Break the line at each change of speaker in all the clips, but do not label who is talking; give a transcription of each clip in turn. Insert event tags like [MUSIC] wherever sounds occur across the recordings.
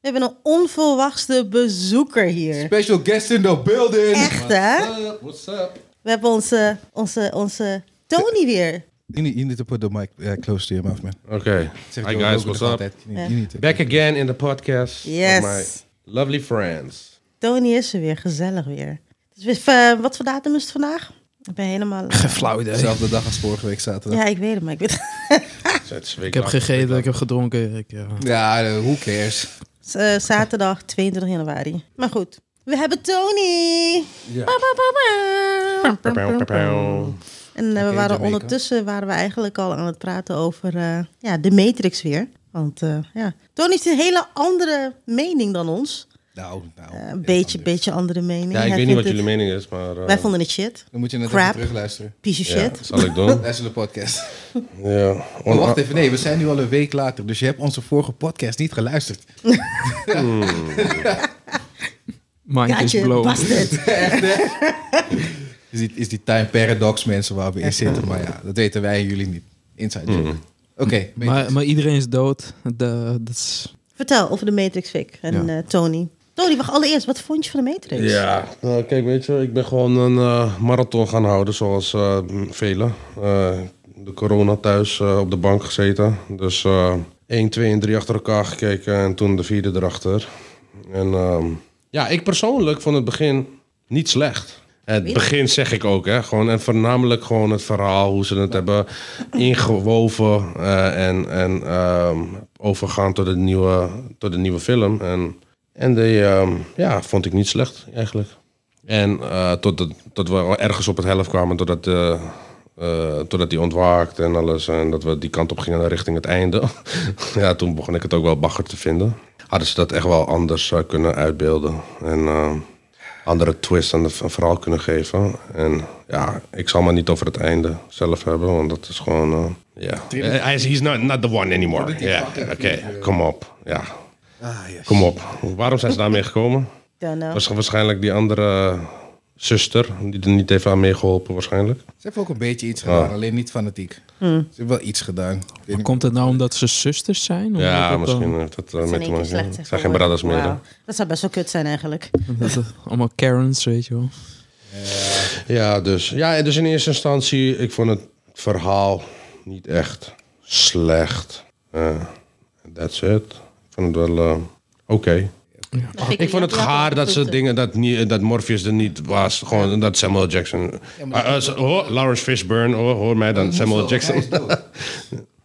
We hebben een onverwachte bezoeker hier.
Special guest in the building.
Echt, hè?
What's up? What's up?
We hebben onze, onze, onze Tony weer.
You need, you need to put the mic uh, close to your mouth, man.
Okay.
Zeg
Hi
Joe
guys,
Rogan
what's
nog
up?
altijd. You need- you need to-
Back again in the podcast. with
Yes.
my lovely friends.
Tony is er weer, gezellig weer. Het is weer- eh, wat voor datum is het vandaag? Ik ben helemaal...
Flauw idee.
Dezelfde dag als vorige week zaterdag.
Ja, ik weet het, maar ik weet het.
Ik heb gegeten, ik heb gedronken. Ik, ja.
Ja, eh, who cares?
is, eh, zaterdag 22 januari. Maar goed, we hebben Tony.
Ja.
Ba, ba, ba, ba.
gegeten.
En eh, we waren
Jamaica.
ondertussen waren we eigenlijk al aan het praten over eh, ja, de Matrix weer. Want eh, ja, Tony heeft een hele andere mening dan ons.
Nou, nou.
Eh,
heel
een beetje,
anders.
beetje andere mening.
Ja,
Hij
ik weet niet
vindt
wat jullie
het-
mening is, maar... eh,
Wij vonden het shit.
Dan moet je net
Crap.
even terugluisteren.
Piece of
ja,
shit.
dat zal ik [LAUGHS] doen.
Luister de
Oh,
podcast.
ja.
Maar
oh.
wacht even, nee, we zijn nu al een week later. Dus je hebt onze vorige podcast niet
[LAUGHS]
geluisterd.
Mind is
Gaatje,
blown.
[LAUGHS]
bastard.
Is die, is die time paradox mensen waar we in zitten. Maar ja, dat weten wij en jullie niet. Inside joke.
Mm.
Oké. weet je-
Maar, maar iedereen is dood. De, dat is,
Vertel over de Matrix, Vic en eh, Tony. Tony, wacht allereerst, wat vond je van de Matrix?
Ja, nou, kijk, weet je, ik ben gewoon een eh, marathon gaan houden, zoals eh, m, velen. Eh, de corona thuis eh, op de bank gezeten. Dus eh 1, 2 en 3 achter elkaar gekeken en toen de vierde erachter. En ehm, ja, ik persoonlijk vond het begin niet slecht. Het begin zeg ik ook, hè. Gewoon, en voornamelijk gewoon het verhaal, hoe ze het hebben ingewoven eh, en, en ehm, overgaan tot de nieuwe, tot de nieuwe film. En en die ehm, ja, vond ik niet slecht eigenlijk. En eh tot, het- tot we ergens op het helft kwamen, totdat, eh, eh, totdat die ontwaakt en alles. En dat we die kant op gingen richting het einde. [LAUGHS] ja, toen begon ik het ook wel bagger te vinden. Hadden ze dat echt wel anders eh, kunnen uitbeelden. En ehm, andere twist aan het verhaal kunnen geven. En ja, ik zal maar niet over het einde zelf hebben, want dat is gewoon... eh, ja Eh, hij is he's not, not the one anymore. Ja, oké, kom op. Ja, Kom op. Waarom zijn ze daarmee gekomen?
Don't know.
Was waarschijnlijk die andere eh, zuster, die er niet even aan meegeholpen waarschijnlijk.
Ze hebben ook een beetje iets
Ah.
gedaan, alleen niet fanatiek.
Hmm.
Ze hebben wel iets gedaan. Ik weet
maar
niet-
komt het nou omdat ze zusters zijn? Omdat
Ja,
dat
misschien
dan-
heeft dat eh,
Dat
met
zijn één
te
keer
maken.
slecht
Het
zeg
zijn geen
maar.
brothers meer. hè?
Wauw. Dat zou best wel kut zijn eigenlijk.
dat het allemaal Karens, weet je wel.
Ja, dus. Ja, dus in eerste instantie, ik vond het verhaal niet echt slecht. Eh, that's it. Ik vond het wel eh, oké. Ik vond het gaar dat ze dingen dat, niet, dat Morpheus er niet was. Gewoon dat Samuel Jackson. Ah, eh, oh, Lawrence Fishburne, hoor, hoor mij dan Samuel Jackson.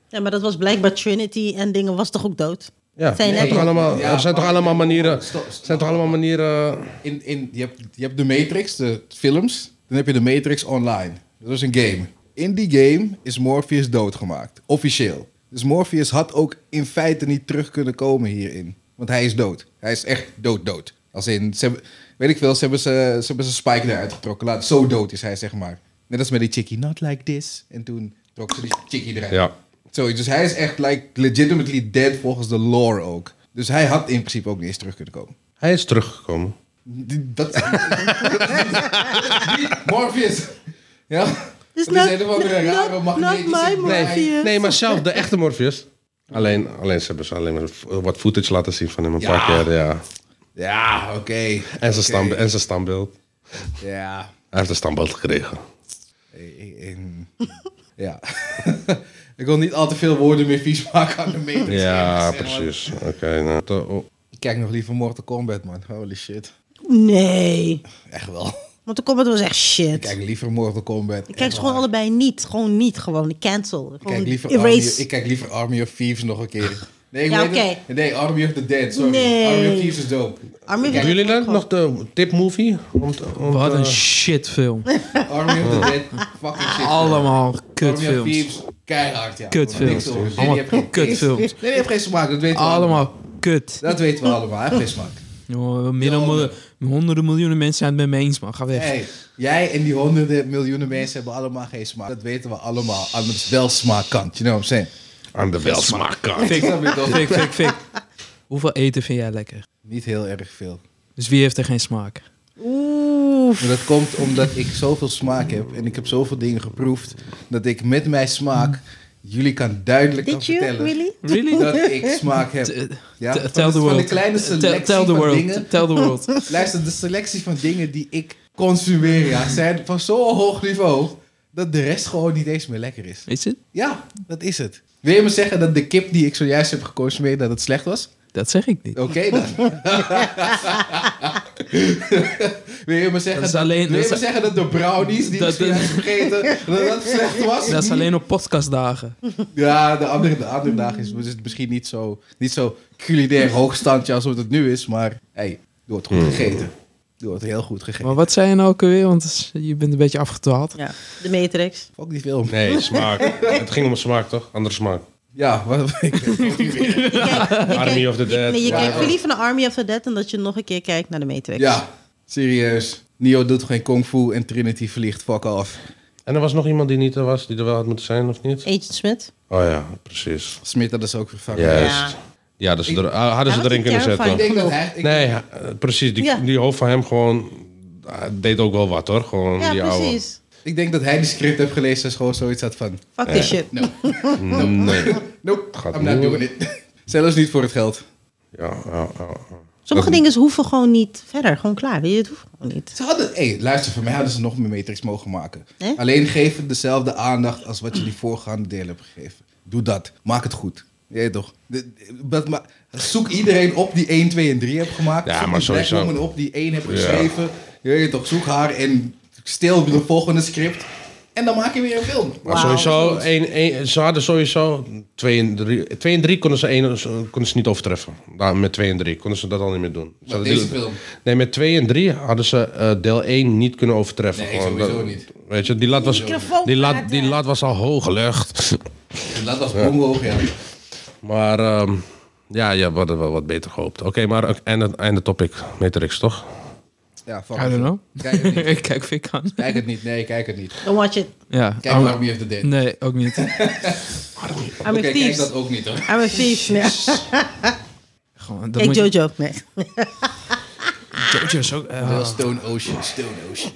Ja, maar dat was blijkbaar Trinity en dingen was toch ook dood?
Ja,
Zijn
zijn
er-
toch allemaal,
Ja,
er zijn toch
maar-
allemaal manieren.
Stop, stop.
Zijn toch allemaal manieren.
In, in, je, hebt, je hebt de Matrix, de films. Dan heb je de Matrix online. Dat is een game. In die game is Morpheus doodgemaakt. Officieel. Dus Morpheus had ook in feite niet terug kunnen komen hierin. Want hij is dood. Hij is echt dood dood. Als in, ze hebben, weet ik veel, ze hebben, ze, ze hebben zijn spike eruit getrokken. Laat, zo dood is hij, zeg maar. Net als met die chickie, not like this. En toen trok ze die chickie eruit.
Ja.
Zoiets. Dus hij is echt like, legitimately dead volgens de lore ook. Dus hij had in principe ook niet eens terug kunnen komen.
Hij is teruggekomen.
Die- Dat, [LAUGHS] Morpheus. Ja?
Dus
dat is
not-
een of andere
not-
rare
not
magnetische
my
draai.
Morpheus.
Nee, maar zelf, de echte Morpheus. Alleen, alleen ze hebben ze alleen maar v- wat footage laten zien van hem een
Ja.
paar keer. Ja.
Ja, oké.
En, zijn
Oké.
stambe- en zijn standbeeld.
Ja.
Hij heeft een standbeeld gekregen.
Eh, eh, eh. Ja. [LAUGHS] Ik wil niet al te veel woorden meer vies maken aan de meter.
Ja, precies. Oké, nou. De- oh,
Ik kijk nog liever Mortal Kombat, man. Holy shit.
Nee.
Echt wel.
Want de comment was echt
Ik
shit.
kijk liever Mortal Kombat.
Ik kijk ze gewoon allebei niet. Gewoon niet. Gewoon cancel. Gewoon
Ik kijk, liever Army,
erase.
ik kijk liever Army of Thieves nog een keer.
Ja,
Nee, hoe heet het?
oké.
nee Army of the Dead, sorry.
Nee.
Army of Thieves is dope.
Army of the
Hebben jullie
Dead
dan
vond ik
nog de tipmovie? Om te- om
Wat
te-
een shitfilm.
Army of the Dead, fucking shit.
Allemaal
Romeo
kutfilms.
Thieves, keihard, ja.
Kutfilms.
Niks over. Nee, die
Allemaal
heeft geen-
kutfilms.
Nee, die heeft geen smaak, dat weten we allemaal.
Allemaal kut.
Dat weten we allemaal, hij heeft geen smaak.
Jongen, meer dan miljoen- honderden miljoenen mensen zijn het met me eens, man. Ga weg.
Hey, jij en die honderden miljoenen mensen hebben allemaal geen smaak. Dat weten we allemaal. Aan het welsmaakkant, you know what I'm saying?
Aan de welsmaakkant.
[LAUGHS]
Fik,
snap je toch?
fik, fik, fik. Hoeveel eten vind jij lekker?
Niet heel erg veel.
Dus wie heeft er geen smaak?
Maar dat komt omdat ik zoveel smaak heb en ik heb zoveel dingen geproefd, dat ik met mijn smaak Jullie kan duidelijk
Did
kan
you,
vertellen
really?
Really?
dat ik smaak heb.
T-
Ja,
t-
van
Tell
de-
the
van
world.
de kleine
T-
selectie
Tell the
van
world.
dingen.
Tell the
[LAUGHS]
world.
Luister, de selectie van dingen die ik consumeer ja, zijn van zo'n hoog niveau dat de rest gewoon niet eens meer lekker is.
Is het?
Ja, dat is het. Wil je me zeggen dat de kip die ik zojuist heb geconsumeerd, dat het slecht was?
Dat zeg ik niet.
Oké
[LAUGHS]
dan. Wil je me zeggen
Dat is
dat,
alleen-
wil je
dat
me
is-
zeggen dat de brownies die
Dat-
ik zojuist vergeten, dat dat slecht was?
Dat is alleen op podcastdagen.
Ja, de andere, de andere dag is, is het misschien niet zo, niet zo culinair hoogstandje als wat het nu is, maar hey, door het goed gegeten. Door het heel goed gegeten.
Maar wat zei je nou ook alweer? Want je bent een beetje afgedwaald.
Ja, de Matrix.
[LAUGHS] Fuck die film.
Nee, smaak. het ging om smaak, toch? Andere smaak.
Ja, wat, [LAUGHS]
Army of the Dead.
Nee, je
Ja,
kijkt
ja.
veel liever naar Army of the Dead dan dat je nog een keer kijkt naar de Matrix.
ja, serieus. Neo doet geen kung fu en Trinity vliegt fuck off.
En er was nog iemand die niet er was, die er wel had moeten zijn, of niet?
Agent Smith.
Oh ja, precies.
Smit dat is ook vervangen.
Juist. Ja, dus er, ah, hadden ze
Hij was
erin
een
kunnen
terrifying
zetten.
Ik denk dat hij... ik-
Nee, ja, eh, precies. Die,
Ja.
die hoofd van hem gewoon ah, deed ook wel wat hoor. Gewoon
Ja,
die oude.
precies.
Ik denk dat hij die script heeft gelezen en gewoon zoiets had van...
Fuck this shit.
No,
[LAUGHS]
Mm, Nee.
nope,
Gaat
I'm not
niet
doing it. [LAUGHS] Zelfs niet voor het geld.
Ja, ja, ja, ja.
Sommige dingen hoeven gewoon niet verder. Gewoon klaar. Weet je, het hoeft gewoon niet.
Ze hadden... Hé, luister, voor mij hadden ze nog meer Matrix mogen maken.
Hè?
Alleen geef het dezelfde aandacht als wat je die voorgaande delen hebt gegeven. Doe dat. Maak het goed. Je weet toch? De- de- dat ma- zoek iedereen op die 1, 2 en 3 hebt gemaakt.
Ja,
Zoek
maar
die Black
sowieso.
Woman op die 1 hebt
Ja.
geschreven. Je weet toch? Zoek haar en stil de volgende script. En dan maak je weer een film.
Maar
Wauw.
sowieso, één, één, ze hadden sowieso 2 en 3. 2 en 3 konden ze, één ze- konden ze niet overtreffen. Daar, met 2 en 3 konden ze dat al niet meer doen. Ze hadden
deze
die-
film.
Nee, met 2 en 3 hadden ze eh, deel 1 niet kunnen overtreffen.
Nee,
Gewoon
sowieso
dat-
niet.
Weet je, die lat was,
Microfoon
die lat,
praten.
die lat was al hoog gelegd.
Dat was bongo, ja.
Maar ehm, ja, ja, we hadden wel wat beter gehoopt. Oké, maar ook einde, einde topic. Matrix, toch?
Ja, fuck
I don't
it.
know.
Kijk het niet.
[LAUGHS] Ik kijk Vic aan.
Kijk het niet, nee, kijk het niet.
Don't watch it.
Ja.
Kijk
Oh,
Army of the Dead.
Nee, ook niet.
I'm
Oké,
a
kijk
thief.
dat ook niet hoor.
I'm a
[LAUGHS]
thief. Nee.
Gewoon, dat
Kijk
moet je-
Jojo. Nee.
Jojo is ook... eh,
Wel Stone Ocean, Stone Ocean.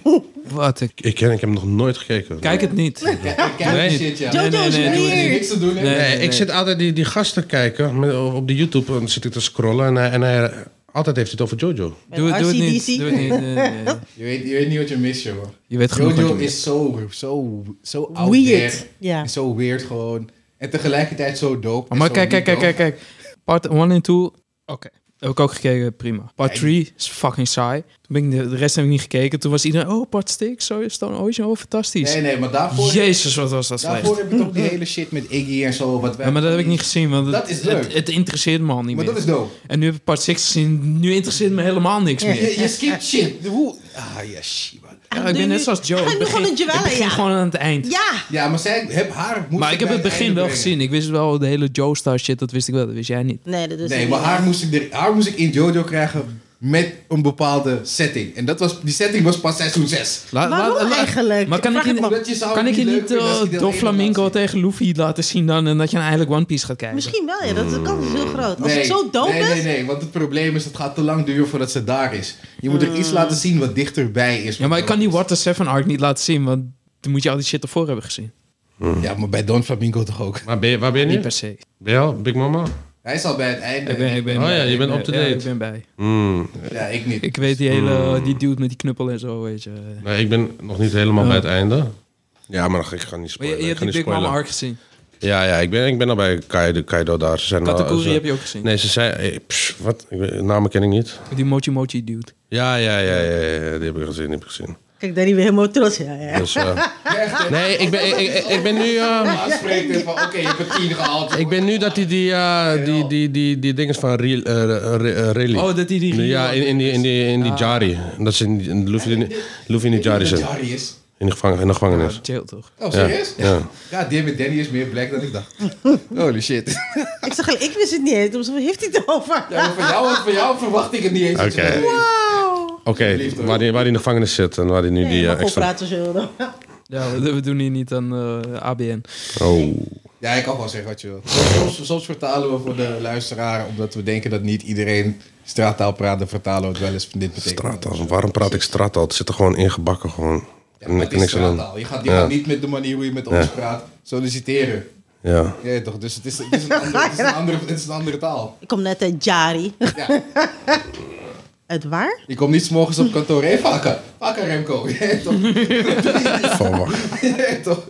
wat een...
Ik, ken, ik heb nog nooit gekeken.
Kijk het niet.
Kijk, kijk
Nee.
die shit, ja.
Jojo
nee, nee,
is
nee, doe het
Die
weird.
niks te doen heeft.
Nee.
Nee, ik zit altijd die, die gasten kijken met, op de YouTube. En dan zit ik te scrollen en, hij- en hij, altijd heeft hij het over Jojo.
Doe, het- doe het
RCDC.
niet. Doe het niet. Nee, nee, nee.
Je, weet, je weet niet wat je mist, joh.
Je weet genoeg wat
Jojo
je mist.
is zo, zo, zo out
Weird,
there.
ja.
En zo weird gewoon. En tegelijkertijd zo dope.
Oh, Maar
en zo
kijk, kijk,
niet
kijk,
dope.
kijk, kijk. Part 1 en 2. Oké. Heb ik ook gekeken, prima. Part
Ja,
3 is fucking saai. Toen ben ik de, de rest heb ik niet gekeken. Toen was iedereen, oh, Part Six, zo Stone Ocean, oh, fantastisch.
Nee, nee, maar daarvoor,
Jezus, wat was dat slecht.
daarvoor heb je toch die hele shit met Iggy en zo. Wat wij,
Ja, maar dat heb ik niet gezien, want
Dat
het,
is leuk.
Het, het interesseert me al niet
Maar
meer.
dat is dope.
En nu heb ik Part 6 gezien, nu interesseert me helemaal niks
[LAUGHS]
meer.
Je, je skipt shit. Hoe? Ah, ja, shit, man.
Ja, ik ben net zoals Joe.
Ga
Ik
nu
begin,
gewoon een
ik
Joelle,
begin
ja.
gewoon aan het eind.
Ja.
Ja, maar zij heb haar moest
Maar ik heb
bij
het begin
einde
wel
brengen.
gezien. Ik wist wel de hele Joe Star shit, dat wist ik wel, dat wist jij niet.
Nee, dat is
Nee,
niet.
maar haar moest, ik er, haar moest ik in JoJo krijgen met een bepaalde setting. En dat was, die setting was pas seizoen 6.
La,
Waarom
la- la-
eigenlijk?
Maar kan
Vraag
ik
het
je,
me. Dat je zou
kan ik
het niet
je
leuk
niet
vinden als
eh,
je deel
door
één
Flamingo
laat zien.
tegen Luffy laten zien dan... en dat je nou eigenlijk One Piece gaat kijken?
Misschien wel, ja. Dat de kans is heel groot. Als
nee,
het zo dood
nee,
is...
Nee, nee, want het probleem is, het gaat te lang duren voordat ze daar is. Je moet er iets laten zien wat dichterbij is.
Hmm. Ja, maar ik kan die Water 7 arc niet laten zien... want dan moet je al die shit ervoor hebben gezien.
Ja, maar bij Don Flamingo toch ook.
Maar ben je, waar ben je
Niet
nu?
per se.
Ben je al Big Mama?
Hij is al bij het einde.
Ik ben, ik ben
Oh ja,
bij.
je
Ik
bent
ben-
up-to-date.
ja, ik ben bij.
Hmm.
Ja, ik niet.
Ik weet die hele... die dude met die knuppel en zo, weet je.
Nee, ik ben nog niet helemaal bij het einde. Ja, maar ik ga niet
Oh. Maar je,
spoilen.
je
ik
hebt
ga
die
niet
Big Mama
spoilen.
arc gezien.
Ja, ja, ik ben, ik ben al bij Kaido, Kaido daar. Ze zijn al-
Katakuri
ze-
heb je ook gezien.
Nee, ze zei... eh, pss, wat? Ik weet- Namen ken ik niet.
Die Mochi Mochi dude.
Ja, ja, ja, ja, ja, die heb ik gezien, die heb ik gezien.
Kijk, Danny weer helemaal trots. Ja, ja.
Dus, eh, nee, ik ben, ik, ik, ik ben nu... eh,
Aanspreekt en van, oké, je hebt het 10 gehaald.
ik ben nu dat die, die, eh, die, die, die, die dingen van Ril- eh, eh, Re- eh, Rally.
Oh, dat die die Rally-
Ja, in, in die, in die, in die
Ah.
Jari. Dat ze in, die- in Luffy, in, Luffy in die Jari zit.
Jari is.
In de, gevangen, in de gevangenis.
Jail toch?
Oh, serieus?
Ja, ja.
Ja, David Danny is meer black dan ik
[LAUGHS]
dacht. Holy shit.
Ik zag al- ik wist het niet eens. Toen zei ik, heeft hij het over?
Ja, maar van, jou, van jou verwacht ik het niet eens.
Oké.
Wow.
Oké,
Liefde.
waar hij in de gevangenis zit en waar hij nu
Nee,
die
je
eh,
mag gewoon
extra...
praten als je wilde.
[LAUGHS] Ja, we, we doen hier niet aan eh, ABN.
Oh.
Ja, ik kan wel zeggen wat je wilt. Soms, soms vertalen we voor de luisteraar, omdat we denken dat niet iedereen straattaal praat, dan vertalen we het wel eens van dit betekent.
Straattaal. Waarom praat ik straattaal? Het zit er gewoon ingebakken gewoon.
Ja, maar het is
Niks aan doen.
straattaal. Je gaat, je
Ja.
gaat niet met de manier hoe je met ons praat solliciteren.
Ja.
Ja, toch? Dus het is, het is, een, andere, het is, een, andere, het is een andere taal.
[LAUGHS] Ik kom net uit Jari. [LAUGHS]
Ja.
Uit waar?
Ik kom niet 's morgens op kantoor. Hé, hey, vakken. Vakken, Remco. [LAUGHS] Ja, toch?
Verwacht.
Ja, toch?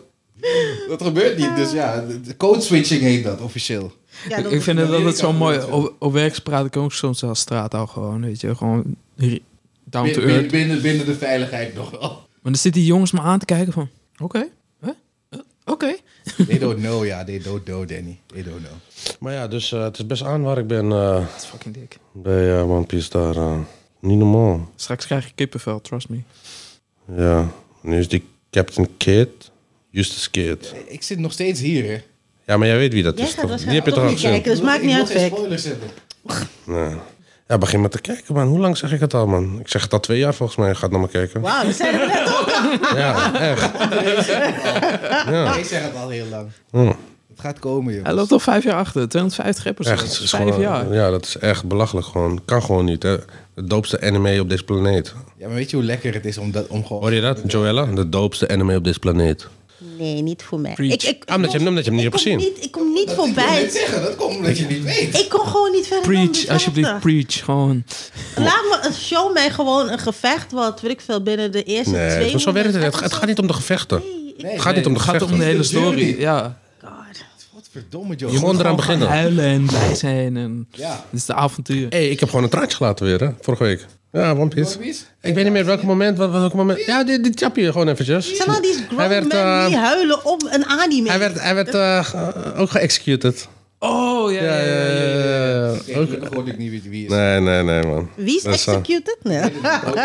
Dat gebeurt niet. Dus ja, de- de code switching heet dat officieel.
Ja,
ik,
dat-
ik vind het
dat
altijd zo
Amerika
mooi.
gebeurt,
Op, op werk praat ik ook soms als straattaal gewoon, weet je. Gewoon re- down to
Bin- bin-
earth.
binnen, binnen de veiligheid nog wel.
Maar dan zitten die jongens me aan te kijken van... Oké, hè? Eh, oké.
They don't know, ja. They don't know, Danny. They don't know.
Maar ja, dus eh, het is best aan waar ik ben eh,
Dat is fucking dik.
bij eh, One Piece daar. eh. niet normaal.
Straks krijg je kippenvel, trust me.
Ja. Nu is die Captain Kid, Justus Kid.
Ik zit nog steeds hier, hè.
Ja, maar jij weet wie dat
Jij
is
gaat
toch? Die
waarschijnlijk
heb je
ook
toch al
niet
gezien?
kijken. Dus maakt niet uit, Fek.
Ik wil geen spoilers hebben.
Nee. Ja, begin maar te kijken, man. Hoe lang zeg ik het al, man? Ik zeg het al twee jaar volgens mij. Gaat nog maar kijken.
Wauw, we zijn er net op.
Ja, echt.
Ik zeg het al heel lang.
Hm.
Het gaat komen, joh.
Hij loopt al vijf jaar achter. 250 episodes.
Echt, het is
vijf
gewoon-
jaar.
Ja, dat is echt belachelijk gewoon. Kan gewoon niet, hè. De doopste anime op deze planeet.
Ja, maar weet je hoe lekker het is om, dat, om gewoon...
Hoor je dat, Joella? De doopste anime op deze planeet.
Nee, niet voor mij.
Preach.
Ik, ik, ik
Ah, omdat je hem- omdat je hem niet
ik
hebt
kom
gezien.
niet- ik kom niet
Ik wil niet
voorbij.
zeggen, dat komt omdat je niet weet.
Ik kom gewoon niet verder dan
Preach,
dezelfde.
alsjeblieft, preach. Gewoon.
Laat me, show mij gewoon een gevecht wat, weet ik veel, binnen de eerste twee
Nee, maar zo werkt het. Het,
minuten.
het gaat niet om de gevechten.
Nee,
Het gaat niet om de
Het gaat om
gevechten.
de hele
Het duurt
story.
niet.
Ja.
God.
Wat verdomme, joh.
Je moet eraan
Gewoon
beginnen.
Huilen en blij zijn. En...
Ja.
Het is de avontuur.
hey, ik heb gewoon een traantje gelaten weer, hè? Vorige week. Ja, One Piece.
One Piece?
Ik weet niet meer welk moment. Wat, welk moment. Ja, die, die chapje gewoon eventjes.
Zijn al die grown
Hij werd,
men
eh,
die huilen om een anime?
Hij werd, hij werd eh, ge- ook geëxecuted.
Oh, ja, ja, ja. ja, ja.
Ik hoorde ik niet wie- wie is.
Nee, nee, nee, man.
Wie is
Dat eh,
executed? Nee. [LAUGHS]
Ik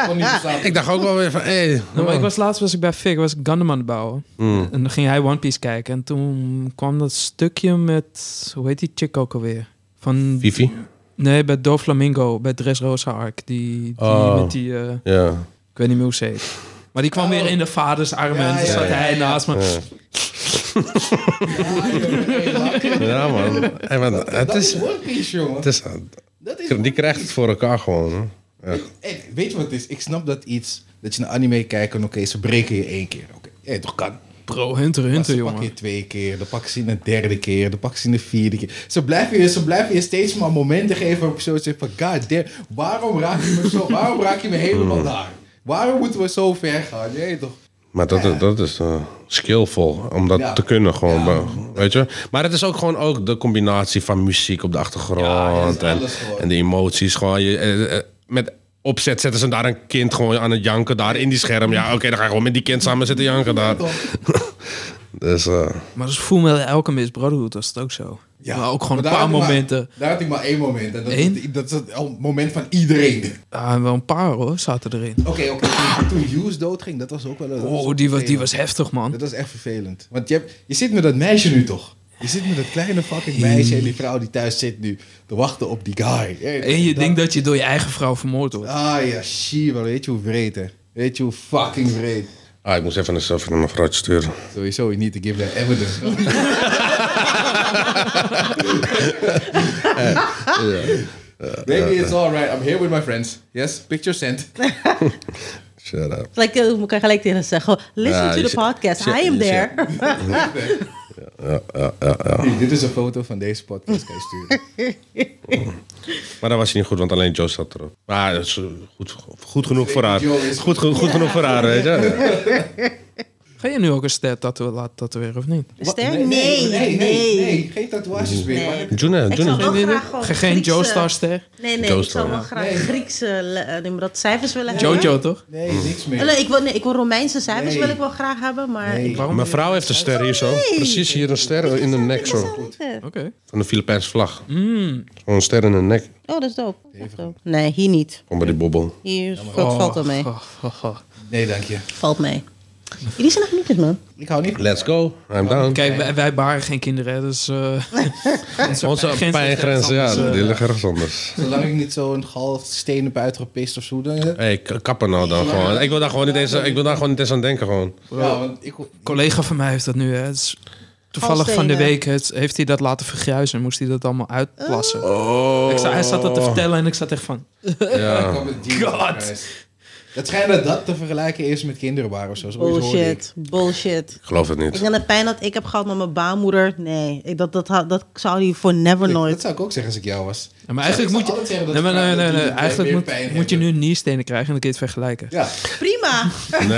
kon niet verstaan.
ik dacht ook wel weer van, hé. Hey,
Nou, maar ik was laatst was ik bij Fik, was ik Gundam aan het bouwen.
Mm.
En dan ging hij One Piece kijken. En toen kwam dat stukje met, hoe heet die chick ook alweer? Van,
Vivi?
Nee, bij Doflamingo, bij Dressrosa Ark. Die, die
Oh.
met die, eh,
Ja.
ik weet niet meer hoe ze heet. Maar die kwam weer in de vaders armen
Oh.
en
Ja,
toen
ja,
zat
ja,
hij
ja.
naast me.
Ja, man. Hey, man, het
Dat is
is...
One Piece, jongen.
Het is
Dat is
die krijgt het voor elkaar gewoon, hè. Echt.
Hey, weet je wat het is? Ik snap dat iets, dat je een anime kijkt en oké, ze breken je één keer. Oké, hey, toch kan.
Bro, Hunter,
Maar
Hunter,
ze pakken
jongen.
je twee keer, dan pakken ze je een derde keer, dan pakken ze je een vierde keer. Ze blijven je, ze blijven je steeds maar momenten geven waarop je zo zegt van... God damn, waarom raak je me zo,
[LAUGHS]
waarom raak je me helemaal daar? Waarom moeten we zo ver gaan? Nee, toch?
Maar dat, dat is eh, skillful, om dat
Ja.
te kunnen gewoon. Weet je? Maar het is ook gewoon ook de combinatie van muziek op de
Ja, dat
achtergrond
is
en,
alles gewoon.
en de emoties. Gewoon, je, eh, eh, met opzet zetten ze daar een kind gewoon aan het janken daar in die scherm. Ja, oké, dan ga je gewoon met die kind samen zitten janken daar. [LAUGHS] dus eh,
Maar dat is Full Metal Alchemist Brotherhood, was het ook zo.
Ja,
maar ook gewoon
maar
een
daar
paar
had ik maar-
momenten.
daar had ik maar één moment. En dat,
Eén?
dat is het al- moment van iedereen.
Ah, wel een paar hoor, zaten erin.
Oké, oké. toen- Toen Hughes doodging, dat was ook wel... dat ook
Oh, die was, die
vervelend.
was heftig, man.
Dat was echt vervelend. Want je, hebt, je zit met dat meisje nu toch? Je zit met dat kleine fucking meisje en die vrouw die thuis zit nu te wachten op die guy. Hey,
En je
dat-
denkt dat je door je eigen vrouw vermoord wordt.
Ah ja, shit, wel. Weet je hoe vreed, hè? Weet je hoe fucking vreed?
ah, ik moest even een selfie naar mijn vrouwtje sturen.
Sowieso, you need to give that [LAUGHS] evidence. Baby, it's alright. I'm here with my friends. Yes, picture sent.
Shut up.
Like, eh, ik kan gelijk tegen ze zeggen. oh, Listen
Ja,
to
je
the
zit-
podcast.
je zit-
I am
je zit-
there.
Hey, dit is een foto van deze podcast, kan je
[LAUGHS]
sturen.
Maar dat was hij niet goed, want alleen Joe zat erop. Maar dat is goed, goed genoeg voor haar.
Joe is-
Goed, goed, goed genoeg voor haar, weet je.
[LAUGHS]
Ga je nu ook een ster tatoe- laten tatoeëren of niet?
Is there? Nee,
nee, nee,
nee.
nee. Geen tatoeages meer.
Nee.
Juna,
Ik
Juna.
zal wel
Nee, nee,
graag gewoon
Ge- Geen
Griekse-
Joe Starster.
Nee, nee, ik
Joestar,
zou wel
ja.
graag Griekse le- eh, noem maar dat, cijfers willen hebben.
Jojo, toch?
Nee, niks
Eh,
meer.
Nee, ik wil, nee, ik wil Romeinse cijfers
Nee.
wil ik wel graag hebben, maar...
Nee.
ik-
Waarom?
Mijn vrouw heeft een ster hier zo. Oh, Precies hier een ster in de nek zo.
eh,
Oké.
Van de Filipijnse vlag. Gewoon een ster in de nek.
Oh, dat is dope. Echt dope. Nee, hier niet.
Kom bij die bobbel.
Hier valt, valt wel mee.
Oh, oh, oh.
Nee, dank je.
Valt mee. Jullie zijn echt minuutjes, man.
Ik hou niet
Let's go. I'm down.
Kijk, wij, wij baren geen kinderen, hè,
[LAUGHS]
dus... eh,
Onze
pijngrenzen-
pijngrenzen, ja, die liggen ergens anders.
Zolang ik niet zo'n gal steen heb uitgepist of zo. Dan, ja,
hey, k- kappen nou dan gewoon. Ik wil daar gewoon niet eens, ik wil daar gewoon niet eens aan denken gewoon.
want ik,
Een collega van mij heeft dat nu, hè. Het is toevallig van de
Galstenen.
week het, heeft hij dat laten vergruisen. en Moest hij dat allemaal
Oh.
Oh.
uitplassen. Ik zat- hij zat dat te vertellen en ik zat echt
[LAUGHS]
van...
ik kwam met Jesus
God.
Christ. Het schijnt dat dat te vergelijken is met kinderen waren of zo. Zoiets
Oh,
hoorde ik.
Bullshit, bullshit.
Ik geloof het
Ik
niet.
denk aan de pijn dat ik heb gehad met mijn baarmoeder. Nee, ik, dat, dat, dat, dat zou hij voor never
Ik-
Oh, nooit.
[LAUGHS]
Dat zou ik ook zeggen als ik jou was.
Ja, maar eigenlijk moet je... Nee, maar, nee, nee, nee, eigenlijk moet, moet je nu nierstenen krijgen en dan kun je het vergelijken.
Ja,
Prima.
Nee.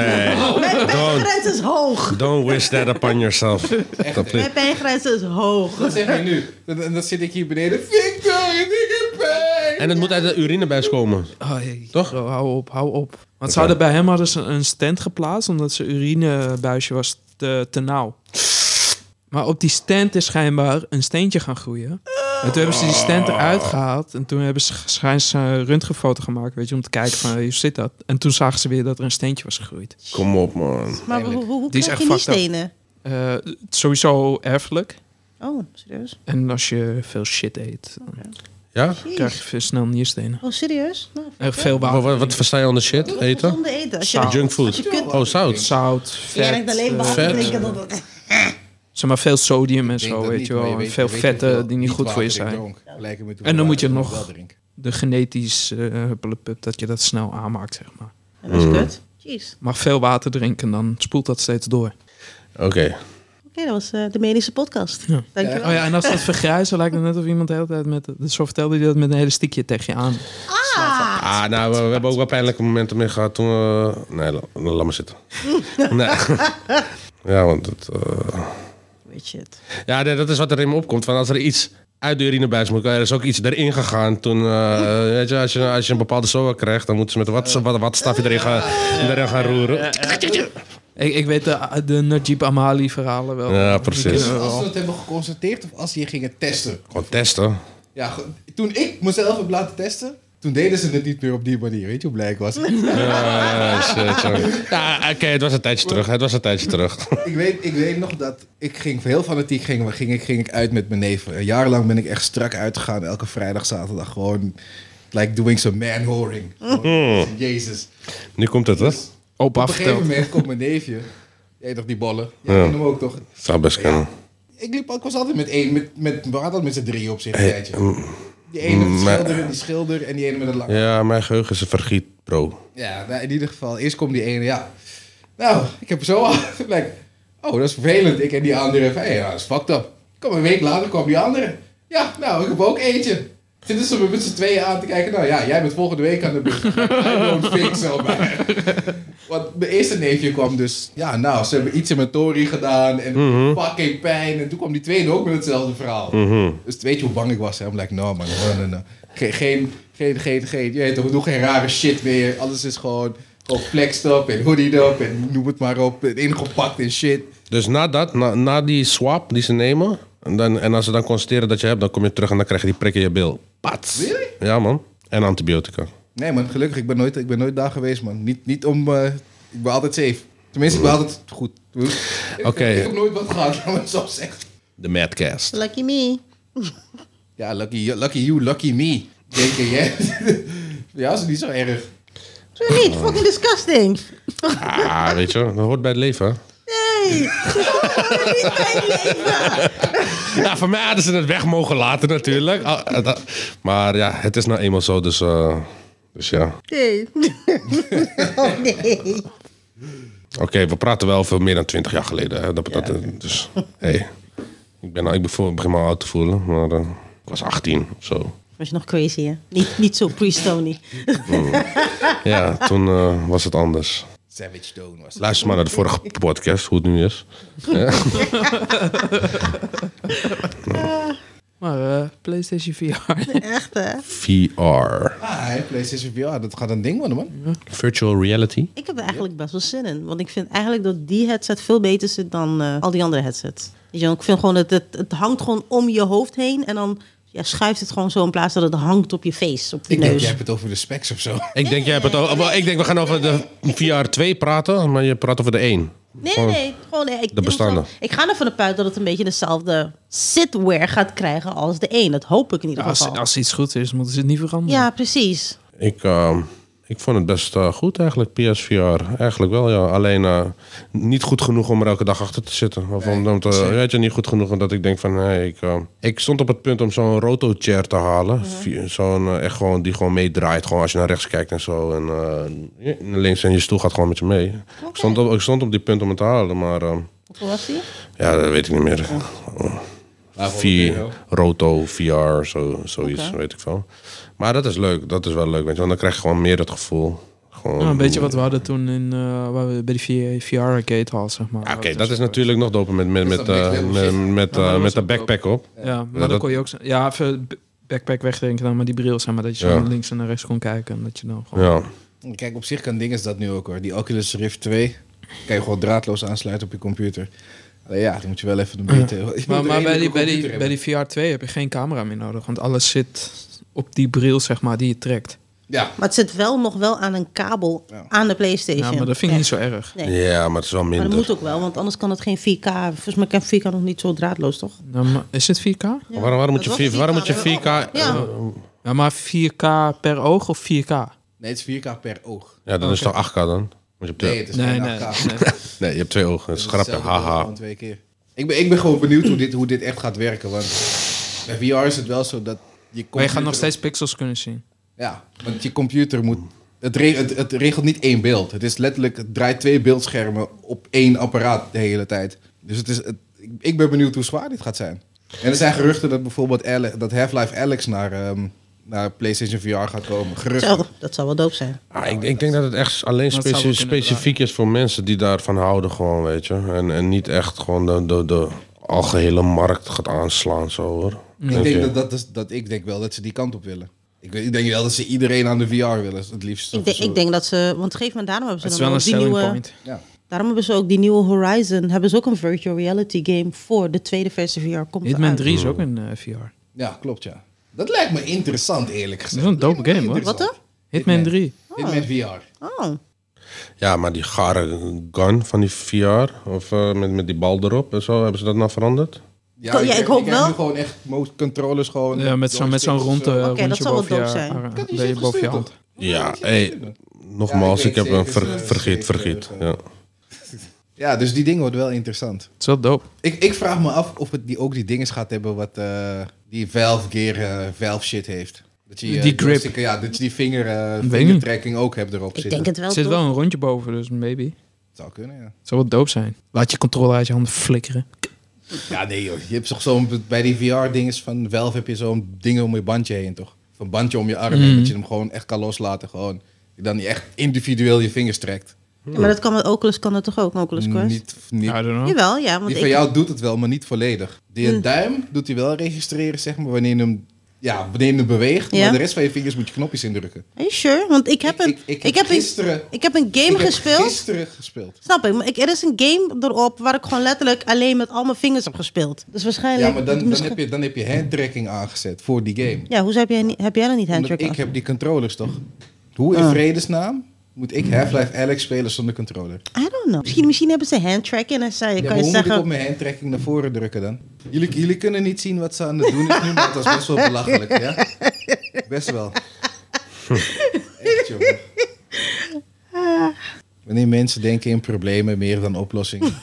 Mijn
Don't,
pijngrens is hoog.
don't wish that upon yourself. Dat
echt.
klinkt-
Mijn pijngrens is hoog.
[LAUGHS] Dat zeg je nu. En dan, dan zit ik hier beneden. Victor, ik heb pijn.
En het moet uit de urinebuis komen.
Oh, hey,
Toch?
bro, hou op, hou op. Want ze hadden bij hem hadden ze een stand geplaatst omdat zijn urinebuisje was te, te nauw. Maar op die stand is schijnbaar een steentje gaan groeien. En toen hebben ze die stand eruit gehaald. En toen hebben ze schijns een röntgenfoto gemaakt, weet je, om te kijken van hey, hoe zit dat. En toen zagen ze weer dat er een steentje was gegroeid.
Kom op, man.
Maar hoe, hoe
Die is
krijg
echt
je die
fucked up.
stenen?
Eh, sowieso erfelijk.
Oh, serieus?
En als je veel shit eet, dan
Ja?
krijg je
Jeez.
veel snel nierstenen.
Oh, serieus? Nou,
En veel
Wat,
water.
wat, wat versta je onder shit? Eten?
Gezonde eten. Als je,
Zout.
Junkfood.
Als je kunt,
Oh, zout.
Zout,
je
vet.
denkt alleen
eh,
water
vet.
drinken. Dat, dat,
Zeg maar veel sodium en
Ik denk
zo,
dat
weet
niet,
je
maar
wel. en
weet-
veel
weet
vetten
hoeveel
die niet goed voor je
water ik
zijn.
dronk. Vergeleken met
En dan moet je
hoeveel
nog-
water ik wel drink.
De genetisch eh, plup, plup, dat je dat snel aanmaakt, zeg maar.
en dat is kut. Jeez.
Maar veel water drinken, dan spoelt dat steeds door.
Oké.
Oké, dat was eh, de medische podcast.
Ja.
Dankjewel.
Oh ja, en
[LAUGHS]
als dat vergrijzen, lijkt het net of iemand de hele tijd met... dus Zo vertelde hij dat met een hele stiekje tegen je aan.
Ah, nou, we, we hebben ook wel pijnlijke momenten mee gehad toen we... Nee, la- laat maar [LAUGHS] zitten. nee. Ja, want het... eh,
Weet je het.
Ja, nee, dat is wat er in me opkomt. Van als er iets uit de urinebuis moet, er is ook iets erin gegaan. Toen, [LAUGHS] eh, weet je, als je, als je een bepaalde soa krijgt, dan moeten ze met wat, wat, wat stafje erin gaan, erin gaan roeren.
Ik, ik weet de, de Najib Amali verhalen wel.
Ja, precies.
Die
Als ze het hebben geconstateerd of als ze je gingen testen.
Gewoon testen.
Ja, go- toen ik mezelf heb laten testen, toen deden ze het niet meer op die manier. Weet je hoe blij ik
[LAUGHS]
was?
Ja, shit, jongen. ja oké, het was een tijdje terug. Het was een tijdje [LAUGHS] terug.
ik, weet, ik weet nog dat ik ging heel fanatiek ging, ging, ik- ging ik uit met mijn neven. Een jaar lang ben ik echt strak uitgegaan. Elke vrijdag, zaterdag gewoon... Like doing some man-horing.
Hmm.
Gewoon, [LAUGHS] Jezus.
Nu komt het, hè?
Opa
Op een gegeven
vertelt.
moment komt mijn neefje. Jij toch die ballen? Jij
Ja.
kent hem ook toch?
Zou best kunnen.
Ik, liep, ik was altijd met één, met, met, we hadden altijd met z'n drieën op zich een tijdje.
mm,
Die ene met de
maar-
schilder en die schilder en die ene met een lange.
Ja, mijn geheugen is een vergiet, bro.
Ja, nou, in ieder geval, eerst komt die ene, ja. Nou, ik heb er zo [LAUGHS] aan. Like, oh, dat is vervelend. Ik en die andere. Van, hey, ja, dat is fucked up. Kom, een week later kwam die andere. Ja, nou, ik heb ook eentje. Zitten ze me met z'n tweeën aan te kijken. Nou ja, jij bent volgende week aan de beurt. [LAUGHS] I don't think so, man. Want mijn eerste neefje kwam dus... Ja, nou, ze hebben iets in mijn tori gedaan. En fucking pijn. En toen kwam die tweede ook met hetzelfde verhaal. Dus weet je hoe bang ik was? Hè? I'm like, no man, no, no, no. Geen, geen, geen, geen, geen, je weet toch, we doen geen rare shit meer. Alles is gewoon, gewoon flexed up en hoodied up en noem het maar op. En ingepakt en shit.
Dus na dat, na, na die swap die ze nemen... En, dan, en als ze dan constateren dat je hebt, dan kom je terug en dan krijg je die prik in je bil. Pats.
Really?
Ja, man. En antibiotica.
Nee man, gelukkig, ik ben nooit, ik ben nooit daar geweest man. Niet, niet om, eh, ik ben altijd safe. Tenminste, ik ben altijd goed. Oké.
Oké.
Ik heb nooit wat gehad, [LAUGHS] laat maar het zo zeggen.
De Madcast.
Lucky me.
Ja, lucky, lucky you, lucky me. Denk [LAUGHS] je, hè? Ja, dat is niet zo erg.
Zo niet. Fucking disgusting.
Ah, weet je, dat hoort bij het leven. hè?
Nee. [LAUGHS] Niet mijn leven.
Ja, voor mij hadden ze het weg mogen laten natuurlijk. Ah, eh, dat- Maar ja, het is nou eenmaal zo, dus, eh, dus ja. Oké,
Nee. [LAUGHS] Oh nee.
we praten wel over meer dan twintig jaar geleden. Hè? Dat, dat, dus, hey. Ik, ben, al- ik bevo- begin me al oud te voelen, maar eh, ik was 18 of zo.
Was je nog crazy, hè? Niet, niet zo pre-Stony.
Ja, toen eh, was het anders.
Savage Stone was het.
Luister maar naar de vorige podcast, hoe het nu is.
Maar eh, PlayStation
[LAUGHS]
VR.
Echt, hè?
VR.
Ah, hè, PlayStation VR, dat gaat een ding worden man.
Virtual reality.
Ik heb er eigenlijk best wel zin in. Want ik vind eigenlijk dat die headset veel beter zit dan eh, al die andere headsets. Weet je, wel, ik vind gewoon dat het, het hangt gewoon om je hoofd heen. En dan ja, schuift het gewoon zo in plaats dat het hangt op je face, op je
Ik denk,
neus.
jij hebt het over de specs of zo. [LAUGHS]
Ik denk, jij hebt het over, wel, ik denk, we gaan over de VR 2 praten, maar je praat over de 1.
Nee, nee, nee. Gewoon, nee, ik,
de bestaande.
Ik ga ervan uit dat het een beetje dezelfde sitware gaat krijgen als de een. Dat hoop ik in ieder
Als,
geval.
als iets goed is, moeten ze het niet veranderen.
Ja, precies.
Ik, ehm, ik Ik vond het best eh, goed eigenlijk, PSVR. Eigenlijk wel, ja. Alleen eh, niet goed genoeg om er elke dag achter te zitten. Of om, om te,
zeker.
weet je, niet goed genoeg omdat ik denk van... nee, ik, eh, ik stond op het punt om zo'n rotochair te halen. Vi- Zo'n eh, echt gewoon, die gewoon meedraait. Gewoon als je naar rechts kijkt en zo. En eh, naar links en je stoel gaat gewoon met je mee. Ik, stond op, ik stond op die punt om het te halen, maar... eh,
Hoeveel was die?
ja, dat weet ik niet meer.
euro.
Vier, roto, VR, zo, zoiets,
Oké.
weet ik veel. Maar dat is leuk, dat is wel leuk, weet je, want dan krijg je gewoon meer dat gevoel. Gewoon,
Nou, een beetje wat we hadden toen in, eh, waar we bij die VR-gate hall, zeg maar.
Ja, Ah, Oké, dat is natuurlijk nog doper met, met,
Is
met,
dat next
eh,
level
met,
shit?
met,
Ja, maar
eh,
dat
met
was
de
ook
backpack op.
Ja, maar
Ja,
dan
dat-
kon je ook... zo- Ja, even b- backpack wegdenken dan, maar die bril, zeg maar. Dat je
Ja.
zo naar links en naar rechts kon kijken. En dat je
Oh.
dan gewoon...
Ja,
Kijk, op zich kan ding is dat nu ook hoor. Die Oculus Rift 2 kan je gewoon draadloos aansluiten op je computer. Alleen ja, dan moet je wel even een beetje... [LAUGHS] je moet
Maar,
een
maar bij, die,
redelijke
bij,
computer
die, bij
hebben.
die VR 2 heb je geen camera meer nodig. Want alles zit op die bril, zeg maar, die je trekt.
Ja,
Maar het zit wel nog wel aan een kabel
Ja.
aan de PlayStation.
Ja, maar dat vind ik
Ja.
niet zo erg.
Nee.
ja, maar het is wel
Maar dat
minder.
moet ook wel, want anders kan het geen 4K. Volgens mij kan 4K nog niet zo draadloos, toch?
Nou, maar is het 4K?
Ja.
Waarom, waarom, moet je
Dat was
4, waarom moet je 4K...
Ja. Ja.
eh,
Ja, maar 4K per oog of 4K?
nee, het is 4K per oog.
ja, dan is het toch 8K dan? Moet je op de-
Nee, het is geen 8K. [LAUGHS]
nee, je hebt twee ogen, dat is
Het hetzelfde
grapje,
beeld,
haha.
gewoon twee keer. Ik ben, ik ben gewoon benieuwd hoe dit, hoe dit echt gaat werken. Want bij VR is het wel zo dat je computer...
Maar je gaat nog steeds pixels kunnen zien.
Ja, want je computer moet... Het, re- het, het regelt niet één beeld. Het is letterlijk... Het draait twee beeldschermen op één apparaat de hele tijd. Dus het is... Het, ik, ik ben benieuwd hoe zwaar dit gaat zijn. En er zijn geruchten dat bijvoorbeeld Ale- dat Half-Life Alex naar, ehm, naar PlayStation VR gaat komen. Geruchten.
Hetzelfde. Dat zou wel doop zijn.
Ah, ik, ik denk dat het echt alleen
Dat zou wel
speci-
kunnen
specifiek is voor mensen die daarvan houden, gewoon, weet je. En, en niet echt gewoon de, de, de algehele markt gaat aanslaan, zo hoor.
Ik
Denk
denk
je?
dat, dat, is, dat ik denk wel dat ze die kant op willen. Ik, weet- ik denk wel dat ze iedereen aan de VR willen, het liefst.
Ik, denk- ik denk dat ze, want geef me daarom hebben
Het
ze dan
is wel een
ook die
selling
nieuwe,
point.
Ja.
daarom hebben ze ook die nieuwe Horizon, hebben ze ook een virtual reality game voor de tweede versie VR komt
Hitman
eruit.
3 is ook een eh, VR.
Ja, klopt ja. Dat lijkt me interessant eerlijk gezegd.
Dat is een dope
Lijkt me
game, hoor.
Wat
interessant.
dan?
Hitman 3.
Hitman VR.
Oh,
Ja, maar die gare gun van die VR, of eh, met, met die bal erop en zo, hebben ze dat nou veranderd?
Ja, ik hoop
heb
wel.
nu gewoon echt mo- controllers gewoon.
Ja, met zo'n met zo'n rond, eh,
Oké, dat
rondje
zou wel
boven je,
dope zijn.
ar-
Kan die
bij je
shit
boven je
gestuurd,
hand.
Ja, hey, nogmaals,
Ja,
ik,
ik weet
heb een
zeker,
ver-
eh, zeker,
vergiet, vergiet.
eh,
Ja.
Ja, dus die ding wordt wel interessant.
Het is wel dope.
Ik, ik vraag me af of het die, ook die dinges gaat hebben wat eh, die Valve Gear eh, Valve shit heeft. Dat je, eh,
Die grip.
joystick- Ja, dat je die vinger, eh,
niet.
vingertrekking ook hebt erop
ik
zitten.
denk het wel.
Er zit
toch?
wel een rondje boven, dus maybe.
zou kunnen, ja.
Het zou wel dope zijn. Laat je controle uit je handen flikkeren.
Ja, nee joh. Je hebt toch zo'n, bij die VR dinges van Valve heb je zo'n ding om je bandje heen, toch? Van bandje om je arm
Mhm.
heen, dat je hem gewoon echt kan loslaten. Gewoon, die dan niet echt individueel je vingers trekt.
Ja, maar dat kan met Oculus kan dat toch ook, met Oculus Quest?
Niet, niet
I don't know.
Jawel, ja, want
Die
ik, Hm.
van jou doet het wel, maar niet volledig. Die duim doet hij wel registreren, zeg maar, wanneer je hem, ja, wanneer je hem beweegt.
Ja.
Maar de rest van je vingers moet je knopjes indrukken.
Are you sure? Want ik heb een, ik, heb een,
gisteren,
ik heb een game
ik heb
gespeeld.
gisteren gespeeld.
Snap ik, maar ik, er is een game erop waar ik gewoon letterlijk alleen met al mijn vingers heb gespeeld. Dus waarschijnlijk...
Ja, maar dan, dan,
misschien-
heb je, dan heb je handtracking aangezet voor die game.
Ja, hoezo heb jij, niet- heb jij dan niet
Omdat
handtrack
ik heb die controllers toch. Hoe
Ah.
in vredesnaam moet
Mm.
ik Half-Life Alex spelen zonder controller?
I don't know. Misschien, misschien hebben ze handtrack en dan zei,
Ja, maar
kan je
hoe moet ik op
zeggen...
mijn handtracking naar voren drukken dan? Jullie, jullie kunnen niet zien wat ze aan het doen is nu, maar dat is best wel belachelijk, ja? Best wel. Echt, jongen. Wanneer mensen denken in problemen meer dan oplossingen.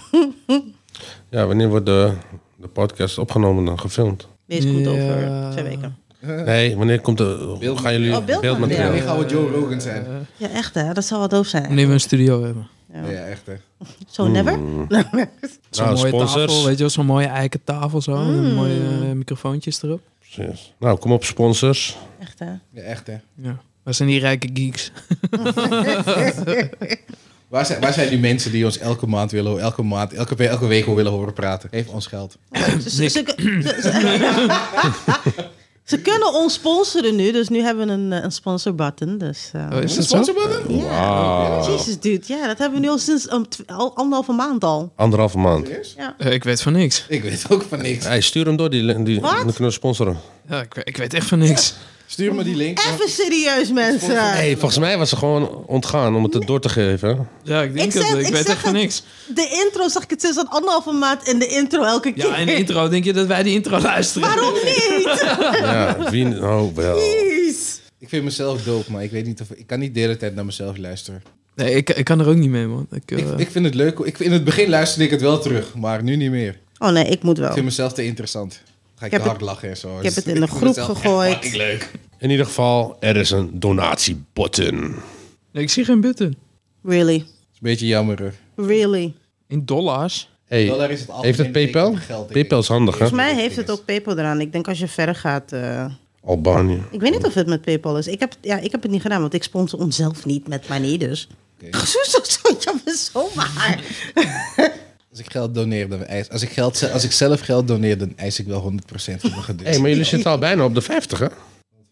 ja, wanneer wordt de, de podcast opgenomen en gefilmd?
Wees komt
Ja.
over twee weken.
Nee, wanneer komt de...
Beeld-
gaan jullie
Oh, beeldmateriaal.
Ja,
beeldmateriaal?
wanneer gaan we Joe Rogan zijn?
Ja, echt hè. Dat zou wel doof zijn.
Wanneer we een studio hebben.
Ja, echt hè.
Zo never?
Mm.
[LAUGHS]
Zo'n
Nou,
mooie
sponsors.
tafel, weet je wel. Zo'n mooie eiken tafel zo. en Mooie eh, microfoontjes erop.
Precies. Nou, kom op sponsors.
Echt hè.
Ja, echt hè.
Ja. Waar zijn die rijke geeks?
Waar zijn, waar zijn die mensen die ons elke maand willen, elke maand, elke, we- elke week willen horen praten? Geef ons geld.
Ze, ze, ze- ze- ze kunnen ons sponsoren nu, dus nu hebben we een, eh, een sponsor button. Dus, eh,
Oh, is
Een
dat zo?
sponsor button?
Oh,
Wauw.
Jezus dude, ja, dat hebben we nu al sinds um, tw- al anderhalve maand al.
Anderhalve maand.
Ja.
Eh, ik weet van niks.
Ik weet ook van niks.
Hey, stuur hem door, die, die, die
Wat?
dan kunnen we sponsoren.
Ja, ik, ik weet echt van niks.
Stuur me die link.
Even serieus mensen.
Hey, volgens mij was ze gewoon ontgaan om het er door te geven.
Ja, ik denk
Ik
het.
zeg-
ik,
ik
weet
zeg
echt van
het.
niks.
De intro zag ik het sinds een anderhalve maand in de intro elke keer.
Ja, en de intro. [LAUGHS] Denk je dat wij die intro luisteren?
Waarom niet?
Ja, wie... Oh, wel.
Jeez.
Ik vind mezelf dope, maar ik weet niet of ik kan niet de hele tijd naar mezelf luisteren.
Nee, ik, ik kan er ook niet mee, man. Ik, eh,
Ik, ik vind het leuk. Ik, in het begin luisterde ik het wel terug, maar nu niet meer.
Oh nee, ik moet wel.
Ik vind mezelf te interessant. Dan Ga ik,
Ik heb
te hard lachen en zo. Dus
Ik heb het in de groep gegooid.
leuk.
In ieder geval, er is een donatiebutton.
nee, ik zie geen button.
Really.
is een beetje jammer. hoor.
Really.
In dollars?
Hey,
Dollar is het
heeft het
algemeen
PayPal?
teken van geld, denk ik.
PayPal is handig, hè?
Ja.
Volgens mij heeft het ook PayPal eraan. Ik denk als je verder gaat. eh,
Albanië.
ik weet niet of het met PayPal is. Ik heb, ja, ik heb het niet gedaan, want ik sponsor onszelf niet met money. Dus. [LAUGHS]
Oké.
Zo, zo, zo, ja, maar zomaar.
Als ik geld doneer, dan eis als ik, geld, ze- als ik zelf geld doneer, dan eis ik wel 100% van mijn geduld.
Hé, hey, maar jullie zitten al bijna op de 50, hè?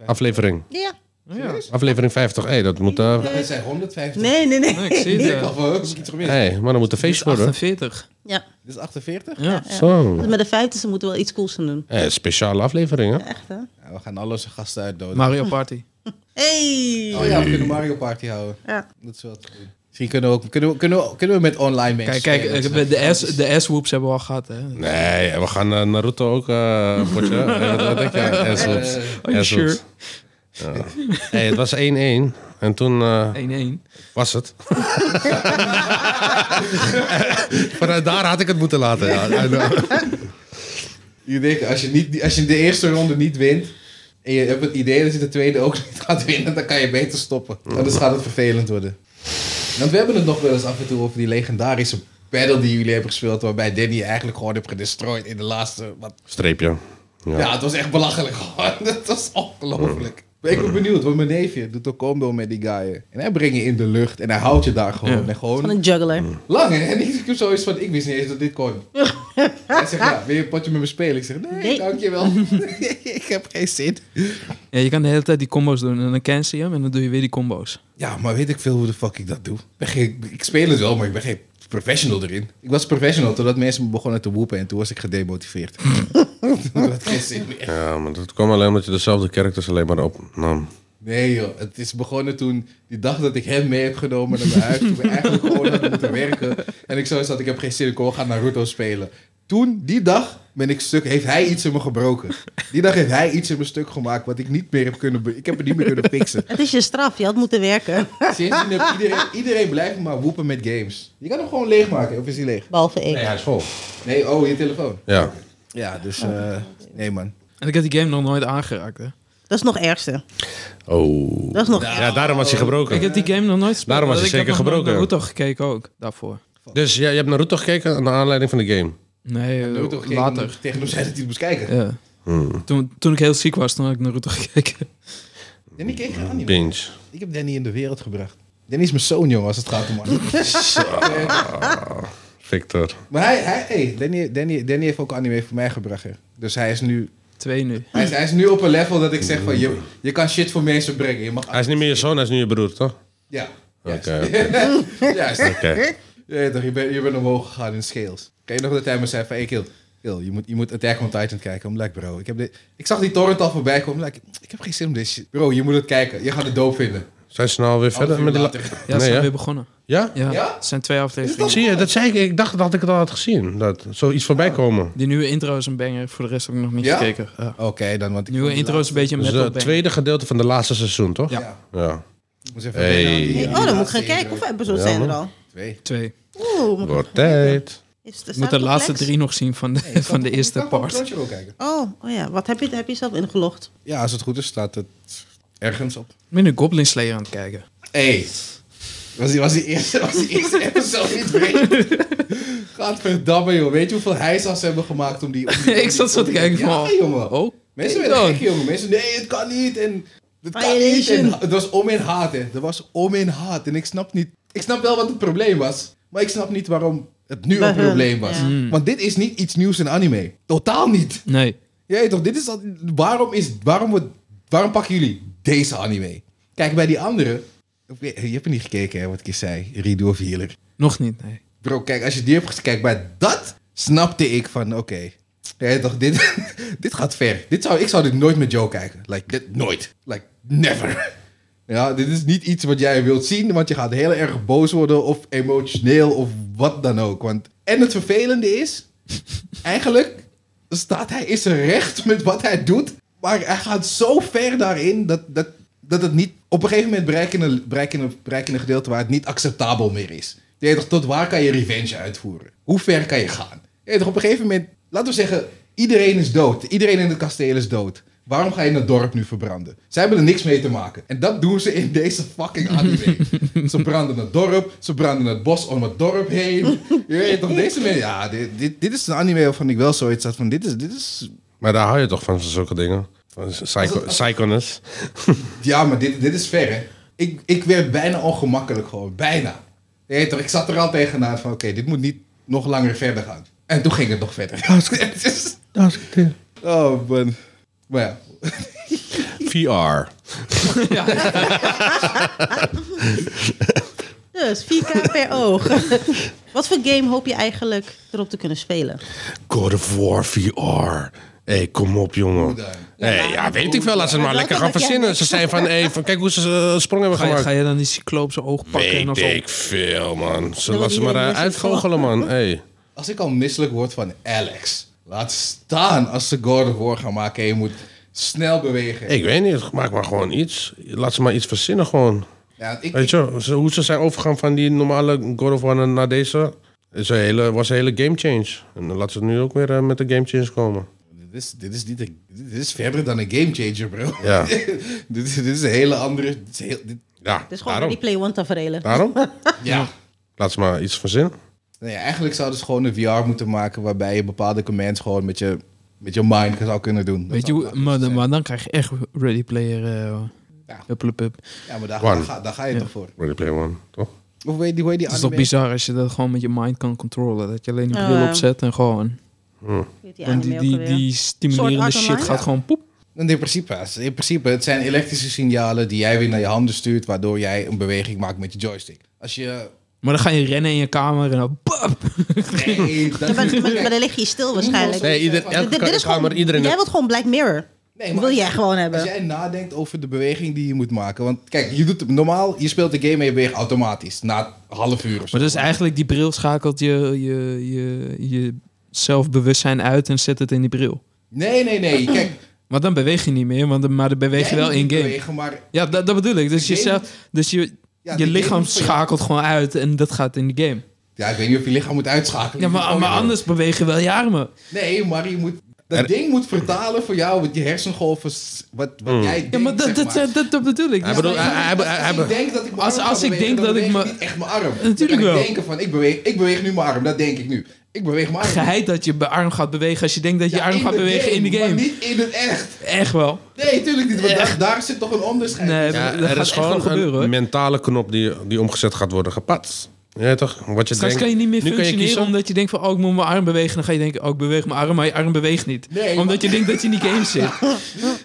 Aflevering.
Ja.
Oh Ja.
Aflevering 50. Hé, dat moet... eh,
Er zijn 150.
Nee, nee, nee.
Nee, ik
[LAUGHS]
zie het.
Of
eh.
eh, misschien iets meer.
hey, maar dan moet een
Dit is
feestje worden.
48.
Ja.
Dit is 48?
Ja.
Zo.
Met de feiten, ze moeten wel iets cools aan doen.
Hé, speciale aflevering, hè?
Echt, hè?
Ja, we gaan alle onze gasten uitdoden.
Mario Party.
Hey!
Oh ja, we kunnen Mario Party houden.
Ja.
Dat is wel te doen. Misschien kunnen we, ook, kunnen, we, kunnen, we, kunnen we met online mensen
Kijk, kijk
spelen.
eh, de S- de S-whoops hebben we al gehad, hè.
Nee, we gaan eh, Naruto ook, eh, een potje. Eh, wat denk jij? S-hops.
Eh,
Are you sure?
S-hops. Ja. Hé, het was 1-1. En toen eh,
1-1.
was het. Vanuit daar had ik het moeten laten. Ja. I know.
Je denkt, als je, niet, als je de eerste ronde niet wint... en je hebt het idee dat je de tweede ook niet gaat winnen... dan kan je beter stoppen. Anders gaat het vervelend worden. Want we hebben het nog wel eens af en toe over die legendarische battle die jullie hebben gespeeld... waarbij Danny eigenlijk gewoon heb gedestroyed in de laatste... Wat,
Streepje.
ja.
Ja.
het was echt belachelijk [LAUGHS] gewoon. Het was ongelooflijk. Maar Ik ben benieuwd, want mijn neefje doet ook combo met die guy. hè. En hij brengt je in de lucht en hij houdt je daar gewoon.
Ja.
En
Van
gewoon
een juggler.
Lang, hè? En ik heb zoiets van, ik wist niet eens dat dit kon. Hij zegt, ja, wil je een potje met me spelen? Ik zeg, nee,
Nee.
dankjewel. ik heb geen zin.
Ja, je kan de hele tijd die combo's doen en dan cancel je hem en dan doe je weer die combo's.
Ja, maar weet ik veel hoe de fuck ik dat doe. Ik, ben geen- ik speel het wel, maar ik ben geen professional erin. Ik was professional totdat mensen me begonnen te woepen en toen was ik gedemotiveerd. toen had ik geen zin meer.
Ja, maar dat kwam alleen omdat je dezelfde characters alleen maar opnam.
Nee joh, het is begonnen toen, die dag dat ik hem mee heb genomen naar mijn huis. Toen we eigenlijk gewoon hadden moeten werken. En ik zo zat, ik heb geen zin, ik wil gaan Naruto spelen. Toen, die dag, ben ik stuk, heeft hij iets in me gebroken. Die dag heeft hij iets in mijn stuk gemaakt wat ik niet meer heb kunnen, be- ik heb het niet meer kunnen fixen.
Het is je straf, je had moeten werken.
Sindsdien heb iedereen, iedereen blijft maar woepen met games. Je kan hem gewoon leegmaken, of is hij leeg?
Behalve ik.
hij is vol.
Nee, oh, je telefoon.
Ja.
Ja, dus, eh, nee man.
En ik heb die game nog nooit aangeraakt, hè.
Dat is nog ergste.
Oh.
Dat is nog
Ja, daarom was hij gebroken.
Ik heb die game nog nooit gespeeld.
Daarom was
want
hij
ik heb
zeker
nog
gebroken.
nooit Naruto gekeken ook, daarvoor.
Dus ja, je hebt Naruto gekeken naar aanleiding van de game.
Nee, eh,
Naruto ging
later.
Tegen hem zei dat hij het moest kijken.
Ja.
Hmm.
Toen, toen ik heel ziek was, toen had ik Naruto [LAUGHS] gekeken.
Danny keek geen anime.
Binge.
Ik heb Danny in de wereld gebracht. Danny is mijn zoon, jongen, als het gaat om anime.
Victor.
Maar hij, hij hey, Danny, Danny, Danny heeft ook anime voor mij gebracht. Hè. Dus hij is, nu,
Twee nu.
hij, is, hij is nu op een level dat ik zeg van... Je, je kan shit voor mensen brengen. Je mag,
Hij is niet meer je zoon, hij is nu je broer, toch?
Ja.
Oké,
Juist.
oké.
Juist.
oké.
Je, weet toch, je, bent, je bent omhoog gegaan in scales. Kan je nog dat hij me zei van... Hey, kill, kill, je, moet, je moet Attack on Titan kijken. I'm like, bro, ik, heb dit, ik zag die torrent al voorbij komen. I'm Like, ik heb geen zin om dit shit. Bro, je moet het kijken. Je gaat het dope vinden.
Zijn ze nou weer verder
Half uur
met de... la-
later.
Oh, Ja, ze
Nee,
zijn
hè?
weer begonnen.
Ja?
Ja,
Ja?
het zijn twee afleveringen.
Zie je, dat zei ik. Ik dacht dat ik het al had gezien. Dat zoiets voorbij komen.
Die nieuwe intro is een banger, voor de rest heb ik nog niet
Ja?
gekeken. Ja.
Oké, dan... Want
De
ik
nieuwe intro is een beetje een
Dus
metal
het
banger.
tweede gedeelte van de laatste seizoen, toch?
Ja.
Ja.
Ja.
Ik moest even
Hey.
wennen aan die-
Hey,
aan die
oh, dan moet ik
laatste
gaan kijken
intro.
hoeveel episodes
Ja,
zijn er
man.
al.
Twee.
Twee.
Oeh, moet ik
Wordt tijd.
is
Ik moet de laatste drie nog zien [LAUGHS] van de, van de
Ik
eerste
kan gewoon
part.
Crunchyroll kijken.
Oh, oh ja, wat heb je, heb je zelf ingelogd?
Ja, als het goed is, staat het ergens op.
Ik ben een Goblin Slayer aan het kijken.
Hey. Was die, was die eerste, was die eerste episode niet breed? Gadverdamme, joh. Weet je hoeveel hijsas ze hebben gemaakt om die... om die-
[LAUGHS] ik zat zo te kijken van...
Ja, jongen.
Oh,
Mensen
kijk
werden
dan.
gek, jongen. Mensen, nee, het kan niet. En het kan niet.
Violation.
En het was om in haat, hè. Het was om in haat. En ik snap niet... Ik snap wel wat het probleem was. Maar ik snap niet waarom het nu
Bij
een
hun,
probleem was.
ja.
Mm.
Want dit is niet iets nieuws in anime. Totaal niet.
Nee.
Ja, weet toch, dit is al, waarom, is, waarom, wordt- waarom pakken jullie deze anime? Kijk, bij die andere... Oké, Je hebt er niet gekeken, hè, wat ik je zei. Redo of Healer.
Nog niet, nee.
Bro, kijk, als je die hebt gekeken, bij dat snapte ik van, oké. Ja, je toch, dit, [LAUGHS] dit gaat ver. Dit zou, ik zou dit nooit met Joe kijken. Like, dit, nooit. Like, never. Ja, dit is niet iets wat jij wilt zien, want je gaat heel erg boos worden of emotioneel of wat dan ook. Want, en het vervelende is, eigenlijk staat hij in zijn recht met wat hij doet, maar hij gaat zo ver daarin dat, dat, dat het niet... Op een gegeven moment bereik je een, bereik je een, bereik je een gedeelte waar het niet acceptabel meer is. Je weet toch, tot waar kan je revenge uitvoeren? Hoe ver kan je gaan? Je weet toch, op een gegeven moment... Laten we zeggen, iedereen is dood. Iedereen in het kasteel is dood. Waarom ga je het dorp nu verbranden? Zij hebben er niks mee te maken. En dat doen ze in deze fucking anime. ze branden het dorp, ze branden het bos om het dorp heen. Je weet toch, deze mensen... Ja, dit, dit, dit is een anime waarvan ik wel zoiets had van... Dit is, dit is
Maar daar hou je toch van, van zulke dingen? Van psycho psychoness.
Ja, maar dit, dit is ver, hè. Ik, ik werd bijna ongemakkelijk gewoon. Bijna. Je weet toch, ik zat er al tegenaan van... Oké, dit moet niet nog langer verder gaan. En toen ging het nog verder. Het is- [LAUGHS] oh, man. Maar ja.
VR.
Dus 4K
[LAUGHS]
per oog. [LAUGHS] Wat voor game hoop je eigenlijk erop te kunnen spelen?
God of War VR. Hé, hey, kom op, jongen.
dan?
hey, ja, weet ik veel. Laat ze het maar
Maar
lekker
welke
gaan
heb jij
verzinnen. Ze zijn van, hey, van, kijk hoe ze eh, sprong hebben
Ga je,
gemaakt.
ga je dan die cycloopse oog pakken en
Weet
alsof-
ik veel, man. Ze
Dan
laat ze maar
wil
eh,
iedereen
uitgoochelen, man. Hey.
Als ik al misselijk word van Alex... Laat staan als ze God of War gaan maken... en je moet snel bewegen.
Ik weet niet, maak maar gewoon iets. Laat ze maar iets verzinnen gewoon.
Ja, ik,
Weet je, wel, ze- hoe ze zijn overgegaan van die normale God of War naar- naar deze... Is een hele, was een hele game change. En dan laat ze nu ook weer eh, met de game change komen.
dit, is, dit, is niet een- dit is verder dan een gamechanger, bro.
Ja.
[LAUGHS] dit, is- dit is een hele andere... Dit is heel, dit-
Ja,
Het is gewoon
daarom.
replay one tafereelen.
Daarom?
ja.
Laat ze maar iets verzinnen.
Nou ja, eigenlijk zouden ze gewoon een VR moeten maken waarbij je bepaalde commands gewoon met je, met je mind zou kunnen doen. Dat
Weet je,
zou-
hoe- maar, dan- maar dan krijg je echt Ready Player... eh
Ja.
hup, hup, hup.
Ja, maar daar,
One.
daar, ga, daar ga je toch voor.
Ready Player One, toch?
Of weet je die, hoe heet die
Het is
anime?
toch bizar als je dat gewoon met je mind kan controlen. Dat je alleen een
Ja,
bril
ja.
opzet en gewoon...
Weet je
en
anime
die,
ook
die,
alweer?
die
Sword
stimulerende
Art
shit
Online?
gaat
Ja.
gewoon poep.
Want In principe, in principe, het zijn elektrische signalen die jij weer naar je handen stuurt, waardoor jij een beweging maakt met je joystick. Als je...
Maar dan ga je rennen in je kamer en dan... Pap! [LAUGHS]
Nee,
[LAUGHS]
dat
Ja, maar, maar,
is
maar dan lig je stil waarschijnlijk.
Nee, ieder- elke
Dit- dit is gewoon,
iedereen...
jij wilt gewoon Black Mirror.
Nee,
wil
als-
jij gewoon hebben.
Als jij nadenkt over de beweging die je moet maken. Want kijk, je doet, normaal, je speelt de game en je beweegt automatisch. Na een half uur of zo.
Maar dat is eigenlijk die bril schakelt je, je, je, je zelfbewustzijn uit en zet het in die bril.
Nee, nee, nee.
[CLEARS THROAT]
Kijk,
Maar dan beweeg je niet meer, want, dan- maar dan beweeg je
jij
wel
moet
in
niet
game.
bewegen, maar
Ja, dat, dat bedoel ik. Dus,
De
je,
game-
zelf, dus je,
Ja, de
je lichaam
game is voor jou.
schakelt gewoon uit en dat gaat in de game.
Ja, ik weet niet of je lichaam moet uitschakelen. Oh,
Ja, maar, maar anders beweeg je wel je armen.
Nee, maar je moet... Dat
Er-
ding moet vertalen voor jou, wat je hersengolven... s- Wat, wat jij denkt,
Ja, maar dat,
zeg
dat,
maar.
dat, dat, bedoel ik.
Hij
Dus-
bedoelt-
Als ik-
hij- hij-
als
hij-
ik denk dat ik mijn
Als-
arm
als
kan
ik
bewegen,
denk
dan
dat ik
beweeg
me-
niet echt mijn arm.
Natuurlijk
Dan kan
wel.
Ik denken van, ik beweeg, ik beweeg nu mijn arm. Dat denk ik nu. Ik beweeg mijn arm.
[LAUGHS] geheid dat je be- arm gaat bewegen als je denkt dat je
Ja,
arm gaat
de
bewegen in de game.
Maar niet in het echt.
Echt wel.
Nee, tuurlijk niet. Want daar, daar zit toch een onderscheid.
Nee,
Ja,
dat
er
gaat
is
echt wel
gewoon
gebeuren, hoor.
een mentale knop die, die omgezet gaat worden gepat. Ja, toch? Wat je
Straks
denkt,
kan je niet
nu
meer
kan je
functioneren
kiezen.
omdat je denkt van... oh, ik moet mijn arm bewegen. Dan ga je denken, oh, ik beweeg mijn arm, maar je arm beweegt niet.
Nee,
omdat
maar-
je denkt dat je in die game zit.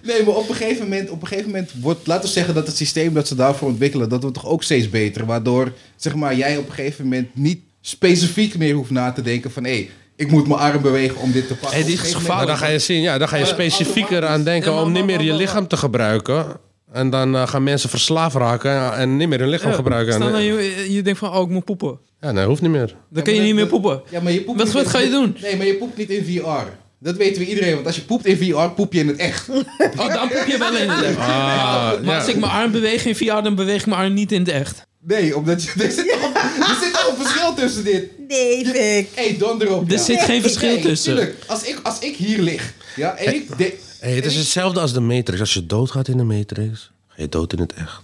Nee, maar op een gegeven moment, op een gegeven moment wordt, laten we zeggen dat het systeem dat ze daarvoor ontwikkelen, dat wordt toch ook steeds beter. Waardoor zeg maar, jij op een gegeven moment niet specifiek meer hoeft na te denken van hé, ik moet mijn arm bewegen om dit te pakken.
Hey, dit
Op een
is
gegeven
Maar
gevaarlijk.
dan ga je zien, ja, dan ga je
Maar
specifieker
automatisch-
aan denken
Ja, maar-
om niet
maar-
meer je
maar- maar-
lichaam te gebruiken. En dan eh, gaan mensen verslaafd raken en niet meer hun lichaam
Ja,
gebruiken.
Stel
En-
nou, je, je denkt van, oh, ik moet poepen.
Ja, nee, hoeft niet meer.
Dan
moment-
kun je niet meer poepen.
Ja, maar je poept
Wat-
niet
wat
in-
ga je doen?
Nee, maar je poept niet in VR. Dat weten we iedereen, want als je poept in VR, poep je in het
[LAUGHS]
echt.
Oh, dan poep je wel in het echt.
Ah,
maar
ja.
als ik mijn arm beweeg in VR, dan beweeg ik mijn arm niet in het echt.
Nee, omdat je, er zit toch er zit toch een verschil tussen dit.
David.
[LAUGHS]
Hé, hey, donder op.
Er zit geen verschil tussen.
Tuurlijk, als ik, als ik hier lig, ja, en ik... de-
Hey, het is hetzelfde als de Matrix. Als je doodgaat in de Matrix, ga je dood in het echt.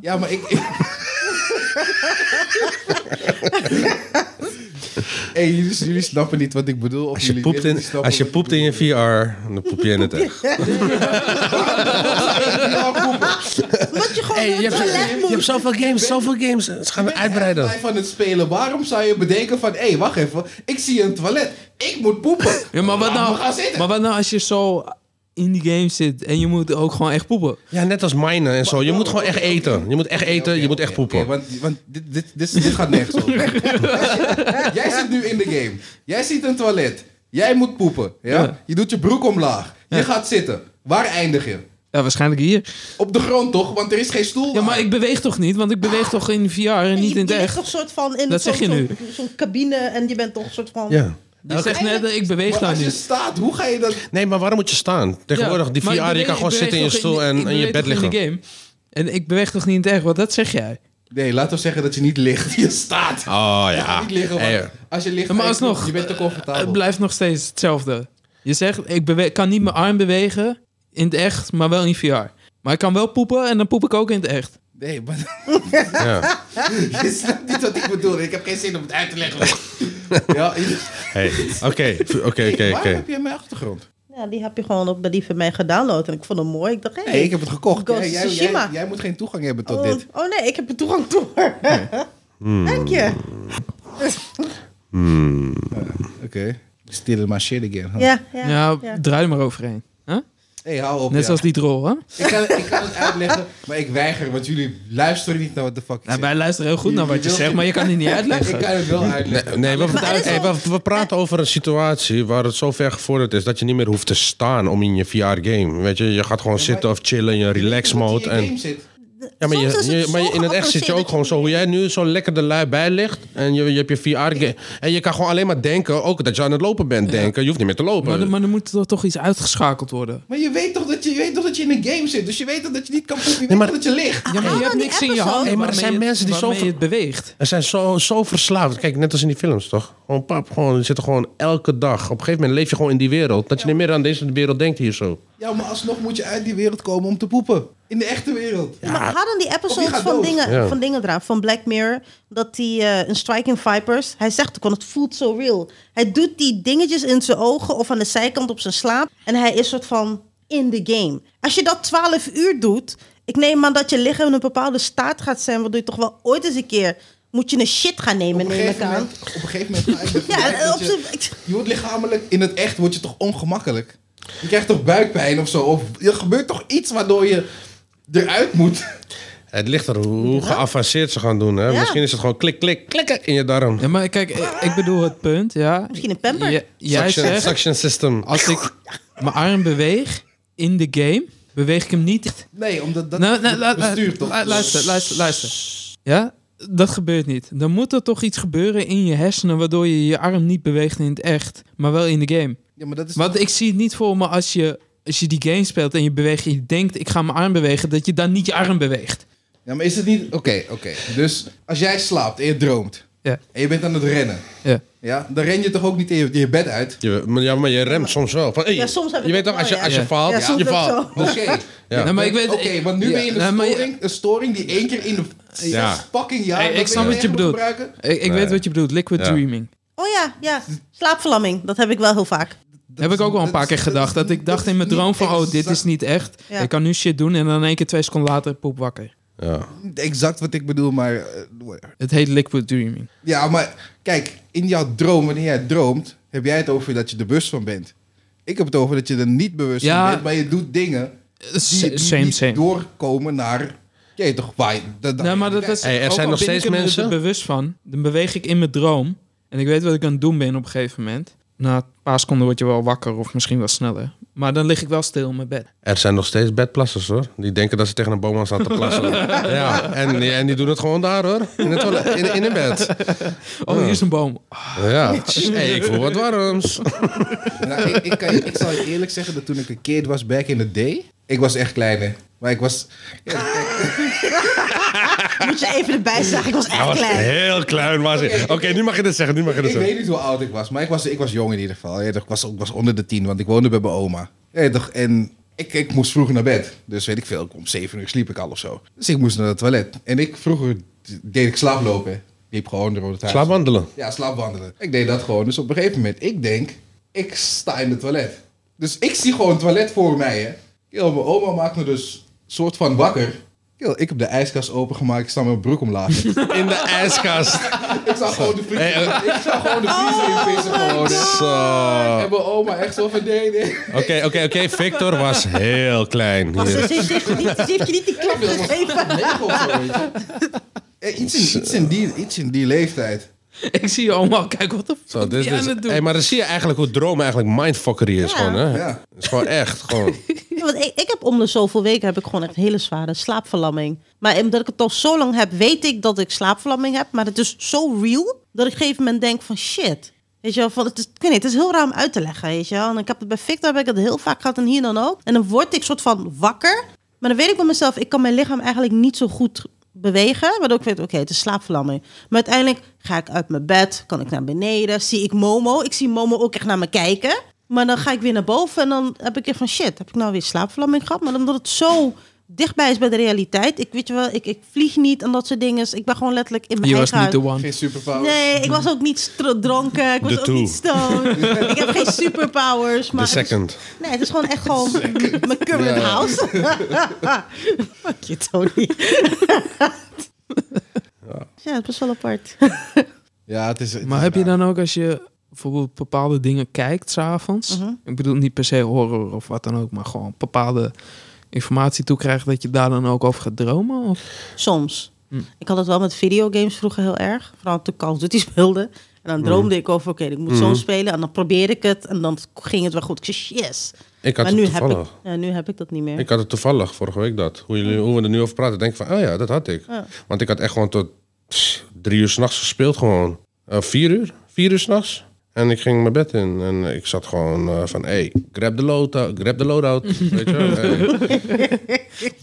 Ja, maar ik.
[LAUGHS]
ik... hey, jullie, jullie snappen niet wat ik bedoel. Of
Als je
jullie
poept
willen
in,
niet snappen
als je
wat
poept in je VR, dan poep je in het echt.
ik bedoel. Ja, poepen.
[LAUGHS]
Wat je gewoon door het toilet moet.
zoveel games, zoveel games. Ze gaan
Ik
uitbreiden.
ben van het spelen. Waarom zou je bedenken van, hé, hey, wacht even, ik zie een toilet, ik moet poepen.
Ja, maar wat
Laat me
nou,
gaan zitten.
maar wat nou als je zo in die game zit en je moet ook gewoon echt poepen?
Ja, net als minen en zo. Je moet gewoon echt eten. Je moet echt eten, je moet echt
Oké,
poepen.
want want dit, dit, dit, dit gaat nergens over.
[LAUGHS]
Jij zit nu in de game. Jij ziet een toilet. Jij moet poepen. Ja?
Ja.
Je doet je broek omlaag. Je gaat zitten. Waar eindig je?
Ja, waarschijnlijk hier.
Op de grond toch? Want er is geen stoel.
Ja,
daar.
maar ik beweeg toch niet, want ik beweeg toch in VR en niet
je,
in het
je ligt
echt.
toch soort van in
Dat
zo'n-
zeg je nu.
zo'n- zo'n cabine en je bent toch een soort van...
Ja.
Je zegt net, eh, ik beweeg
Maar
nou
als je
niet.
staat, hoe ga je dat...
Nee, maar waarom moet je staan? Tegenwoordig, die
Ja,
VR,
maar ik
je
beweeg-
kan gewoon
ik
zitten in je
beweeg toch
stoel en
ik
in je
beweeg
bed
toch in
liggen.
de game. En ik beweeg toch niet in het echt, want dat zeg jij.
Nee, laten we zeggen dat je niet ligt. [LAUGHS] Je staat.
Oh ja.
Niet liggen, want
Hey,
als je ligt,
Maar
ga je-
alsnog,
je bent te
Het
eh,
comfortabel.
blijft nog steeds hetzelfde. Je zegt, ik bewe- kan niet mijn arm bewegen in het echt, maar wel in VR. Maar ik kan wel poepen en dan poep ik ook in het echt.
nee, maar [LAUGHS]
ja.
je snapt niet wat ik bedoel. Ik heb geen zin om het uit te
[LAUGHS]
leggen. ja,
Hey, Oké, v- oké, oké,
waarom
oké.
heb je mijn achtergrond?
Ja, die heb je gewoon op die van mij gedownload. En ik vond hem mooi. Ik dacht, hé.
Nee, ik heb het gekocht.
Ghost
Jij, jij,
Tsushima.
jij- jij moet geen toegang hebben tot
oh,
dit.
oh nee, ik heb er toegang toe. [LAUGHS] Dank je.
Hmm. Oké. Still my shit again. huh?
Ja, ja,
Ja,
ja.
draai er maar overheen. Huh?
hey, hou op.
Net
ja.
zoals die drol, hè?
ik, kan, ik kan het uitleggen, maar ik weiger, want jullie luisteren niet naar wat de fuck ik
Nou,
zeg.
wij luisteren heel goed naar wat je zegt, maar je kan [LAUGHS] het niet
Ik
uitleggen.
kan het wel uitleggen.
Nee, nee, we,
Maar het is
hey,
wel-
we, we praten over een situatie waar het zo ver gevorderd is dat je niet meer hoeft te staan om in je VR-game. Weet je, je gaat gewoon zitten of chillen in je relax
Dat
mode.
je in je game
En,
zit.
ja, maar,
Soms
je,
is het
je- maar
zo
je- in het echt zit je
geavanceerd
ook gewoon zo. Hoe jij nu zo lekker de lui bij ligt en je, je hebt je VR-game. En je kan gewoon alleen maar denken, ook dat je aan het lopen bent denken. Je hoeft niet meer te
Maar, er-
lopen.
maar er moet toch- toch iets uitgeschakeld worden.
Ah,
Maar je weet, toch dat je, je weet toch dat je in een game zit, dus je weet toch dat je niet kan poepen. Je weet
maar-
toch dat je ligt.
Ja, maar je hebt
ah, oh, die
niks in
appen
je
zo.
handen.
Hey, maar er
waarmee
zijn
je het-
mensen die zo
waarmee
ver-
je het beweegt.
Er zijn zo, zo verslaafd. Kijk, net als in die films, toch? Gewoon pap, gewoon, je zit er gewoon elke dag. Op een gegeven moment leef je gewoon in die wereld. Dat je niet meer aan deze wereld denkt hier zo.
Ja, maar alsnog moet je uit die wereld komen om te poepen. In de echte wereld.
Maar hadden die
Of je
episodes
gaat
van
dood.
dingen,
Ja.
van dingen eraan, van Black Mirror, dat die eh, een strike in Vipers, hij zegt ook, al, het voelt zo real. Hij doet die dingetjes in zijn ogen of aan de zijkant op zijn slaap en hij is soort van in the game. Als je dat 12 uur doet, ik neem aan dat je lichaam in een bepaalde staat gaat zijn, waardoor je toch wel ooit eens een keer moet je een shit gaan nemen,
Op een
neem ik
gegeven
aan.
moment, op een gegeven moment ga ik
[LAUGHS]
ervan
Ja,
uit
eh,
dat
op
je-
zijn... ik-
Je wordt lichamelijk, in het echt word je toch ongemakkelijk? Je krijgt toch buikpijn of zo? Of er gebeurt toch iets waardoor je eruit moet?
Het ligt er hoe hoe geavanceerd ze gaan doen. Hè?
Ja.
Misschien is het gewoon klik, klik, klikken in je darm.
Ja, maar kijk, ik, ik bedoel het punt, ja.
Misschien een pamper?
J- jij
suction,
zegt,
suction system.
als ik mijn arm beweeg in de game, beweeg ik hem niet.
Nee, omdat dat
Nou, nou, laat-
bestuurt
laat-
toch?
Luister, luister, luister. Ja, dat gebeurt niet. Dan moet er toch iets gebeuren in je hersenen waardoor je je arm niet beweegt in het echt, maar wel in de game.
Ja, maar dat is
Want ik zie het niet voor me als je, als je die game speelt en je beweegt en je denkt, ik ga mijn arm bewegen, dat je dan niet je arm beweegt.
Ja, maar is het niet... Oké, oké. Dus als jij slaapt en je droomt...
Ja.
en je bent aan het rennen...
Ja.
Ja, dan ren je toch ook niet in je, in je bed uit?
Je, maar, ja, maar je remt soms wel. Van, hey,
Ja, soms heb ik
je weet
dat
toch, als je,
wel,
als je
ja.
faalt,
Ja, soms
je
ook
faalt.
zo.
Oké.
Ja.
Nee, Nou, maar ik weet,
Oké, want nu
ja.
ben je in
Nee,
een
maar je-
storing, een storing die één keer in de zes
Ja.
fucking jaar...
Hey,
dat
ik snap
ben
wat
echt
je
moet
bedoelt.
gebruiken.
Ik, ik weet wat je bedoelt, liquid
Ja.
dreaming.
Oh ja, ja. Slaapverlamming, dat heb ik wel heel vaak.
Heb ik ook wel een
dat
paar
is-
keer
dat is
gedacht. Dat
niet-
ik dacht
dat
in mijn
is
droom
niet
van, oh, dit
exact-
is niet echt.
Ja.
Ik kan nu shit doen en dan in één keer twee seconden later poep wakker.
Ja.
Exact wat ik bedoel, maar... eh, whatever.
Het heet liquid dreaming.
Ja, maar kijk, in jouw droom, wanneer jij droomt, heb jij het over dat je er bewust van bent. Ik heb het over dat je er niet bewust
Ja.
van bent, maar je doet dingen die, die
S- Same,
niet
same.
doorkomen naar... Jij toch, waar dat,
Nee, maar dat is,
Hey, er
ook
zijn
al
nog
ben ik
steeds
me
mensen-
er bewust van. Dan beweeg ik in mijn droom. En ik weet wat ik aan het doen ben op een gegeven moment. Na een paar seconden word je wel wakker of misschien wel sneller. Maar dan lig ik wel stil in mijn bed.
Er zijn nog steeds bedplassers hoor. Die denken dat ze tegen een boom aan staan te
[LAUGHS]
plassen. ja. en, die- en die doen het gewoon daar hoor. In, het toilet, in, in een bed.
Oh, hier is een boom.
Ja. Hey, ik voel wat warms.
Nou, ik, ik, kan, je- ik zal je eerlijk zeggen dat toen ik een kid was, back in the day... Ik was echt kleiner. Maar ik was...
Moet je even erbij zeggen, ik was echt klein.
heel klein was ik. Oké, nu mag je dit zeggen. Nu mag je dit
Ik
zeggen.
weet niet hoe oud ik was, maar ik was, ik was jong in ieder geval. Ja, toch, Ik was, ik was onder de tien, want ik woonde bij mijn oma. Ja, toch, en ik, ik moest vroeg naar bed. Dus weet ik veel, om zeven uur sliep ik al of zo. Dus ik moest naar het toilet. En ik vroeger deed ik slaaplopen. Liep gewoon door het huis.
Slaapwandelen.
Ja, slaapwandelen. Ik deed dat gewoon. Dus op een gegeven moment, ik denk, ik sta in het toilet. Dus ik zie gewoon het toilet voor mij, hè. Kill, mijn oma maakt me dus soort van wakker. Kill, ik heb de ijskast opengemaakt, ik sta met mijn broek omlaag.
In de ijskast.
ik zou gewoon de vriezer,
Hey, eh, oh,
ik zou gewoon de vriezer in pissen gewoon, hè.
Zo.
En mijn oma echt zo van nee, nee.
Oké, oké, oké. Victor was heel klein.
Ze,
Hier.
ze- ze heeft je niet, ze heeft je niet die klap gegeven.
Negen of zo, weet je. Eh, Iets in, iets, in die, iets in die leeftijd.
Ik zie je allemaal. Kijk, wat de
Zo,
fuck ben
dit
je
is,
aan het doen?
hey, maar dan zie je eigenlijk hoe dromen eigenlijk mindfuckery is
Ja.
gewoon, hè?
Ja.
Het is gewoon echt, gewoon.
Ja, want ik, ik heb om de zoveel weken heb ik gewoon echt hele zware slaapverlamming. Maar omdat ik het al zo lang heb, weet ik dat ik slaapverlamming heb. Maar het is zo real dat ik op een gegeven moment denk van shit. Weet je wel, van, het, is, ik weet niet, het is heel raar om uit te leggen, weet je wel. En ik heb het bij Victor heb ik het heel vaak gehad en hier dan ook. En dan word ik soort van wakker. Maar Maar dan weet ik bij mezelf, ik kan mijn lichaam eigenlijk niet zo goed bewegen. Waardoor ik weet, oké, het is slaapverlamming. Maar uiteindelijk ga ik uit mijn bed, kan ik naar beneden, zie ik Momo. Ik zie Momo ook echt naar me kijken. Maar dan ga ik weer naar boven en dan heb ik echt van shit, heb ik nou weer slaapverlamming gehad? Maar omdat het zo dichtbij is bij de realiteit. Ik weet je wel, ik, ik vlieg niet en dat soort dingen. Dus Ik ben gewoon letterlijk in mijn
Je was
eigen
niet de
huis.
one.
Geen superpowers.
Nee, ik was ook niet stro- dronken. Ik was
De
ook
two.
niet stoned. ik heb geen superpowers. Maar
The
het is-
second.
nee, het is gewoon echt [LAUGHS] gewoon mijn current
Ja.
[LAUGHS] house. Fuck je, Tony. [LAUGHS] ja. het is best wel apart. [LAUGHS]
Ja, het is... het
Maar
is
heb je
raar.
dan ook als je bijvoorbeeld bepaalde dingen kijkt s'avonds?
Mhm.
Ik bedoel niet per se horror of wat dan ook, maar gewoon bepaalde informatie toekrijgt dat je daar dan ook over gaat dromen? Of?
Soms. Ik had het wel met videogames vroeger heel erg. Vooral toen Call of Duty speelde. En dan droomde ik over, oké, ik moet zo spelen. En dan probeerde ik het. En dan ging het wel goed. Ik zei, yes.
Ik had
Maar
het
nu heb, ik,
toevallig.
ja, nu heb ik dat niet meer.
Ik had het toevallig vorige week dat. Hoe, jullie, hoe we er nu over praten, denk ik van, oh ja, dat had ik.
Ja.
Want ik had echt gewoon tot pss, drie uur s'nachts gespeeld gewoon. Eh, vier uur? Vier uur s'nachts. En ik ging mijn bed in en ik zat gewoon eh, van, hey, grab de loadout. Grab de loadout. weet je wel.
[LAUGHS]
Hey.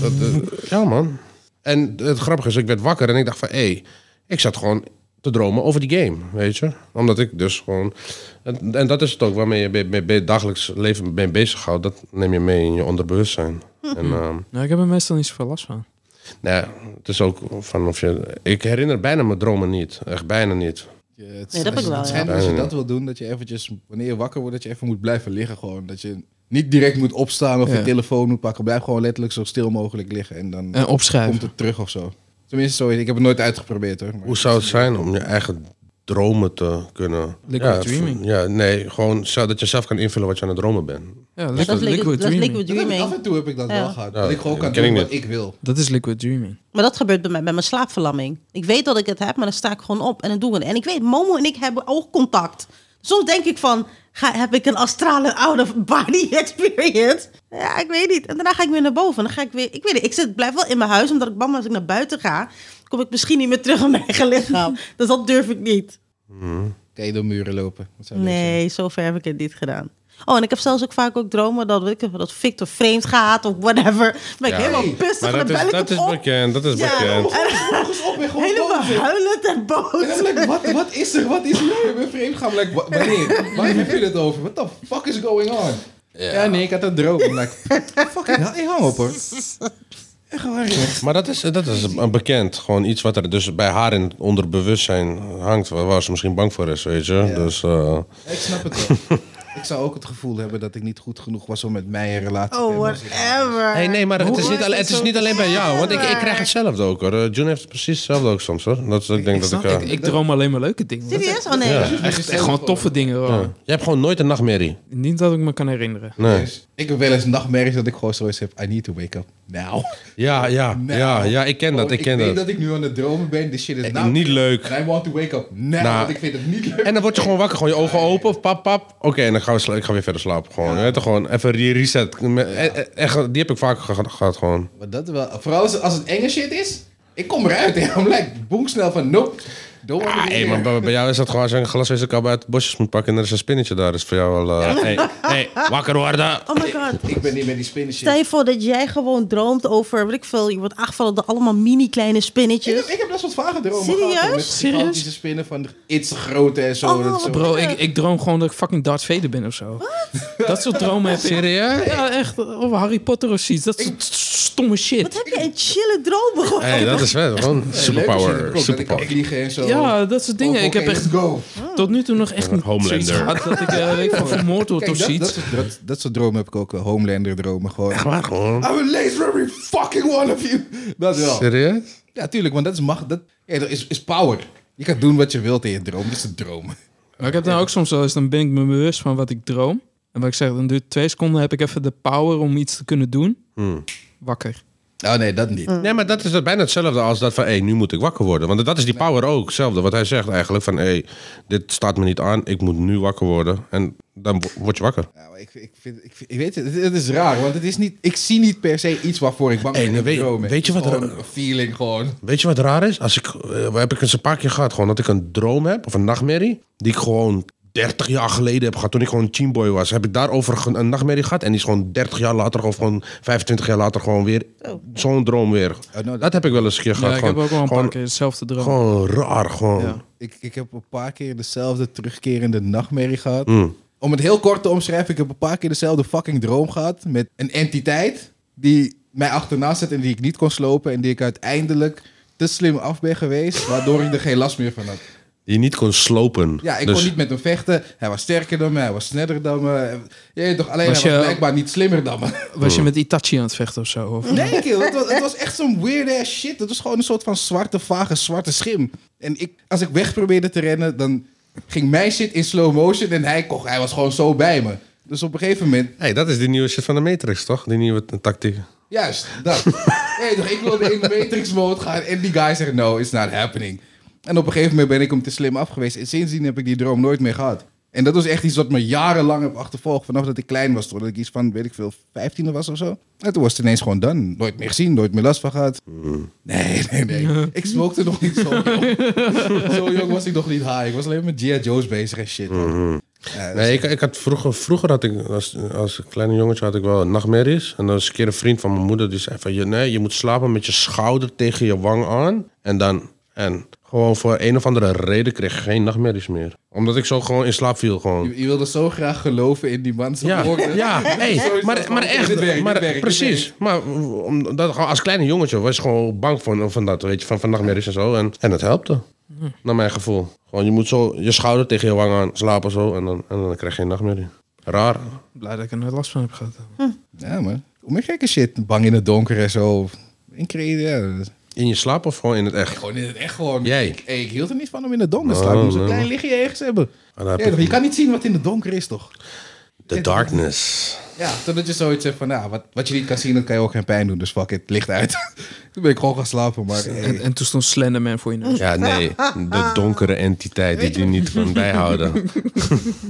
Dat, eh, ja, man. En het grappige is, ik werd wakker en ik dacht van, hé, hey, ik zat gewoon te dromen over die game, weet je. Omdat ik dus gewoon... En, en dat is het ook waarmee je bij, bij, bij het dagelijks leven mee bezighoudt. Dat neem je mee in je onderbewustzijn.
Mhm.
En ehm,
Nou, ik heb er meestal niet zoveel last van.
nou, ja, het is ook van of je... Ik herinner bijna mijn dromen niet. Echt bijna niet.
Ja, het,
Nee, dat heb ik wel,
Het
ja.
schijnt als je dat wil doen, dat je eventjes, wanneer je wakker wordt, dat je even moet blijven liggen gewoon. Dat je niet direct moet opstaan of
Ja.
je telefoon moet pakken. Blijf gewoon letterlijk zo stil mogelijk liggen en dan
En Eh, opschrijven.
komt het terug of zo. Tenminste, zo, ik heb het nooit uitgeprobeerd hoor. maar-
Hoe zou het zijn om je eigen dromen te kunnen...
Liquid
ja,
dreaming.
v- Ja, nee, gewoon zo dat je zelf kan invullen wat je aan het dromen bent.
Ja,
dat, is liquid, dat is liquid
Dat heb ik-
dreaming.
af en toe heb ik dat
Ja.
wel gehad.
Ja,
dat ik gewoon
dat
kan
ken
doen
ik
wat
niet.
ik wil.
Dat is liquid dreaming.
Maar dat gebeurt bij mij, bij mijn slaapverlamming. Ik weet dat ik het heb, maar dan sta ik gewoon op en dan doe ik het. En ik weet, Momo en ik hebben oogcontact. Soms denk ik van, ga, heb ik een astrale out-of-body [LAUGHS] experience? Ja, ik weet niet. En daarna ga ik weer naar boven. Dan ga ik weer, ik weet niet, ik zit, blijf wel in mijn huis, omdat ik bang ben als ik naar buiten ga. Kom ik misschien niet meer terug in mijn eigen
[LAUGHS]
lichaam. Dus dat durf ik niet.
Kan je door muren lopen? Dat zou leuk zijn.
Nee, zover heb ik het niet gedaan. Oh, en ik heb zelfs ook vaak ook dromen dat, weet ik, dat Victor vreemd gaat of whatever. Dan ben ik
Ja.
helemaal pissig en
Maar
dan
dat
bel
is,
ik
dat
hem
is
op.
bekend, dat is
Ja. [LAUGHS]
bekend.
Kom eens op en gewoon
Helemaal
boos.
huilend en
[LAUGHS] En dan
[LAUGHS]
boos.
ben ik, wat, wat is er? Wat is er? Ja, Ik ben vreemd gaan. Like, wa- wanneer? Waar heb je het over? What the fuck is going on? Ja, nee, ik had een droom. I'm Like, [LAUGHS] fucking hell, hey, hang op hoor. Echt waar, joh.
Maar dat is, dat is een bekend. Gewoon iets wat er dus bij haar in het onderbewustzijn hangt. Waar waar ze misschien bang voor is, weet je. Dus eh,
Ja, Ik snap het wel. ik zou ook het gevoel hebben dat ik niet goed genoeg was om met mij een relatie te
Oh,
hebben.
whatever.
Hey, nee, maar het
is
is, niet,
dat
alleen, het is
zo
niet alleen bij jou, want ik, ik krijg hetzelfde ook hoor. Eh, June heeft precies hetzelfde ook soms hoor. Dat, is- ik denk dat
snap-
ik. eh,
ik, ik droom alleen maar leuke dingen. Dat-
Serieus? Oh nee.
Ja.
Echt, echt gewoon toffe dingen. hoor.
ja. Jij hebt gewoon nooit een nachtmerrie.
Niet dat ik me kan herinneren.
Nee.
Dus ik heb wel eens nachtmerries dat ik gewoon zoiets heb. I need to wake up now.
Ja, ja,
Nou.
ja, ja, ik
[LAUGHS]
ken dat, ik ken
weet
dat.
dat ik nu aan het dromen ben. This shit is
Ik-
now.
niet leuk.
And I want to wake up now.
Nou.
Want ik vind het niet leuk.
En dan word je gewoon wakker, gewoon je ogen open, of pap, pap. Oké, en dan ga ik, ik ga weer verder slapen. Gewoon, Je weet toch, gewoon even re- reset. Me- e- e- Echt, die heb ik vaker geha- gehad gewoon.
Maar dat wel. Vooral als, als het enge shit is. Ik kom eruit [LAUGHS] en I'm like, boem snel van nope. Don't want to be
Hé, maar
here.
bij, bij jou is dat gewoon als je een glas wisselkap uit de bosjes moet pakken en er is een spinnetje daar. is voor jou wel... eh, hey, hey, wakker worden!
Oh my god.
Ik ben niet met die spinnen shit.
Stel je voor dat jij gewoon droomt over, weet ik veel, je wordt aangevallen door allemaal mini kleine
Ik heb,
spinnetjes.
ik heb best wat vage dromen
Serieus?
gehad. hoor, Met
Serieus?
gigantische spinnen van iets grote en zo.
Oh,
dat is
wat
zo.
Bro, ik, ik droom gewoon dat ik fucking Darth Vader ben of zo. Dat soort dromen heb ik.
Serieus?
Ja, echt. Of Harry Potter of zoiets. Dat soort stomme
Wat
shit.
heb je een chille droom gewoon?
Hey, dat is vet. Gewoon
Leuke shit heb ik ook,
superpower.
dat ik kan
Superpower.
vliegen en zo.
Ja, dat soort dingen.
Of,
Ik heb
oké,
echt
let's go.
tot nu toe nog echt niet
Homelander.
zoiets gehad dat ik eh, weet ik veel, vermoord word
Kijk,
of
dat, dat,
zoiets.
soort, dat, dat soort dromen heb ik ook. eh, Homelander dromen gewoon.
Echt waar, gewoon.
I will laser every fucking one of you. Dat wel.
Serieus?
Ja, tuurlijk, want dat is macht. Dat, ja, dat is, is power. Je kan doen wat je wilt in je droom. Dat is een droom.
Maar ik heb dan ook soms wel eens, dan ben ik me bewust van wat ik droom. En wat ik zeg, dan duurt twee seconden, heb ik even de power om iets te kunnen doen.
Hmm.
Wakker.
Oh nee, dat
Mm.
niet.
Nee, maar dat is het bijna hetzelfde als dat van, hé, nu moet ik wakker worden. Want dat is die power ook, hetzelfde. Wat hij zegt eigenlijk, van, hé, dit staat me niet aan, ik moet nu wakker worden. En dan wo- word je wakker.
Ja, maar ik, ik, vind, ik, vind- ik weet het, het, het is raar, want het is niet, ik zie niet per se iets waarvoor ik bang
Hey,
ben.
nou,
in
weet-
dromen.
weet je wat er-
Gewoon Een feeling gewoon.
Weet je wat raar is? Als ik, eh, heb ik eens een paar keer gehad, gewoon dat ik een droom heb, of een nachtmerrie, die ik gewoon 30 jaar geleden heb gehad, toen ik gewoon een teenboy was, heb ik daarover ge- een nachtmerrie gehad. En die is gewoon 30 jaar later, of gewoon 25 jaar later, gewoon weer zo'n droom weer.
nou,
Oh, dat heb ik wel eens een keer
Ja,
gehad.
ik heb
gewoon,
ook wel een
gewoon,
paar keer hetzelfde droom.
Gewoon raar, gewoon.
Ja.
Ik, ik heb een paar keer dezelfde terugkerende nachtmerrie gehad.
Mm.
Om het heel kort te omschrijven, ik heb een paar keer dezelfde fucking droom gehad. Met een entiteit die mij achterna zit en die ik niet kon slopen. En die ik uiteindelijk te slim af ben geweest, waardoor ik er geen last meer van had.
Die je niet kon slopen.
Ja, ik
Dus-
kon niet met hem vechten. Hij was sterker dan me, hij was sneller dan me. Je weet toch, alleen
Was
hij
je-
was blijkbaar niet slimmer dan me.
Was
Hmm.
je met Itachi aan het vechten of zo?
[LAUGHS]
Of?
Nee, kill. Het was, het was echt zo'n weird ass shit. Het was gewoon een soort van zwarte, vage, zwarte schim. En ik, als ik weg probeerde te rennen, dan ging mijn shit in slow motion en hij, kocht, hij was gewoon zo bij me. Dus op een gegeven moment,
Hey, dat is die nieuwe shit van de Matrix, toch? Die nieuwe t- tactiek.
juist,
[LAUGHS]
dat. Nee, toch, ik wilde in de Matrix mode gaan en die guy zegt, no, it's not happening. En op een gegeven moment ben ik hem te slim af geweest. En sindsdien heb ik die droom nooit meer gehad. En dat was echt iets wat me jarenlang heb achtervolgd. Vanaf dat ik klein was, totdat ik iets van, weet ik veel, 15 was of zo. En toen was het ineens gewoon dan. Nooit meer gezien, nooit meer last van gehad. Nee, nee,
[LAUGHS]
nee. Ik smokte nog niet zo jong. zo jong was ik nog niet high. Ik was alleen maar met G.I. Joe's bezig en shit. man. Ja, dat is-
Nee, ik, ik had vroeger, vroeger had ik, als, als kleine jongetje had ik wel nachtmerries. En dan was een keer een vriend van mijn moeder die zei van... Je, nee, je moet slapen met je schouder tegen je wang aan. En dan... En gewoon voor een of andere reden kreeg ik geen nachtmerries meer. Omdat ik zo gewoon in slaap viel gewoon.
Je, je wilde zo graag geloven in die man. Zo
Ja,
hoorde- [LAUGHS]
ja hey,
Sowieso
maar,
van,
maar
dit werkt, dit
echt, maar,
werkt, dit
precies. Maar omdat, gewoon als kleine jongetje was ik gewoon bang van, van dat, weet je, van, van nachtmerries en zo. En, en het helpte, naar mijn gevoel. Gewoon, je moet zo je schouder tegen je wang aan slapen zo en dan, en dan krijg je geen nachtmerrie. Raar.
Blij dat ik er nooit last van heb gehad.
Ja, man. Om een gekke shit. Bang in het donker en zo. In creëren. Ja. dat is-
In je slaap of gewoon in het echt?
Gewoon in het echt gewoon.
Jij?
Ik, hey, ik hield er niet van om in het donker te
Oh,
slapen. Je moet zo'n
nee,
klein
man.
lichtje ergens hebben.
Ah, daar heb
Ja,
ik-
toch, je kan niet zien wat in het donker is, toch?
The darkness.
Ja, totdat je zoiets hebt van, nou, wat, wat je niet kan zien, dan kan je ook geen pijn doen. Dus fuck it, licht uit. [LAUGHS] Toen ben ik gewoon gaan slapen, maar... hey.
En, en toen stond Slenderman voor
[LAUGHS]
je neus.
Ja, nee. De donkere entiteit die die niet kan bijhouden.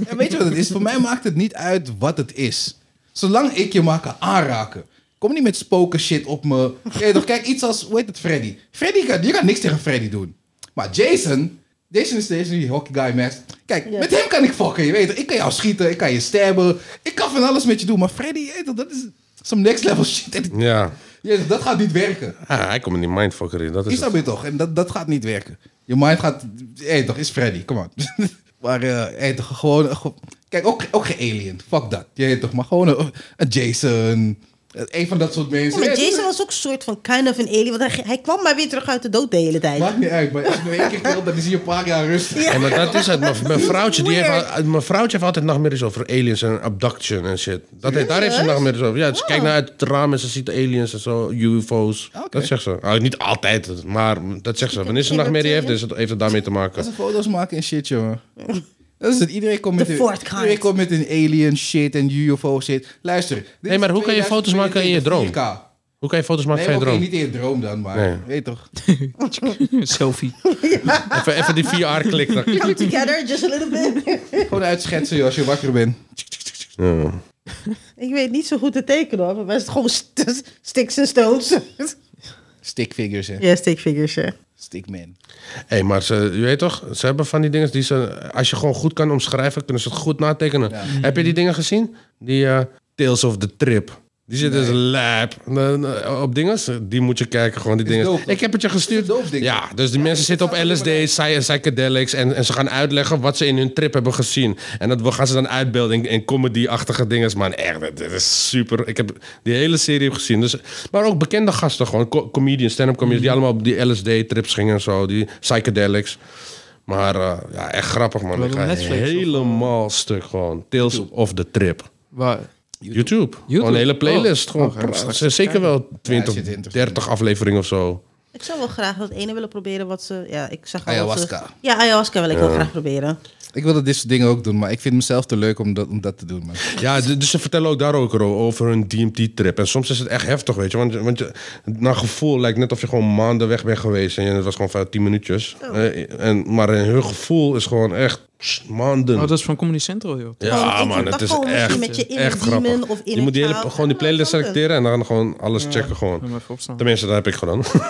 En weet je wat het is? Voor mij maakt het niet uit wat het is. Zolang ik je maar kan aanraken. Kom niet met spoken shit op [LAUGHS] me. Ja, toch, kijk, iets als, hoe heet het, Freddy. Freddy kan, je kan niks tegen Freddy doen. Maar Jason, Jason is deze die hockey guy mask. Kijk, met hem kan ik fokken, je weet toch. Ik kan jou schieten, ik kan je stabben. Ik kan van alles met je doen. Maar Freddy, je weet toch, dat is some next level [LAUGHS] shit. En-
Ja.
ja, toch, dat gaat niet werken.
Ah, hij komt in die mindfucker in. Dat
Is
is
dat
het.
weer toch? En dat, dat gaat niet werken. Je mind gaat... Hé, toch, is Freddy. Kom on. [LAUGHS] maar eh hey, toch, gewoon... ge- Kijk, ook, ook geen alien. Fuck dat. Je weet toch, maar gewoon een, een Jason. Een van dat soort
Ja,
mensen.
maar
Hey, toch,
Jason was ook een soort van kind of een alien. Want hij, hij kwam maar weer terug uit de dood de hele tijd.
Maakt niet uit, maar als je nu één keer wilt, dan is hij een paar jaar rustig.
Ja, maar dat is het. Mijn- Mijn vrouwtje, die heeft,
Weird.
al- mijn vrouwtje heeft altijd nachtmerries over aliens en abduction en shit. Dat heeft, daar heeft ze nachtmerries over. Ja, ze kijkt naar uit het raam en ze ziet aliens en zo, UFO's.
Oké.
Dat zegt ze. Nou, niet altijd, maar dat zegt ze. Wanneer ze een nachtmerrie heeft, is het- heeft het daarmee te maken.
eh, Dat ze foto's maken en shit, jongen. Dat is het. Iedereen komt met,
De
een,
fourth kind.
iedereen komt met een alien shit en UFO shit. Luister. dit
Nee, maar
is
hoe kan je foto's maken in je droom?
4K.
Hoe kan je foto's maken
Nee,
van je
oké,
droom?
niet in je droom dan, maar...
Nee.
Weet toch?
Selfie.
Even, even
[LAUGHS]
die VR-klik. dan-
Come together, just a little bit.
Gewoon uitschetsen joh, als je wakker bent.
Ja.
ik weet niet zo goed te tekenen hoor. Maar het is gewoon st- sticks en stones.
Stick figures, hè.
[LAUGHS] ja, stick figures, hè.
Stickman.
Hé, maar ze, je weet toch, ze hebben van die dingen die ze, als je gewoon goed kan omschrijven, kunnen ze het goed natekenen. Heb
Mm-hmm.
je die dingen gezien? Die eh, Tales of the Trip. Die zitten dus lijp eh, op dingen. Die moet je kijken, gewoon die
Is
dingen.
dope, toch?
ik heb het je gestuurd.
Is het dope ding?
Ja, dus die mensen zitten op LSD, psy- psychedelics en, en ze gaan uitleggen wat ze in hun trip hebben gezien. En dat gaan ze dan uitbeelden in, in comedy-achtige dingen. Man, echt, dat, dat is super. Ik heb die hele serie heb gezien. Dus, maar ook bekende gasten, gewoon co- comedians, stand-up comedians, die allemaal op die LSD-trips gingen en zo, die psychedelics. Maar eh, ja, echt grappig, man.
Wel
Ik
op
ga
Netflix of, eh,
helemaal stuk gewoon. Tales of the Trip.
Waar?
YouTube. Gewoon een hele playlist.
Oh,
gewoon,
ga ik
pra-
straks
zeker wel
Ja, zit
20,
interessant.
30 afleveringen of zo.
Ik zou wel graag dat ene willen proberen wat ze... Ja, ik zag al Wat
Ayahuasca.
ze, ja, ayahuasca wil ik wel graag proberen.
Ik wilde dit soort dingen ook doen, maar ik vind mezelf te leuk om dat, om dat te doen. Man.
Ja, d- dus ze vertellen ook daar ook ro- over hun DMT-trip. En soms is het echt heftig, weet je. Want, want je, naar gevoel lijkt net of je gewoon maanden weg bent geweest. En het was gewoon vijf, tien minuutjes.
Oh.
Eh, en, maar hun gevoel is gewoon echt pss, maanden.
Oh, dat is van Comedy Central, joh.
ja,
Gewoon, Oh, ik-
man,
dat
het is
gewoon misschien
echt,
met je inner
echt
demon
grappig.
of
je
inner
moet die hele,
child.
gewoon die playlist
Ja, dat
selecteren en dan gewoon alles checken
Moet
gewoon.
maar even opstaan.
Tenminste, dat heb ik gedaan. [LAUGHS] dat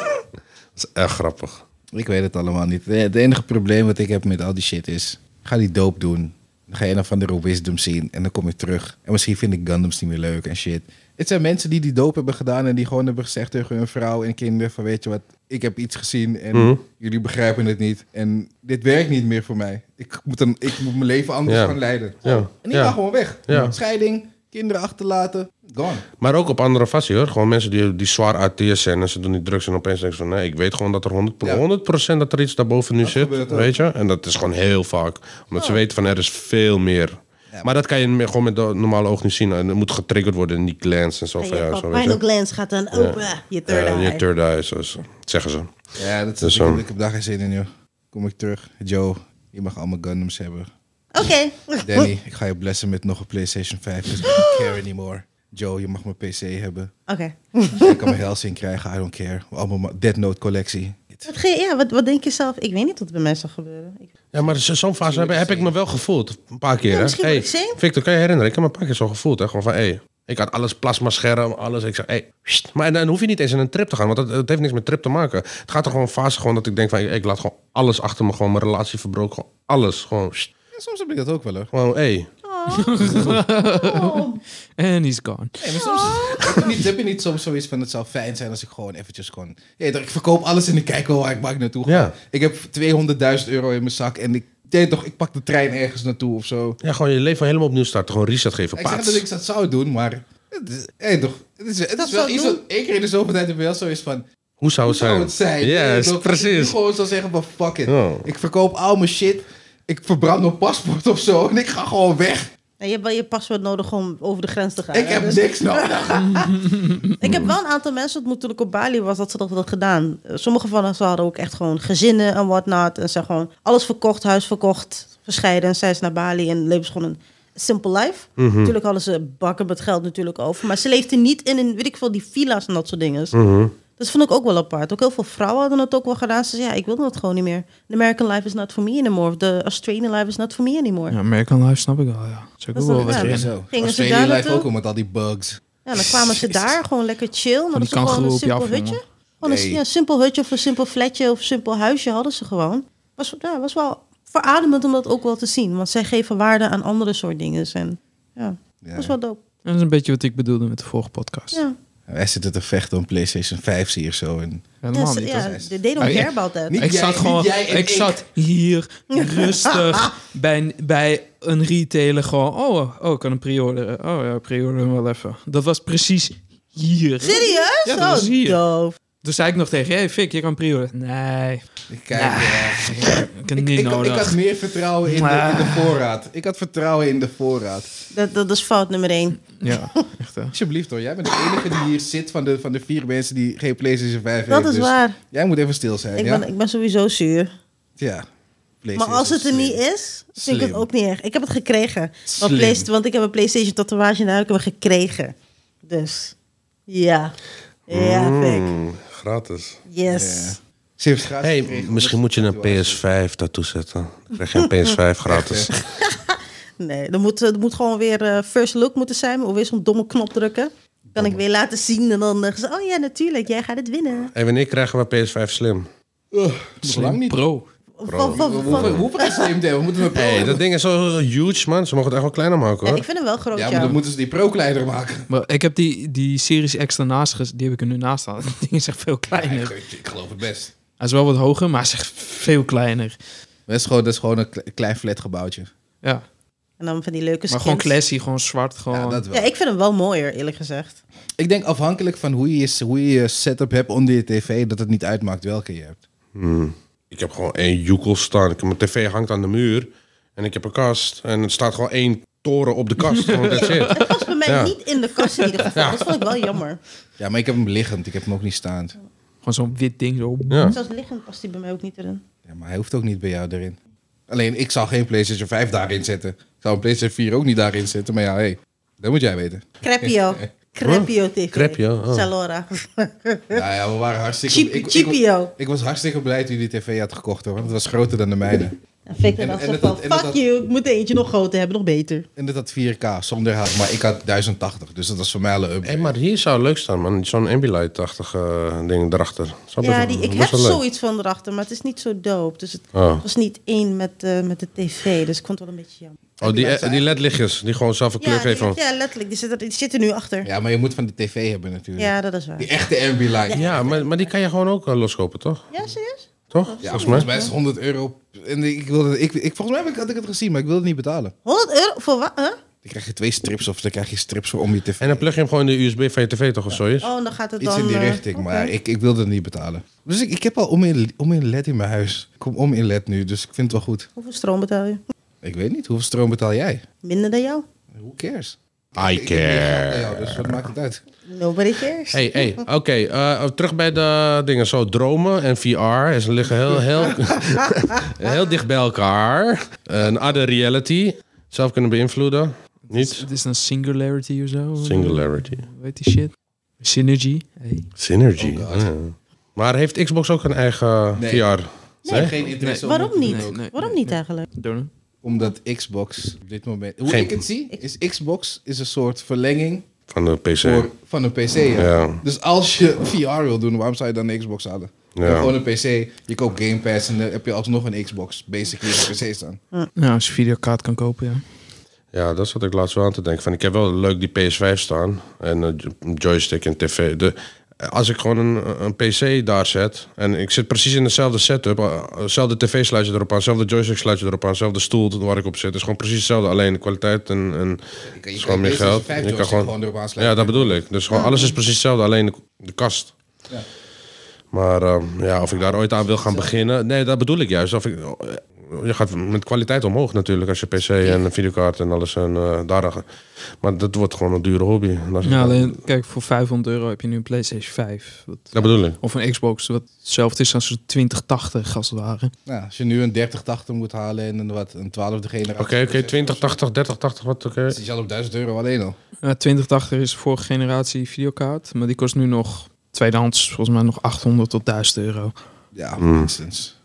is echt grappig.
Ik weet het allemaal niet. Het enige probleem wat ik heb met al die shit is, ga die doop doen. Dan ga je dan van de Wisdom zien en dan kom je terug. En misschien vind ik Gundams niet meer leuk en shit. Het zijn mensen die die doop hebben gedaan en die gewoon hebben gezegd tegen hun vrouw en kinderen van weet je wat, ik heb iets gezien en
Mhm.
jullie begrijpen het niet. En dit werkt niet meer voor mij. Ik moet, dan, ik moet mijn leven anders
Ja.
gaan leiden.
Ja.
En ik
Ja.
ga gewoon weg.
Ja.
Scheiding, kinderen achterlaten, gone.
Maar ook op andere fasie hoor. Gewoon mensen die, die zwaar ATS zijn en ze doen die drugs en opeens denken ze van nee, ik weet gewoon dat er 100%,
Ja.
100% dat er iets daarboven nu zit.
gebeurt ook. Oh.
Weet je? En dat is gewoon heel vaak. Omdat ze weten van er is veel meer. Maar dat kan je me- gewoon met het normale oog niet zien. En dat moet getriggerd worden in die glands en zo.
En
van
je
ja, zo weet
pineal
je.
glands gaat dan open. Je third
Ja, je
eye.
third eye, zoals- zeggen ze.
Ja, dat is
Dus,
ik,
ehm,
ik heb daar geen zin in, joh. Kom ik terug. Joe, je mag allemaal Gundams hebben.
Oké.
Danny, ik ga je blessen met nog een PlayStation 5. [GASPS] Dus ik don't care anymore. Joe, je mag mijn PC
[LAUGHS]
hebben. Dus
Oké.
Ik kan mijn Helsing krijgen, I don't care. Allemaal ma- Dead Note collectie.
Wat ge- Ja, wat, wat denk je zelf? Ik weet niet wat er bij mij zal gebeuren. Ik-
Ja, maar zo- zo'n fase heb, heb ik me wel gevoeld. Een paar keer.
Ja,
hè.
misschien
Hey,
word ik zin.
Victor, kan je herinneren? Ik heb me een paar keer zo gevoeld. Hè? Gewoon van, hé, ik had alles, plasma scherm, alles. Ik zei, hé, sst. maar dan hoef je niet eens in een trip te gaan. Want dat, dat heeft niks met trip te maken. Het gaat er gewoon een fase gewoon dat ik denk van, ik, ik laat gewoon alles achter me. Gewoon mijn relatie verbroken. Gewoon alles. Gewoon, sst.
Ja, soms heb ik dat ook wel hoor.
Gewoon, hé.
Oh.
En he's gone.
Hey, maar soms heb je, niet, heb je niet soms zoiets van het zou fijn zijn als ik gewoon eventjes gewoon... Hey, ik verkoop alles en ik kijk wel waar ik, waar ik naartoe ga.
Ja.
Ik heb 200.000 euro in mijn zak en ik, deed toch, ik pak de trein ergens naartoe of zo.
Ja, gewoon je leven helemaal opnieuw starten. Gewoon reset geven.
Ik zeg
Paats.
dat ik dat zou doen, maar... Het is, hey, toch, het is, het
Dat
is wel
zou
iets
doen?
wat... één keer in de zoveel tijd heb je wel zoiets van...
Hoe zou het
Hoe
zijn?
zou het zijn?
Ja,
Yes, Ik
precies. Oh.
gewoon zou zeggen van fuck it.
Ja.
Ik verkoop al mijn shit. Ik verbrand mijn paspoort of zo. En ik ga gewoon weg.
Nou, je hebt wel je paswoord nodig om over de grens te gaan.
ik
hè?
heb
Dus-
niks nodig.
Ik heb wel een aantal mensen ontmoet toen ik op Bali was dat ze dat hadden gedaan. Eh, Sommige van hen ze hadden ook echt gewoon gezinnen en whatnot. En ze hadden gewoon alles verkocht, huis verkocht, verscheiden. En zijn ze naar Bali en leven ze gewoon een simple life. Natuurlijk hadden ze bakken met geld natuurlijk over. Maar ze leefden niet in een, weet ik veel, die villa's en dat soort dingen. Dat vond ik ook wel apart. Ook heel veel vrouwen hadden het ook wel gedaan. Ze zeiden, ja, ik wil dat gewoon niet meer. The American life is not for me anymore. Of the Australian life is not for me anymore.
Ja, American Life snap ik wel, ja. Zou ik
Dat
ook
is
wel
wel
wat
raar.
rennen.
Zo.
Gingen ze
Australian
daar
life ook
naartoe?
al met al die bugs.
Ja, dan kwamen ze daar gewoon lekker chill. Dan
die
hadden ze gewoon een
kangoeroe op je
simpel
af, jongen.
hutje. Gewoon een,
Nee.
ja, een simpel hutje of een simpel flatje of een simpel huisje hadden ze gewoon. Was, ja, was wel verademend om dat ook wel te zien. Want zij geven waarde aan andere soort dingen. En ja,
Ja.
was wel dope.
Dat is een beetje wat ik bedoelde met de vorige podcast.
Ja,
Wij zitten te vechten om PlayStation 5 zie je zo. En
ja,
Helemaal
ze-
niet.
Dus, ja
hoor.
they don't
Maar ja,
care about that.
niet-
Ik
Jij-
zat gewoon,
jij en
ik
ik.
zat hier
[LAUGHS]
rustig bij, bij een retailer gewoon. Oh, oh, ik kan een pre-orderen. Oh ja, pre-orderen we wel even. Dat was precies hier.
Serieus?
Ja, dat was
Oh,
hier.
doof.
Toen zei ik nog tegen, je, hey Fik, je kan pre-orderen. Nee,
ik kijk. ja.
ik heb
Ik,
niet
ik, had, ik
nodig.
had meer vertrouwen in de, in de voorraad. Ik had vertrouwen in de voorraad.
Dat, dat is fout nummer één.
Ja,
[LAUGHS]
echt hè.
Alsjeblieft hoor. Jij bent de enige die hier zit van de, van de vier mensen die geen PlayStation 5
Dat
heeft.
is
dus
waar.
Jij moet even stil zijn.
Ik
ja?
ben, ik ben sowieso zuur.
ja.
Maar
PlayStation
als het er niet
slim.
is, vind ik het
Slim.
ook niet erg. Ik heb het gekregen. Want,
Slim.
Playst- want ik heb een PlayStation tatoeage en daar heb ik hem gekregen. Dus ja. Ja, Fik.
Mm, gratis.
Yes.
Ja. Ze heeft gratis
Hé, hey,
gekregen.
misschien moet je een PS5 daartoe zetten. Dan krijg je een
[LAUGHS]
PS5 gratis.
Nee, er moet, er moet gewoon weer eh, first look moeten zijn. Maar weer zo'n domme knop drukken. Kan ik weer laten zien en dan eh, zeggen ze, oh ja, natuurlijk, jij gaat het winnen.
En wanneer krijgen we PS5 slim?
Nog
Slim
lang niet.
Pro.
Van- van-
We
van-
hoeven- we hoeven geen slim te hebben, we moeten een pro
Hé,
hebben.
dat ding is zo huge, man. Ze mogen het echt wel kleiner maken,
Ja,
hoor.
ik vind hem wel groot,
Ja,
ja.
maar dan moeten ze die pro kleiner maken.
Maar ik heb die, die Series X daarnaast, ges- die heb ik er nu naast staan. [LAUGHS] Die ding is echt veel kleiner.
Ik geloof het best.
Hij is wel wat hoger, maar hij is echt veel kleiner.
Dat is gewoon, dat is gewoon een kle- klein flat gebouwtje.
Ja,
En dan van die leuke
maar
skins.
gewoon classy, gewoon zwart, gewoon...
Ja, dat wel.
Ja, ik vind hem wel mooier, eerlijk gezegd.
Ik denk afhankelijk van hoe je, je- hoe je je setup hebt onder je tv, dat het niet uitmaakt welke je hebt.
Hmm. Ik heb gewoon één joekel staan. Ik heb- Mijn tv hangt aan de muur. En ik heb een kast. En er staat gewoon één toren op de
[LAUGHS]
kast. Gewoon, that's it.
Het was bij mij
Ja.
niet in de kast in ieder geval. Dat vond ik wel jammer.
Ja, maar ik heb hem liggend, ik heb hem ook niet staand.
Gewoon zo'n wit ding, zo.
Ja.
Zelfs liggend past hij bij mij ook niet erin.
Ja, maar hij hoeft ook niet bij jou erin. Alleen, ik zou geen PlayStation 5 daarin zetten. Ik zou een PlayStation 4 ook niet daarin zetten, maar ja, hé, hey, dat moet jij weten.
Crepio. Crepio TV.
Crepio, oh.
Salora.
Ja, ja we waren hartstikke...
Cheap-
ik- ik-
cheapio.
Ik was hartstikke blij toen je die tv had gekocht hoor, want het was groter dan de mijne.
Ja, En Victor
En-
dacht
en
zo
dat-
van,
en dat-
fuck you, ik moet eentje nog groter hebben, nog beter.
Oh,
En dat had 4K zonder haat, maar ik had 1080. Dus dat was voor mij al een
Hey,
upgrade.
maar hier zou leuk staan, man. Zo'n Ambilight-achtige eh, ding erachter. Zou
Ja,
best-
die, ik
best
heb
wel leuk.
zoiets van erachter, maar het is niet zo dope. Dus het
Oh.
was niet één met, eh, met de tv, dus ik vond het wel een beetje jammer.
Oh, die, eh, die LED-lichtjes, die gewoon zelf een kleur
Ja, die-
geven.
ja, letterlijk, die zitten, die zitten nu achter. Ja.
Ja, maar je moet van de tv hebben natuurlijk.
dat is waar.
Die echte Ambilight. Ja.
Ja, maar, maar die kan je gewoon ook eh, loskopen, toch?
Ja, serieus?
Toch?
volgens,
volgens mij.
mij is het 100 euro. En ik wilde, ik, ik, volgens mij heb ik- had ik het gezien, maar ik wilde het niet betalen.
100 euro voor wat? Huh?
Dan krijg je twee strips of dan krijg je strips voor om je tv.
En dan plug je hem gewoon in de USB van je tv, toch? Of zo is.
Oh, dan gaat het
Iets
dan...
in die
eh,
richting,
oké.
maar ik, ik wilde het niet betalen. Dus ik, ik heb al om in, om in LED in mijn huis. Ik kom om in LED nu, dus ik vind het wel goed.
Hoeveel stroom betaal je?
Ik weet niet, hoeveel stroom betaal jij?
Minder dan jou?
Who cares?
I care.
Ja, dus wat maakt het uit?
Nobody cares.
Hey, hey, oké. eh, terug bij de dingen. Zo, dromen en VR is, liggen heel, heel, [LAUGHS] heel dicht bij elkaar. een other reality. Zelf kunnen beïnvloeden. Niet?
Het is een singularity of zo.
Singularity.
Weet die shit? Synergy. Hey.
Synergy. ja. Oh, Maar heeft Xbox ook een eigen
Nee.
VR?
Ze hebben geen interesse om
Waarom
het te doen
niet?
ook.
Nee,
Waarom
nee,
niet
nee.
eigenlijk?
Don't know.
Omdat Xbox op dit moment... Hoe
Geen-
ik het zie, is Xbox is een soort verlenging
Van de PC.
voor, van een PC. ja.
Ja.
Dus als je VR wil doen, waarom zou je dan een Xbox halen? Je
Ja.
hebt Gewoon een PC, je koopt Game Pass en dan heb je alsnog een Xbox. Basically op een PC staan.
Nou, als je videokaart kan kopen, ja.
Ja, dat zat ik laatst wel aan te denken. Van, ik heb wel leuk die PS5 staan. En een joystick en tv. De, als ik gewoon een, een PC daar zet. En ik zit precies in dezelfde setup. eh, Hetzelfde tv sluitje erop aan. Hetzelfde joystick sluitje erop aan. Hetzelfde stoel waar ik op zit. Het is gewoon precies hetzelfde. Alleen de kwaliteit en, en
Je kan
is gewoon meer geld.
vijf
Je kan gewoon,
erop
ja,
aansluiten.
dat bedoel ik. Dus gewoon alles is precies hetzelfde. Alleen de, de kast.
Ja.
Maar eh, ja, of ik daar ooit aan wil gaan beginnen. Nee, dat bedoel ik juist. Of ik, eh, je gaat met kwaliteit omhoog natuurlijk als je PC en een videokaart en alles en eh, daar. Maar dat wordt gewoon een dure hobby. Dat, is-
Ja, alleen, kijk, voor 500 euro heb je nu een PlayStation 5. Wat-
dat bedoel ik.
Of een Xbox, wat hetzelfde is als een 2080, als het ware.
Nou, als je nu een 3080 moet halen en een, wat, een 12e generatie.
Oké, oké, 20, 80, 30, 80, wat oké.
Dat is al op 1000 euro alleen al.
Ja, 2080 is de vorige generatie videokaart, maar die kost nu nog tweedehands, volgens mij nog 800 tot 1000 euro.
Ja,
Hmm.
minstens.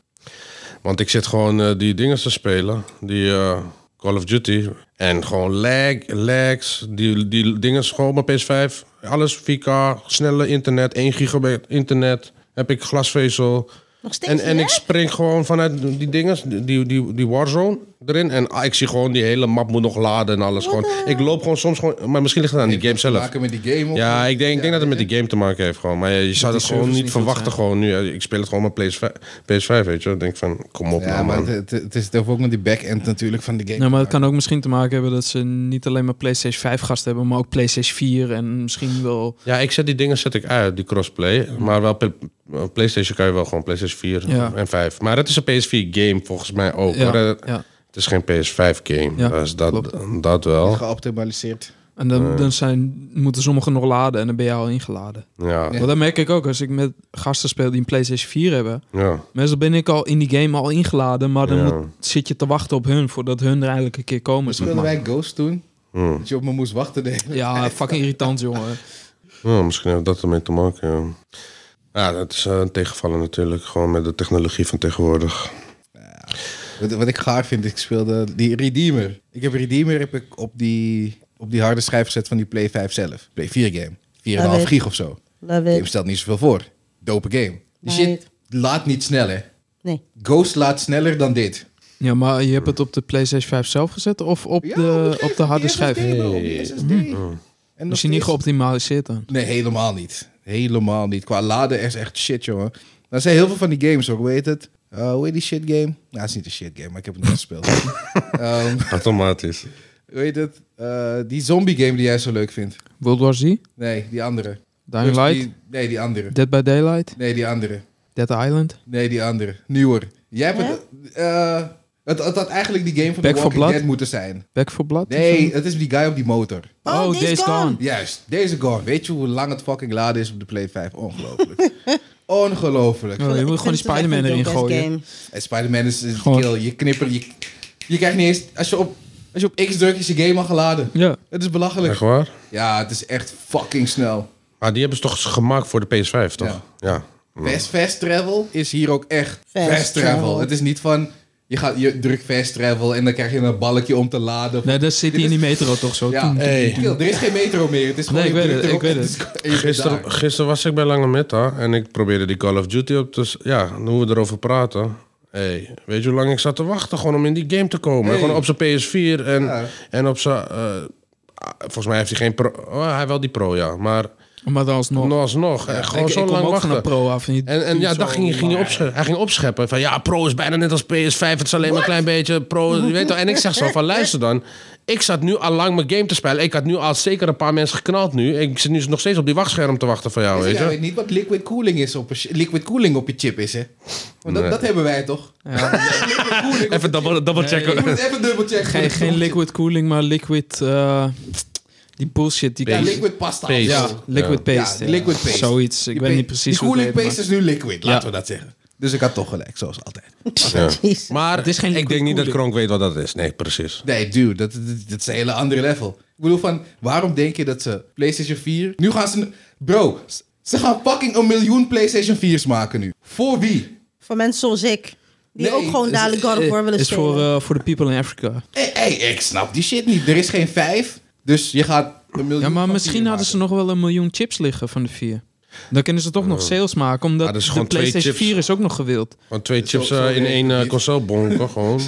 Want ik zit gewoon eh, die dingen te spelen. Die eh, Call of Duty. En gewoon lag, lags. Die, die dingen gewoon mijn PS5. Alles 4K, snelle internet, 1 gigabyte internet. Heb ik glasvezel.
Nog steeds
En, en
niet,
ik spring gewoon vanuit die dingen, die, die, die Warzone erin. En ah, ik zie gewoon die hele map moet nog laden en alles. Gewoon. Ik loop gewoon soms gewoon. Maar misschien ligt het aan die game zelf.
Maken met die game op.
Ja, ik denk, ik denk dat het met
weet
die game te maken heeft gewoon. Maar ja, je zou
die
dat gewoon
servers
niet
niet goed
verwachten
zijn.
gewoon nu. Ik speel het gewoon met PS5, PS5 weet je. Ik denk van, kom op
je. Ja,
nou,
maar
man.
het, het, het is het heeft ook met die back-end natuurlijk van de game.
Ja, Nou, maar het kan ook misschien te maken hebben dat ze niet alleen maar PlayStation 5 gasten hebben, maar ook PlayStation 4 en misschien wel...
Ja, ik zet die dingen zet ik uit, die crossplay. Maar wel pe- PlayStation kan je wel gewoon PlayStation 4
Ja.
en 5. Maar het is een PS4 game volgens mij ook.
Ja,
hoor.
ja.
Het is geen PS5 game.
Ja,
dus dat,
klopt.
dat wel.
Geoptimaliseerd.
En
Eh.
dan, dan zijn, moeten sommigen nog laden en dan ben je al ingeladen.
Ja.
Want dat merk ik ook, als ik met gasten speel die een PlayStation 4 hebben,
ja.
Meestal ben ik al in die game al ingeladen, maar dan
Ja.
moet- zit je te wachten op hun voordat hun er eigenlijk een keer komen.
Speelden wij Ghost toen? Dat je op me moest wachten. de hele-
Ja, fucking irritant, jongen.
Ja, misschien heeft dat ermee te maken. Ja, ja dat is eh, een tegenvallen natuurlijk. Gewoon met de technologie van tegenwoordig. [LAUGHS]
Wat, wat ik gaar vind, ik speelde die Redeemer. Ik heb Redeemer heb ik op, die, op die harde schijf gezet van die Play 5 zelf. Play 4 game. 4,5
weet-
gig of zo.
Love
Game
it.
stelt niet zoveel voor. Dope game. Die
Nee.
shit laat niet sneller.
Nee.
Ghost laat sneller dan dit.
Ja, maar je hebt het op de PlayStation 5 zelf gezet of op, de, op de harde schijf?
En
Is je niet geoptimaliseerd dan?
Nee, helemaal niet. Helemaal niet. Qua laden is echt shit, jongen. Nou, Er zijn heel veel van die games ook, weet het? Eh, hoe heet die shit game? Nou, het is niet een shit game, maar ik heb het niet gespeeld. Ehm,
Automatisch.
hoe heet het? Eh, die zombie game die jij zo leuk vindt.
World War Z?
Nee, die andere.
Dying
Dus
Light?
Die, nee, die andere.
Dead by Daylight?
Nee, die andere.
Dead Island?
Nee, die andere. Nieuwer. Jij hebt het, eh, het... Het had eigenlijk die game van
Back
The
for
Walking
Blood?
Dead moeten zijn.
Back for Blood?
Nee, het is die guy op die motor.
Oh, Days Gone.
Juist, deze gone. Weet je hoe lang het fucking laden is op de Play 5? Ongelooflijk. Ongelooflijk.
Oh, je moet gewoon die Spider-Man erin gooien.
En Spider-Man is is
Gewoon-
kill. Je knipper. Je, je krijgt niet eens... Als je, op, als je op X drukt, is je game al geladen.
Ja.
Het is belachelijk.
Echt waar?
Ja, het is echt fucking snel.
Maar die hebben ze toch gemaakt voor de PS5, toch?
Ja.
Ja.
Fast, fast travel is hier ook echt
Fast
fast, travel.
travel.
Het is niet van... Je, gaat, je drukt fast travel en dan krijg je een balkje om te laden.
Nee, dat zit hij in die metro toch zo.
ja,
Toen-
Hey.
Kill, er is geen metro meer. Het is gewoon
Nee, ik
je
weet
drukt
het, ik
erop
weet
en is- en je bent
Gisteren, oh,
daar.
gisteren was ik bij Lange Meta en ik probeerde die Call of Duty op te... s- Ja, hoe we erover praten. Hey, weet je hoe lang ik zat te wachten gewoon om in die game te komen?
Hey.
Gewoon op zijn PS4 en,
Ja.
en op zijn... eh, ah, volgens mij heeft hij geen pro... Oh, hij wel die pro, ja. Maar
Maar dan alsnog.
nog alsnog, eh, gewoon
Oh. ik,
zo
ik kom
lang
ook
wachten.
van een pro af. die
En, en
duurt
ja,
zo
dat ging, ging hij,
lang.
opsche- hij ging opscheppen. Van ja, pro is bijna net als PS5. Het is alleen maar een klein
[LAUGHS]
beetje pro. Je weet wel. En ik zeg zo van luister dan. Ik zat nu al lang mijn game te spelen. Ik had nu al zeker een paar mensen geknald nu. Ik zit nu nog steeds op die wachtscherm te wachten van jou, weet
Ik
je.
weet niet wat liquid cooling is op een sh- liquid cooling op je chip is, hè? Want dat,
Nee.
dat hebben wij toch? [LAUGHS] Liquid cooling op
Even
je chip.
double, double checken.
Je moet even dubbel checken.
Geen, geen liquid cooling, maar liquid... eh, die bullshit. Die
Ja,
Paste.
liquid pasta.
Paste.
Ja,
Zo.
liquid
Ja,
paste. ja.
liquid paste.
Zoiets. Ik
Je
weet
pa-
niet precies
Die
hoe
cooling
het heet,
paste is nu liquid, laten
Ja.
we dat zeggen. Dus ik had toch gelijk, zoals altijd.
[LAUGHS] Jezus.
Maar
Het is geen
ik denk niet dat
liquid
Kronk weet wat dat is. Nee,
[LAUGHS]
precies.
Nee, dude, dat, dat, dat is een hele andere level. Ik bedoel van, waarom denk je dat ze PlayStation 4... Nu gaan ze... Bro, s- ze gaan fucking een miljoen PlayStation 4's maken nu. Voor wie?
Voor mensen zoals ik. Die
Nee,
ook gewoon
is-
dadelijk God of War willen
is
spelen.
voor, eh, voor de people in Africa.
Hey, ik snap die shit niet. Er is geen vijf, dus je gaat een miljoen
Ja, maar
van vier
misschien hadden ze
maken.
nog wel een miljoen chips liggen van de vier. Dan kunnen ze toch nog sales maken,
Ah,
omdat
dat is
de
gewoon twee
PlayStation
chips.
4 is ook nog gewild.
Gewoon twee chips
zo
eh, in
werkt
één
het
eh,
niet.
console bonken
[LAUGHS]
gewoon.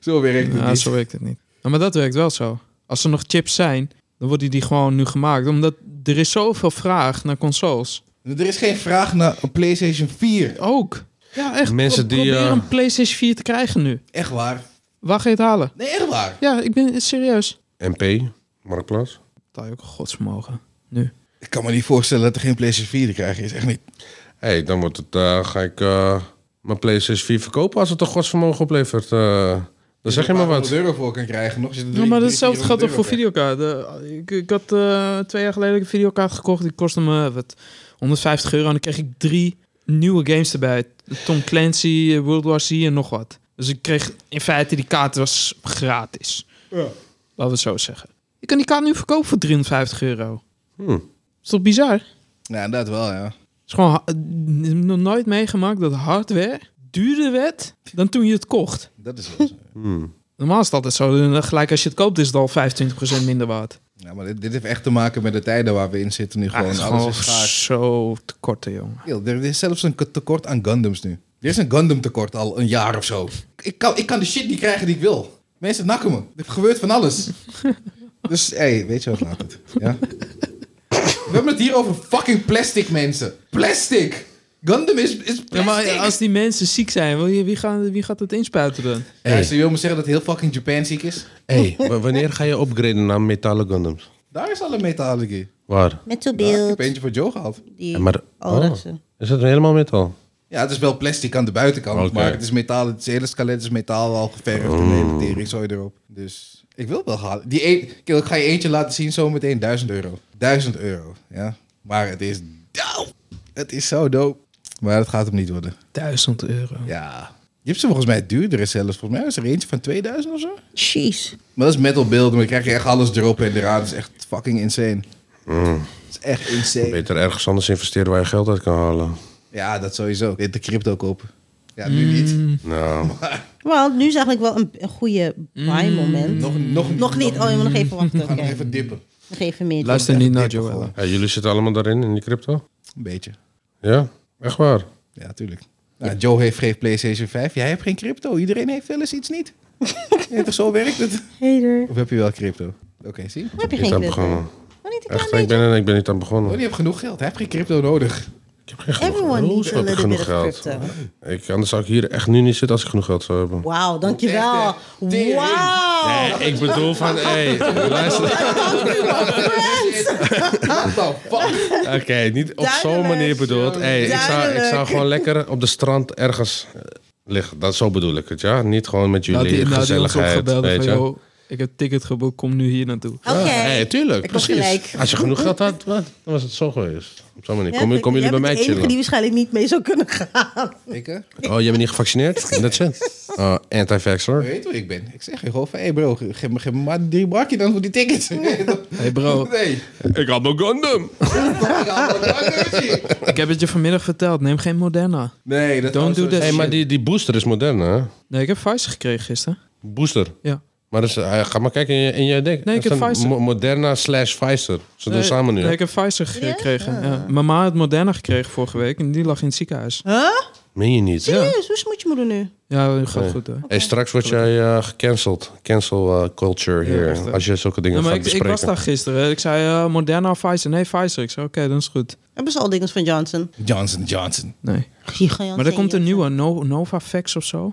Zo werkt het
Ja, dus-
niet.
zo werkt het niet. Ja, maar dat werkt wel zo. Als er nog chips zijn, dan worden die gewoon nu gemaakt. Omdat er is zoveel vraag naar consoles.
Er is geen vraag naar een PlayStation 4.
Ook. Ja, echt.
Mensen die,
Probeer
eh,
een PlayStation 4 te krijgen nu.
Echt waar.
Waar ga je het halen?
Nee, echt waar.
Ja, ik ben serieus.
MP, Marktplaats.
Dat je ook een godsvermogen. Nu.
Ik kan me niet voorstellen dat er geen PlayStation 4 te krijgen is. Echt niet.
Hé, hey, dan wordt het, eh, ga ik eh, mijn PlayStation 4 verkopen als het een godsvermogen oplevert. eh dan zeg je maar wat.
euro voor kan krijgen nog.
Ja, maar datzelfde geldt ook voor videokaarten. Ik, ik had eh, twee jaar geleden een videokaart gekocht. Die kostte me eh, wat, 150 euro. En dan kreeg ik drie nieuwe games erbij. Tom Clancy, eh, World War Z en nog wat. Dus ik kreeg in feite die kaart was gratis.
Ja.
Laten we het zo zeggen. Ik kan die kaart nu verkopen voor 350 euro.
Hm.
Is toch bizar? Het
Ja, Nou, dat wel, ja.
is gewoon ha- eh, nog nooit meegemaakt dat hardware duurder werd dan toen je het kocht.
Dat is
Hm.
wel zo.
Hmm.
Normaal is het altijd zo. eh, Gelijk als je het koopt is het al 25% minder waard.
Ja, maar dit, dit heeft echt te maken met de tijden waar we in zitten nu.
Ah,
Gewoon,
het is
alles
gewoon
is schaars.
zo tekorten, jongen.
Yo, Er is zelfs een k- tekort aan Gundams nu. Er is een Gundam tekort al een jaar of zo. Ik kan, ik kan de shit niet krijgen die ik wil. Mensen nakken me. Er gebeurt van
[LAUGHS]
alles. dus, hé, hey, weet je wat, laat het. Ja? We hebben het hier over fucking plastic, mensen. Plastic! Gundam is, is plastic!
Ja, maar als die mensen ziek zijn, wil je, wie, gaan, wie gaat dat inspuiten dan?
Ja, dus je wil me zeggen dat heel fucking Japan ziek is?
Hey, w- wanneer ga je upgraden naar metalen Gundams?
Daar is al een metalen keer.
Waar?
Met zo'n
Ja, ik
beeld.
heb eentje voor Joe gehad.
die...
Ja, maar,
Oh,
oh,
dat ze-
is dat helemaal metal?
Ja, het is wel plastic aan de buitenkant,
Oké.
maar het is metaal. Het hele skelet is metaal al geverfd en de hele tering zo erop. Dus ik wil wel halen. Die een, Kill, ik ga je eentje laten zien zo meteen, 1000 euro. 1000 euro, ja. Maar het is dope. Het is zo dope. Maar dat gaat hem niet worden.
1000 euro.
Ja. Je hebt ze volgens mij duurder zelfs. Volgens mij is er eentje van 2000 of zo.
Jeez.
Maar dat is metal beeld, maar dan krijg je echt alles erop en eraan. Dat is echt fucking insane. Dat is echt insane.
Beter ergens anders investeren waar je geld uit kan halen.
Ja, dat sowieso. Dit de crypto kopen. Ja, nu niet.
Nou,
Wel, nu is eigenlijk wel een, een goede buy moment.
Mm, Nog, nog,
Nog niet. Oh, je moet nog even wachten.
[LAUGHS] We gaan nog
Oké.
even dippen.
Nog even meer.
Luister
Echt
niet naar
dippen
Joelle.
gewoon.
ja, jullie zitten allemaal daarin, in die crypto?
Een beetje.
Ja, echt waar.
Ja, tuurlijk. Nou, Joe heeft geen PlayStation 5. Jij hebt geen crypto. Iedereen heeft wel eens iets niet. Ja, toch zo werkt het?
Hater.
Of heb je wel crypto? Oké, zie.
Waar heb je
Niet
geen
aan
crypto?
begonnen.
Oh, niet een klein
Echt, ik
beetje.
ben, ik ben niet aan
Oh,
begonnen.
die heeft genoeg geld. Hij heeft geen crypto nodig.
Ik heb geen
Everyone
geld.
needs
Ik
a
heb
little bit
genoeg
of
geld.
crypto.
Ik, anders zou ik hier echt nu niet zitten als ik genoeg geld zou hebben.
Wauw, dankjewel.
Echt, hè? Tering.
Wauw.
ik bedoel van,
[LAUGHS]
hé, luister.
What the fuck?
Oké, niet op zo'n
Duidelijk.
manier bedoeld. Hey, ik, zou, ik zou
Duidelijk.
gewoon lekker op de strand ergens eh, liggen. Dat, zo bedoel ik het, ja? Niet gewoon met
Nou,
jullie
die, nou, die ons
gezelligheid,
opgebeld
weet
van,
je.
joh, ik heb ticket geboekt, kom nu hier naartoe.
Oké.
Ja, hey, tuurlijk,
Ik was
precies.
gelijk.
Als je genoeg geld had, wat, dan was het zo geweest. Op zo'n manier.
Ja,
Kom, komen jullie
jij
bij
bent
mij
de enige
chillen?
die waarschijnlijk niet mee zou kunnen gaan.
Ik, hè?
[LAUGHS]
Oh, jij bent niet gevaccineerd? Dat is het. eh, anti-vaxxer.
Je weet hoe ik ben. Ik zeg je gewoon van, hé hey bro, ge- geef me, geef me maar drie bakje dan voor die tickets. Nee, dat-
Hey [LAUGHS] bro,
nee.
Ik had mijn Gundam.
Ah.
ik heb het je vanmiddag verteld. Neem geen Moderna.
Nee, dat oh,
Don't do that
Hey, maar
shit.
die, die booster is modern, hè?
Nee, ik heb Pfizer gekregen gisteren.
Booster.
Ja.
Maar dat is, eh, ga maar kijken in je, in je dek.
Nee, ik
Dat
heb
zijn
Pfizer.
Mo- Moderna slash Pfizer. Ze doen samen nu. hè?
Nee, ik heb Pfizer gekregen. Ja. Ah. Mijn ma had Moderna gekregen vorige week en die lag in het ziekenhuis.
Meen je niet?
Ja.
Serieus, hoe moet je moeder nu?
Ja, dat gaat
Nee.
goed hoor.
Hey, straks word jij eh, gecanceld. Cancel eh, culture
Ja,
hier.
echt, hè.
als je zulke dingen
Ja, maar
gaat
ik, ik
bespreken.
was daar gisteren. Ik zei eh, Moderna of Pfizer? Nee, Pfizer. Ik zei oké, dan is het goed.
Hebben ze al dingen van Johnson?
Johnson, Johnson.
Nee.
Gigantisch.
Maar er komt een nieuwe, no, Novavax of zo.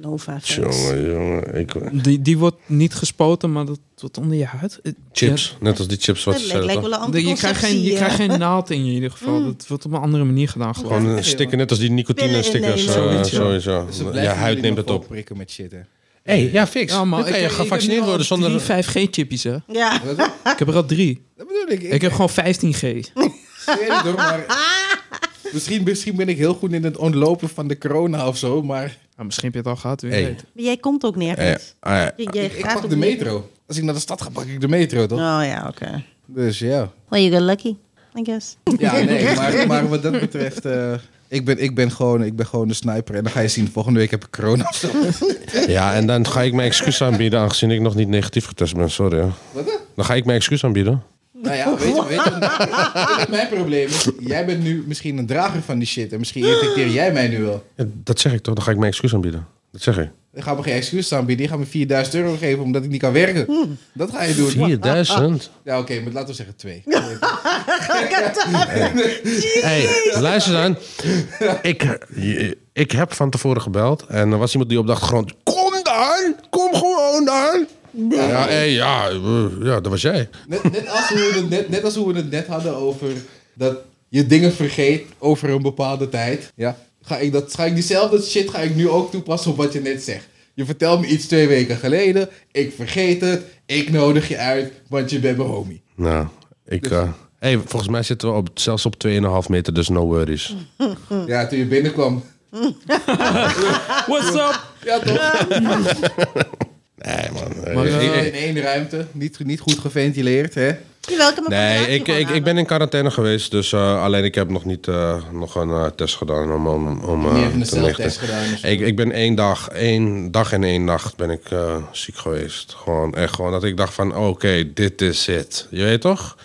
Nova. Facts.
Jongen, jongen. Ik,
Die, die wordt niet gespoten, maar dat wordt onder je huid. Eh,
chips. Net als die chips wat
Dat
ze
lijkt,
zeiden,
lijkt
toch?
wel een
ja, Je krijgt geen, je
anticonceptie,
krijgt
eh.
geen naald in je in ieder geval. Dat wordt op een andere manier gedaan geloof ik.
Gewoon eh, stikken, net als die nicotine
Pillen
stickers.
innemen.
eh,
Zoiets, ja.
sowieso.
Ze
Je
blijven
huid
jullie nog
neemt het
wel
op.
prikken met shit, hè.
hey, ja, fix.
Ja, man,
Dan kan je gevaccineerd worden zonder...
Ik heb nu al drie 5G-chipjes, hè.
Ja.
Ik heb er al drie.
Dat bedoel ik. Ik,
Ik heb gewoon 15G.
weet het hoor, maar... [LAUGHS] Misschien, misschien ben ik heel goed in het ontlopen van de corona of zo, maar...
Nou, misschien heb je het al gehad, wie
Hey.
weet.
Maar jij komt ook
Eh,
nergens.
ah, ja.
Je- jij
Ik
gaat
pak
ook
de
niet.
metro. Als ik naar de stad ga, pak ik de metro, toch?
Oh ja, oké.
Dus ja.
Well, you got lucky, I guess.
[LAUGHS] Ja, nee, maar, maar wat dat betreft... eh, ik, ben, ik, ben gewoon, ik ben gewoon de sniper. En dan ga je zien, volgende week heb ik corona of zo.
Ja, en dan ga ik mijn excuus aanbieden, aangezien ik nog niet negatief getest ben. Sorry. Hè. Dan ga ik mijn excuus aanbieden.
Nou ja, weet je, weet je wat- wat mijn probleem is? Jij bent nu misschien een drager van die shit. En misschien infecteer jij mij nu wel.
Ja, dat zeg ik toch? Dan ga ik mijn excuus aanbieden. Dat zeg ik.
Dan ga me geen excuus aanbieden. Die gaan me 4000 euro geven omdat ik niet kan werken. Dat ga je doen.
4000?
Ja, oké, maar laten we zeggen twee.
Hey, luister dan. Ik, ik heb van tevoren gebeld en er was iemand die op de achtergrond... Kom dan! Kom gewoon dan! Ja, hey, ja, eh, ja, dat was jij.
Net, net, als hoe we het net, net als hoe we het net hadden over dat je dingen vergeet over een bepaalde tijd. Ja, ga ik, dat, ga ik diezelfde shit ga ik nu ook toepassen op wat je net zegt. Je vertelt me iets twee weken geleden. Ik vergeet het. Ik nodig je uit, want je bent mijn homie.
Nou, ik... eh, hey, volgens mij zitten we op, zelfs op 2,5 meter, dus no worries.
Ja, toen je binnenkwam.
What's up?
Ja, toch?
Nee, man. eh,
Maar,
ik-
eh,
ik-
Dus in één ruimte. Niet, niet goed geventileerd, hè?
Ah,
Jawel, ik heb mijn
Nee,
plaatje
ik,
gewoon
ik, ik
aan.
ben in quarantaine geweest, dus eh, alleen ik heb nog niet eh, nog een eh, test gedaan om, om, om eh,
Je hebt een
te lichten.
zelftest gedaan. dus-
Ik, ik ben één dag, één dag en één nacht ben ik eh, ziek geweest. Gewoon echt gewoon dat ik dacht van, oké, dit is het. Je weet toch?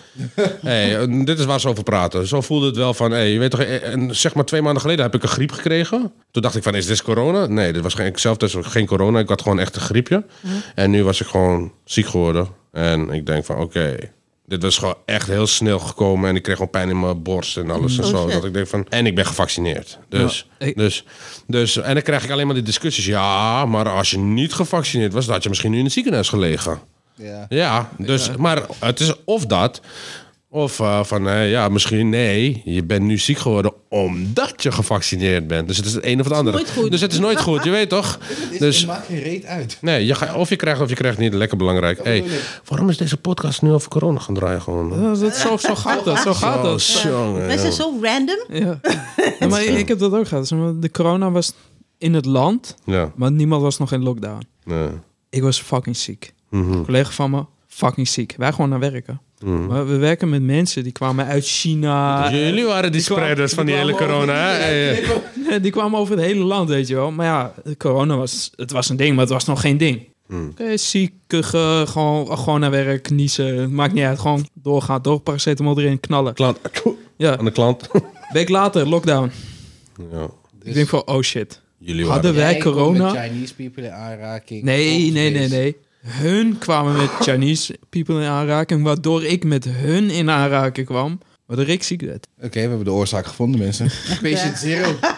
hey, eh, dit is waar ze over praten. Zo voelde het wel van, hey, je weet toch, eh, en zeg maar twee maanden geleden heb ik een griep gekregen. Toen dacht ik van, is dit corona? Nee, dit was geen, ik zelf dus geen corona. Ik had gewoon echt een griepje. En nu was ik gewoon ziek geworden. En ik denk van, oké. Dit was gewoon echt heel snel gekomen en ik kreeg gewoon pijn in mijn borst en alles en
Oh,
zo.
shit.
Dat ik denk van, en ik ben gevaccineerd. Dus,
Ja, ik-
dus, dus, en dan krijg ik alleen maar die discussies. Ja, maar als je niet gevaccineerd was, dan had je misschien nu in het ziekenhuis gelegen.
Ja.
Ja, dus, maar het is of dat. Of eh, van, eh, ja, misschien nee, je bent nu ziek geworden omdat je gevaccineerd bent. Dus het is het een of het andere.
nooit goed.
Dus het is nooit goed, je weet toch? Dus
Het maakt geen reet uit.
nee, je ga, of je krijgt of je krijgt niet. Lekker belangrijk. Hey, waarom is deze podcast nu over corona gaan draaien gewoon?
Ja, Dat, zo, zo gaat dat, zo gaat
Oh,
dat.
jongen,
Wij zijn
jongen.
zo random.
Ja. Ja, maar ik heb dat ook gehad. Zeg maar, De corona was in het land,
Ja,
maar niemand was nog in lockdown.
nee.
Ik was fucking ziek.
Mhm,
Een collega van me, fucking ziek. Wij gewoon naar werken.
Hm.
Maar we werken met mensen die kwamen uit China.
Dus Jullie waren die
kwam-
spreiders van die
die
hele
kwam
corona, hè? Hey, eh.
[LAUGHS] Die kwamen over het hele land, weet je wel. Maar ja, corona was, het was een ding, maar het was nog geen ding. Oké, ziek, kuchen, gewoon, gewoon naar werk, niezen. Het maakt niet uit, gewoon doorgaan, door paracetamol erin, knallen.
Klant.
Ja,
Aan de klant.
week later, lockdown.
[LAUGHS] Ja.
Ik denk van, oh shit.
Jullie
Hadden wij
Jij komt
corona?
Met Chinese people in aanraking.
Nee,
Op
nee, nee,
vlees.
nee. Hun kwamen met Chinese people in aanraking, waardoor ik met hun in aanraking kwam. Waardoor ik ziek werd.
Oké, we hebben de oorzaak gevonden, mensen. [LAUGHS] Patient zero. Oké,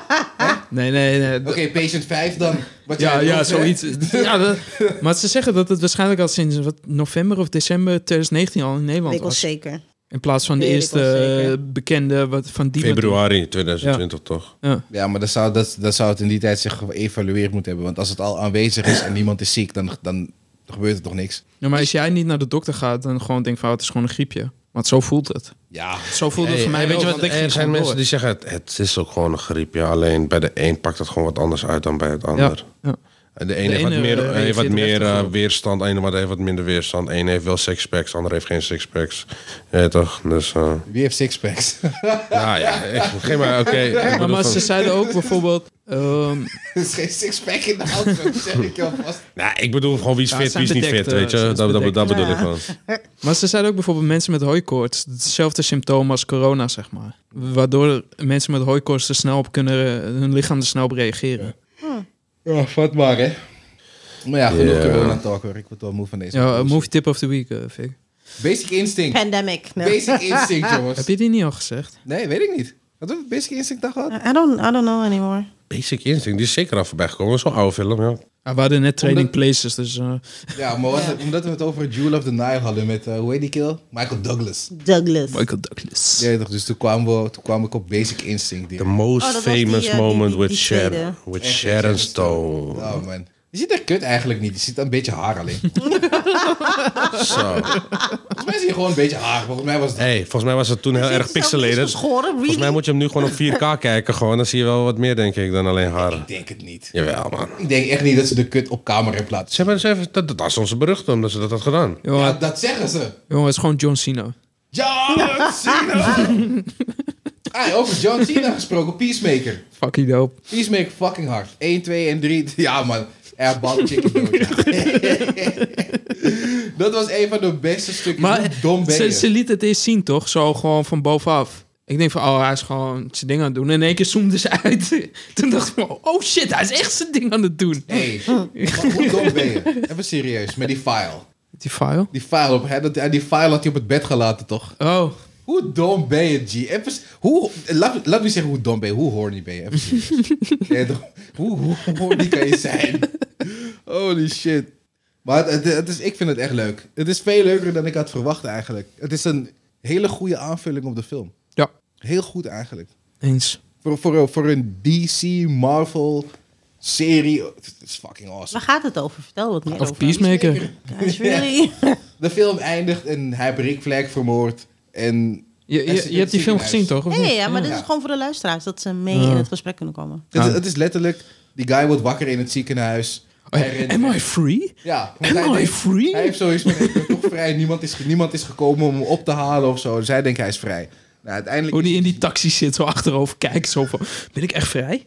Nee, nee, nee. d-
patient 5 dan. Wat
Ja,
jij
ja, [LAUGHS]
doet, hè?
zoiets. Ja, dat- maar ze zeggen dat het waarschijnlijk al sinds wat, november of december 2019 al in Nederland
Weet ik wel
was.
zeker.
In plaats van de
Weet ik
eerste
wel zeker.
eh, bekende wat, van die
Februari 2020 toch?
Ja, maar dan zou, dat, dan zou het in die tijd zich geëvalueerd moeten hebben. Want als het al aanwezig is en niemand is ziek, dan, dan gebeurt er toch niks.
Ja, maar als jij niet naar de dokter gaat, dan gewoon denk van, oh, het is gewoon een griepje. Want zo voelt het.
Ja.
Zo voelt het
Hey,
voor mij.
hey, weet
ook,
je wat,
want ik
er
ging
zijn
gewoon
mensen
door.
die zeggen, het, het is ook gewoon een griepje. Alleen bij de een pakt het gewoon wat anders uit dan bij het ander.
Ja, ja.
En De ene,
De
heeft wat
ene,
meer,
eh,
heeft
heeft
wat
in de
meer
rechtergroep.
eh, weerstand, de ene wat heeft wat minder weerstand. De ene heeft wel sixpacks, de andere heeft geen sixpacks. Ja, toch? Dus, eh,
Wie heeft sixpacks? [LAUGHS]
nou ja, echt, geen maar, oké. ik bedoel
Maar, maar
van-
ze zeiden ook bijvoorbeeld... ehm,
er is geen sixpack in de hand, dat zeg ik je alvast.
Nou, ik bedoel gewoon wie is
Ja,
fit,
het
wie is
zijn
niet fit,
bedekte-
weet je.
het
Dat,
is
dat, dat,
bedekte.
bedoel
Ja.
ik gewoon.
Maar ze zeiden ook bijvoorbeeld mensen met hooikoorts. Hetzelfde symptoom als corona, zeg maar. Waardoor mensen met hooikoorts er snel op kunnen... eh, hun lichaam er snel op reageren.
Ja, vat maar, hè. Maar ja, genoeg
Ja.
corona talk hoor. Ik word wel moe van deze.
Ja,
bullshit.
movie tip of the week, eh, Vic.
Basic instinct.
Pandemic. No.
Basic instinct,
Heb
jongens.
je die niet al gezegd?
Nee, weet ik niet. Hadden we basic instinct dag gehad?
I don't, I don't know anymore.
Basic Instinct, die is zeker al voorbij gekomen. Zo'n oude film, ja.
Ah, we hadden net Training Places, dus... eh,
Ja, maar wat- omdat we het over Jewel of the Nile hadden met, eh, hoe heet die kill? Michael Douglas.
Douglas.
Michael Douglas.
Ja, toch, dus toen kwam, we, toen kwam ik op basic instinct.
The
direct.
most
Oh, dat was die,
famous
eh, die-
moment
die-
with,
die
Sharon,
tweede.
with
Echt,
Sharon Stone.
Oh man. Je ziet er kut eigenlijk niet. Je ziet een beetje haar alleen.
[LAUGHS] Zo.
Volgens mij zie je gewoon een beetje haar. Volgens mij was het...
Hey, volgens mij was het
Dus
toen heel erg pixelated. Volgens mij moet je hem nu
[LAUGHS]
gewoon op 4K kijken. Gewoon. Dan zie je wel wat meer, denk ik, dan alleen haar.
Ik denk het niet.
Jawel, man.
Ik denk echt niet dat ze de kut op camera hebben laten
Ze hebben, ze hebben, dat, dat was onze berucht omdat ze dat had gedaan.
Jongen,
Ja, dat zeggen ze.
jongen, het is gewoon John Cena.
John
[LAUGHS]
Cena! ah, over John Cena gesproken. Peacemaker.
Fucking dope.
Peacemaker fucking hard. 1, 2 en 3. [LAUGHS] Ja man. Er bal chicken
[LAUGHS]
dood. [LAUGHS] dat was een van de beste stukken. Hoe
Maar
dom ben
ze,
je?
ze liet het eerst zien, toch? Zo gewoon van bovenaf. Ik denk van, oh, hij is gewoon zijn ding aan het doen. En in één keer zoomde ze uit. [LAUGHS] Toen dacht ik van, oh shit, hij is echt zijn ding aan het doen.
Hey, maar hoe dom ben je? Even serieus, met die file.
Die file?
Die file, op, hè, dat, die file had hij op het bed gelaten, toch?
Oh,
Hoe dom ben je, G? Even, s- hoe, laat, laat me zeggen hoe dom ben je, hoe horny ben je? Even serieus. Ja, toch? hoe, hoe horny kan je zijn? Holy shit. Maar het, het- het is, ik vind het echt leuk. Het is veel leuker dan ik had verwacht eigenlijk. Het is een hele goede aanvulling op de film.
ja,
Heel goed eigenlijk.
eens.
Voor, voor, voor een DC, Marvel serie. Het is fucking awesome.
Waar gaat het over? Vertel wat meer
Of
over.
Peacemaker. [LAUGHS]
Guys, really?
De film eindigt en hij heeft Rick Flag vermoord. En
Je,
Hij zit
je,
in
je hebt die
het
film
ziekenhuis.
gezien, toch? Of
Nee,
niet?
ja, maar dit
Ja.
is gewoon voor de luisteraars. Dat ze mee
Ja.
in het gesprek kunnen komen.
het,
Ah.
is, het is letterlijk... Die guy wordt wakker in het ziekenhuis.
Oh,
Hij
ja.
rent-
Am I free?
Ja, want hij,
Am I
denkt- hij
free?
heeft sowieso ik ben toch vrij. Niemand is, niemand is gekomen om hem op te halen of zo. Dus hij denkt hij is vrij. Nou, uiteindelijk,
Hoe Oh, die in die taxi zit, zo achterover kijkt, zo van, ben ik echt vrij?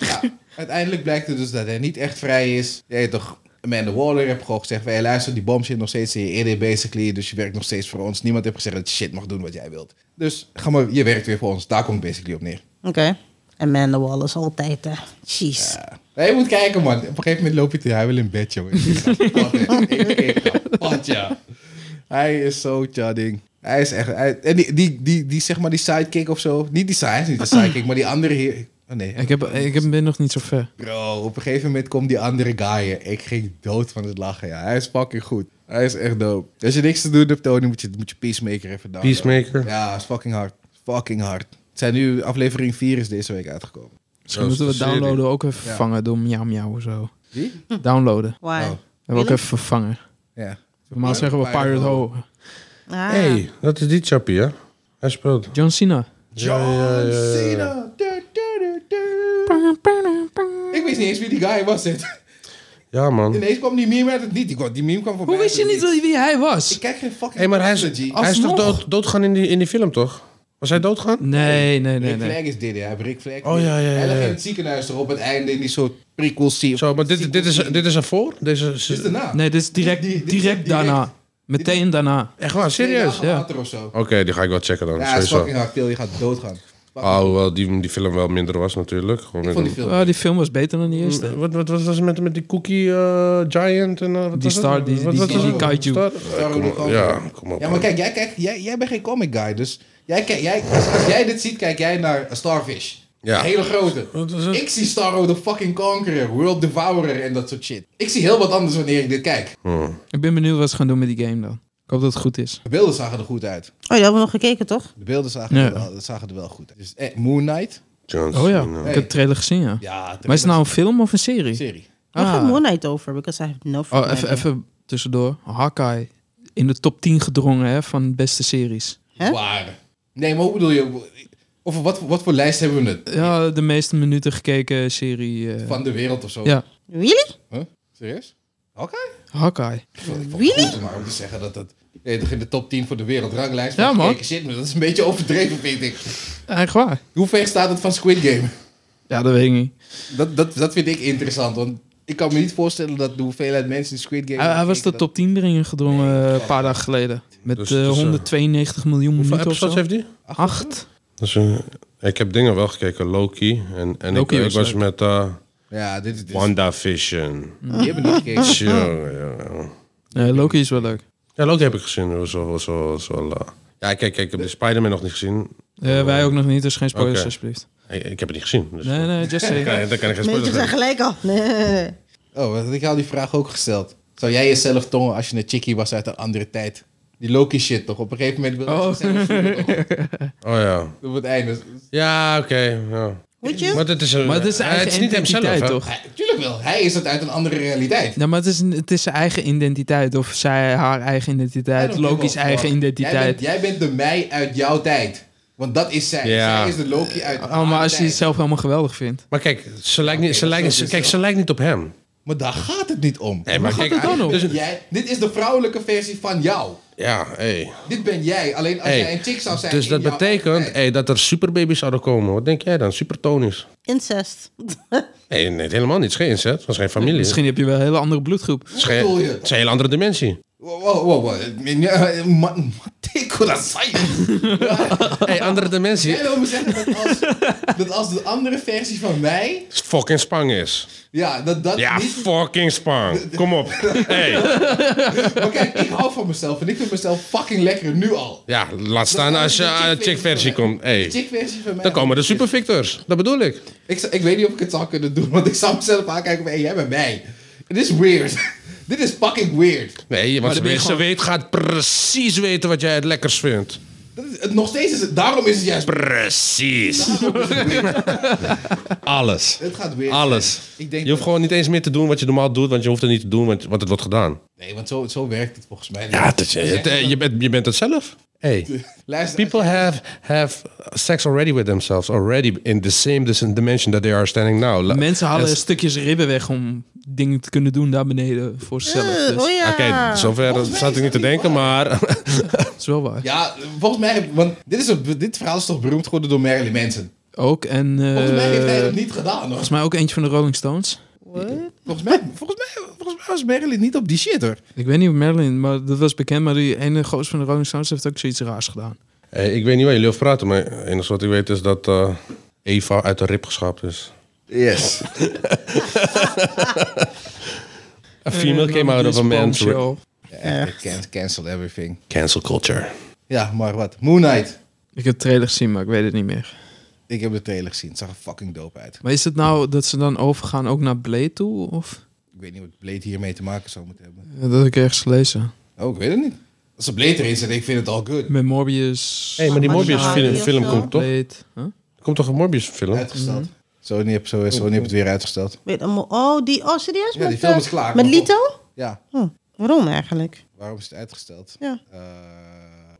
ja, uiteindelijk blijkt het dus dat hij niet echt vrij is. Je weet toch, Amanda Waller heeft gewoon gezegd... Hey, luister, die bom zit nog steeds in je ED basically. Dus je werkt nog steeds voor ons. Niemand heeft gezegd dat je shit mag doen wat jij wilt. Dus ga maar, je werkt weer voor ons. Daar komt het basically op neer.
Oké. Amanda Wallace altijd, hè. Jeez.
Ja. Nee, je moet kijken, man. Op een gegeven moment loop je te huilen in bed, jongen. Ik ga kapot, hè. Ik ga kapot, ja. Hij is zo chudding. Hij is echt... hij- en die, die, die, die, zeg maar, die sidekick of zo. Niet die side, hij is niet de sidekick, maar die andere hier... Oh nee.
Ik, heb, ik heb- ben nog niet zo ver.
Bro, op een gegeven moment komt die andere guy. hè. Ik ging dood van het lachen, ja. Hij is fucking goed. Hij is echt dope. Als je niks te doen hebt, Tony, moet je, moet je Peacemaker even downloaden.
Peacemaker.
Ja, is fucking hard. Fucking hard. Het zijn nu... Aflevering 4 is deze week uitgekomen.
Misschien
Zo is
moeten we
de
het
serie.
downloaden ook even
Ja.
vervangen door miauw miauw of zo.
Wie?
Hm. Downloaden.
Why?
Oh.
We hebben
Really?
ook even vervangen.
Ja.
Normaal zeggen we
Pirate
Pirate
Ho.
Ho.
Ah.
hey, dat is die chappie, hè? Hij speelt.
John Cena.
John
Ja, ja, ja, ja.
Cena. Du- du- du- du. Ik wist niet eens wie die guy was. hè.
Ja, man.
Ineens kwam die meme uit het niet. Die kwam- Die meme kwam voorbij.
Hoe wist je
uit het
niet wie hij was?
Ik kijk geen fucking...
Hé, maar hij is, Oh,
G.
hij is toch
Alsnog.
dood, doodgaan in die, in die film, toch? Was hij doodgaan?
Nee, nee, nee.
Rick
nee.
Flag is dit, hè. hij heeft Rick Flag.
Oh, ja, ja,
Hij
ja,
lag
ja.
in het ziekenhuis toch op het einde in die soort prequel scene.
Zo, maar dit, dit, is, dit is ervoor? Deze,
Dit is de naam.
Nee, dit is direct,
Die- die- die-
direct
direct.
daarna. Meteen daarna.
Echt waar, serieus?
Twee dagen
ja.
later of zo.
Oké, die ga ik wel checken dan.
Ja, het is
sowieso.
fucking hard. Phil, je gaat doodgaan. Fuck.
Alhoewel die, die film wel minder was natuurlijk. Gewoon
Ik vond die
met-
film...
Oh, die film was beter dan die
Mm.
eerste.
Wat, wat, wat was het met, met die Cookie eh, Giant en eh, wat
Die
was
star,
het?
die-
Wat
die-
was
die-
het?
die
kaiju.
Star-
Star-
Eh, kom op,
Star-
ja, kom op.
Ja, maar kijk, jij, kijk jij, jij bent geen comic guy, dus... Jij, kijk, jij, als, als jij dit ziet, kijk jij naar een Starfish.
Ja.
Een hele grote.
Wat was het?
Ik zie Starro the fucking Conqueror, World Devourer en dat soort shit. Ik zie heel wat anders wanneer ik dit kijk.
Hm,
Ik ben benieuwd wat ze gaan doen met die game dan. Ik hoop dat het goed is.
De beelden zagen er goed uit.
Oh, die hebben we nog gekeken, toch?
De beelden zagen,
Ja.
er, wel, zagen er wel goed uit. Dus, eh, Moon Knight.
Johnson,
Oh ja,
eh.
ik heb de trailer gezien, ja.
Ja,
Maar is het nou een film of een serie?
serie.
Waar gaat
Ah.
Moon Knight over? Because I have no
Oh,
fucking
even,
idea.
even tussendoor. Hawkeye. In de top 10 gedrongen hè, van beste series.
Hè?
Waar? Nee, maar hoe bedoel je? Of wat, wat voor lijst hebben we het?
Ja, de meeste minuten gekeken serie. eh,
Van de wereld of zo?
Ja.
Really?
Huh? Serieus? Oké.
Hawkeye.
Ik vond- ik vond
Really?
het goed, maar om te zeggen dat het nee, toch in de top 10 voor de wereldranglijst
Ja,
van
man.
gekeken zit, maar dat is een beetje overdreven, vind ik.
Eigenlijk waar.
Hoe ver staat het van Squid Game?
Ja, dat weet ik niet.
Dat, dat, dat vind ik interessant, want ik kan me niet voorstellen dat de hoeveelheid mensen die Squid Game...
Hij, hij was de
dat
top 10 erin gedrongen eh, een paar dagen geleden. Met
Dus
eh,
het is, eh,
192 miljoen
Hoeveel
minuten of
episodes
zo.
heeft die?
Acht.
Dus, eh, ik heb dingen wel gekeken. Loki. En, en
Loki
ik, ik
was
was
leuk. Mm.
met eh
Ja, dit is... Dit is
WandaVision.
die hebben niet gekeken.
Tjonge, jonge.
Nee, Loki is wel leuk.
Ja, Loki heb ik gezien. Dat was wel- was wel- was wel, eh, Ja, kijk, kijk, ik heb de Spider-Man nog niet gezien.
Eh, wij ook nog niet, dus geen spoilers
Oh, Oké.
alsjeblieft.
Ik, ik heb het niet gezien. Dus,
Nee, nee, just say.
Ja, daar kan ik geen
Nee,
spoilers
je
geven.
bent gelijk al. Nee.
Oh, want ik had die vraag ook gesteld. Zou jij jezelf tongen als je een chickie was uit een andere tijd? Die Loki shit toch? Op een gegeven moment wil je
Oh.
zichzelf [LAUGHS] zoenen, toch?
Oh ja.
Op het einde.
Ja, oké. ja.
Would you?
Maar, dit is een,
Maar het is
eh,
zijn eigen
het is niet hem zelf,
identiteit,
hè?
toch?
Hij- tuurlijk wel. Hij is het uit een andere realiteit.
Ja, maar het is, het is zijn eigen identiteit. Of zij haar eigen identiteit. Loki's eigen
Jij
identiteit.
bent, jij bent de mij uit jouw tijd. Want dat is zij.
Ja.
Zij is de Loki uit
Oh, maar
haar
als je
tijd.
het zelf helemaal geweldig vindt.
Maar kijk, ze lijkt niet, ze
dat
lijkt,
is
ze,
ook
kijk,
zo.
ze lijkt niet op hem.
Maar daar gaat het niet om.
Nee, maar
gaat
kijk,
het dan
hij-
om?
dus-
Jij, dit is de vrouwelijke versie van jou.
ja, hé.
Dit ben jij. Alleen als
Hey,
jij een chick zou zijn.
Dus
in
dat
jouw
betekent
tijd.
hé, dat er superbabies zouden komen. Wat denk jij dan? Supertonisch.
Incest.
Nee, nee, helemaal niet. Het is geen incest. Het is geen familie. Het
Misschien heb je wel een hele andere bloedgroep.
is, geen-
bedoel je?
het is een hele andere dimensie.
Wow, wow, wow. wow. [LAUGHS] Ja, man, Teko, dat
[LAUGHS]
zei je.
Hé, andere dimensie
Jij wil me zeggen dat als, dat als de andere versie van mij.
is fucking spang is.
Ja, dat dat
Ja,
niet.
fucking spang. Kom op. Hey.
Maar kijk, ik hou van mezelf en ik vind mezelf fucking lekker nu al.
Ja, laat staan
Dat-
als je
dat-
aan de
chick
chick-versie komt. Hey.
De chick versie van mij.
Dan komen de supervictors. Dat bedoel ik.
Ik, zou- ik weet niet of ik het zou kunnen doen, [LAUGHS] want ik zou mezelf aankijken van hé, jij bent mij. Dit is weird. [LAUGHS] Dit is fucking weird.
Nee, want
dan
ze,
ben je
weet, ze
gewoon-
weet, gaat precies weten wat jij het lekkers vindt.
Dat is, het, nog steeds is het, daarom is het juist.
Precies. Alles.
Het gaat weird.
Alles.
zijn. Ik denk
Je hoeft
dat-
gewoon niet eens meer te doen wat je normaal doet, want je hoeft het niet te doen, want, want het wordt gedaan.
Nee, want zo, zo werkt het volgens mij.
Ja, het is- het- eh, je, bent, je bent het zelf. Hey.
Luister,
People have, have sex already with themselves, already in the same dis- dimension that they are standing now. La-
Mensen halen
Yes.
stukjes ribben weg om dingen te kunnen doen daar beneden voor zichzelf.
Eh,
Dus
oh ja.
Oké, Ah, zover
Volgens mij
zat
is
ik
dat
niet te
niet
denken, maar... [LAUGHS]
dat is wel waar.
Ja, volgens mij, want dit, is een, dit verhaal is toch beroemd geworden door Marilyn Manson.
Ook en... eh,
Volgens mij heeft hij dat niet gedaan. Hoor.
volgens mij ook eentje van de Rolling Stones.
Volgens, mij, volgens, mij, volgens mij was Marilyn niet op die shit hoor.
Ik weet niet of Marilyn, maar dat was bekend. Maar die ene goos van de Rolling Stones heeft ook zoiets raars gedaan.
Hey, ik weet niet waar jullie over praten, maar het enige wat ik weet is dat eh, Eva uit de rib geschrapt is.
Yes.
A female
Eh,
came out of a
this
man's rib.
bombshell.
Cancel, cancel everything.
Cancel culture.
Ja, maar wat. Moon Knight.
Ik heb de trailer gezien, maar ik weet het niet meer.
Ik heb de trailer gezien. Het zag er fucking dope uit.
Maar is het nou dat ze dan overgaan ook naar Blade toe? Of?
Ik weet niet wat Blade hiermee te maken zou moeten hebben.
Ja, dat heb ik ergens gelezen.
Oh, ik weet het niet. Als ze Blade erin zit, ik vind het al good.
Met Morbius.
Hé, hey, maar die
Maar die
Morbius
Hardy
film,
of
film
zo?
komt toch?
Blade. Huh?
Er komt toch een Morbius film?
Uitgesteld. Sony heeft zo, Sony heeft het weer uitgesteld.
Weet allemaal- Oh, die, oh serieus?
Ja, die
Met,
film
eh,
is klaar.
Met
Maar goed.
Lito?
Ja,
Hm, waarom eigenlijk?
waarom is het uitgesteld?
Ja.
Eh,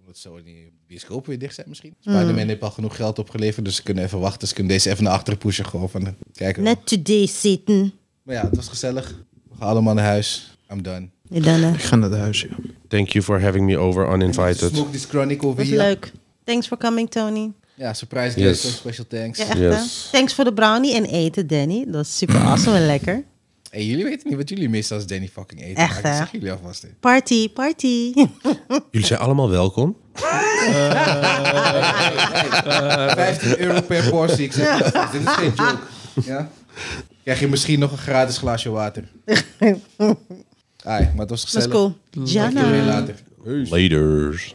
omdat Sony bioscopen weer dicht zijn misschien.
Mm.
Spider-Man heeft al genoeg geld opgeleverd, dus ze kunnen even wachten. Ze kunnen deze even naar achteren pushen gewoon van eh, kijken. we.
Net today zitten.
Maar ja, het was gezellig. We gaan allemaal naar huis. I'm done.
Nee, daarna.
Ik ga naar het huis, joh.
Thank you for having me over uninvited.
Smoke this chronic over
Was
hier.
leuk. Thanks for coming, Tony.
Ja, surprise
Yes.
guest, special thanks.
Ja, echt
Yes.
hè? Thanks voor de brownie en eten, Danny. Dat is super awesome en lekker.
Hey, jullie weten niet wat jullie missen als Danny fucking eet.
Echt,
maar ik
hè?
zeg jullie alvast. hè.
Party, party. [LAUGHS]
Jullie zijn allemaal welkom.
[LAUGHS] 15 euro per portie. Ik zeg, het alvast, dit is geen joke. Ja? Krijg je misschien nog een gratis glaasje water. Ai, maar het was
Let's
gezellig.
go.
Tot jullie
Jana.
later.
Laters.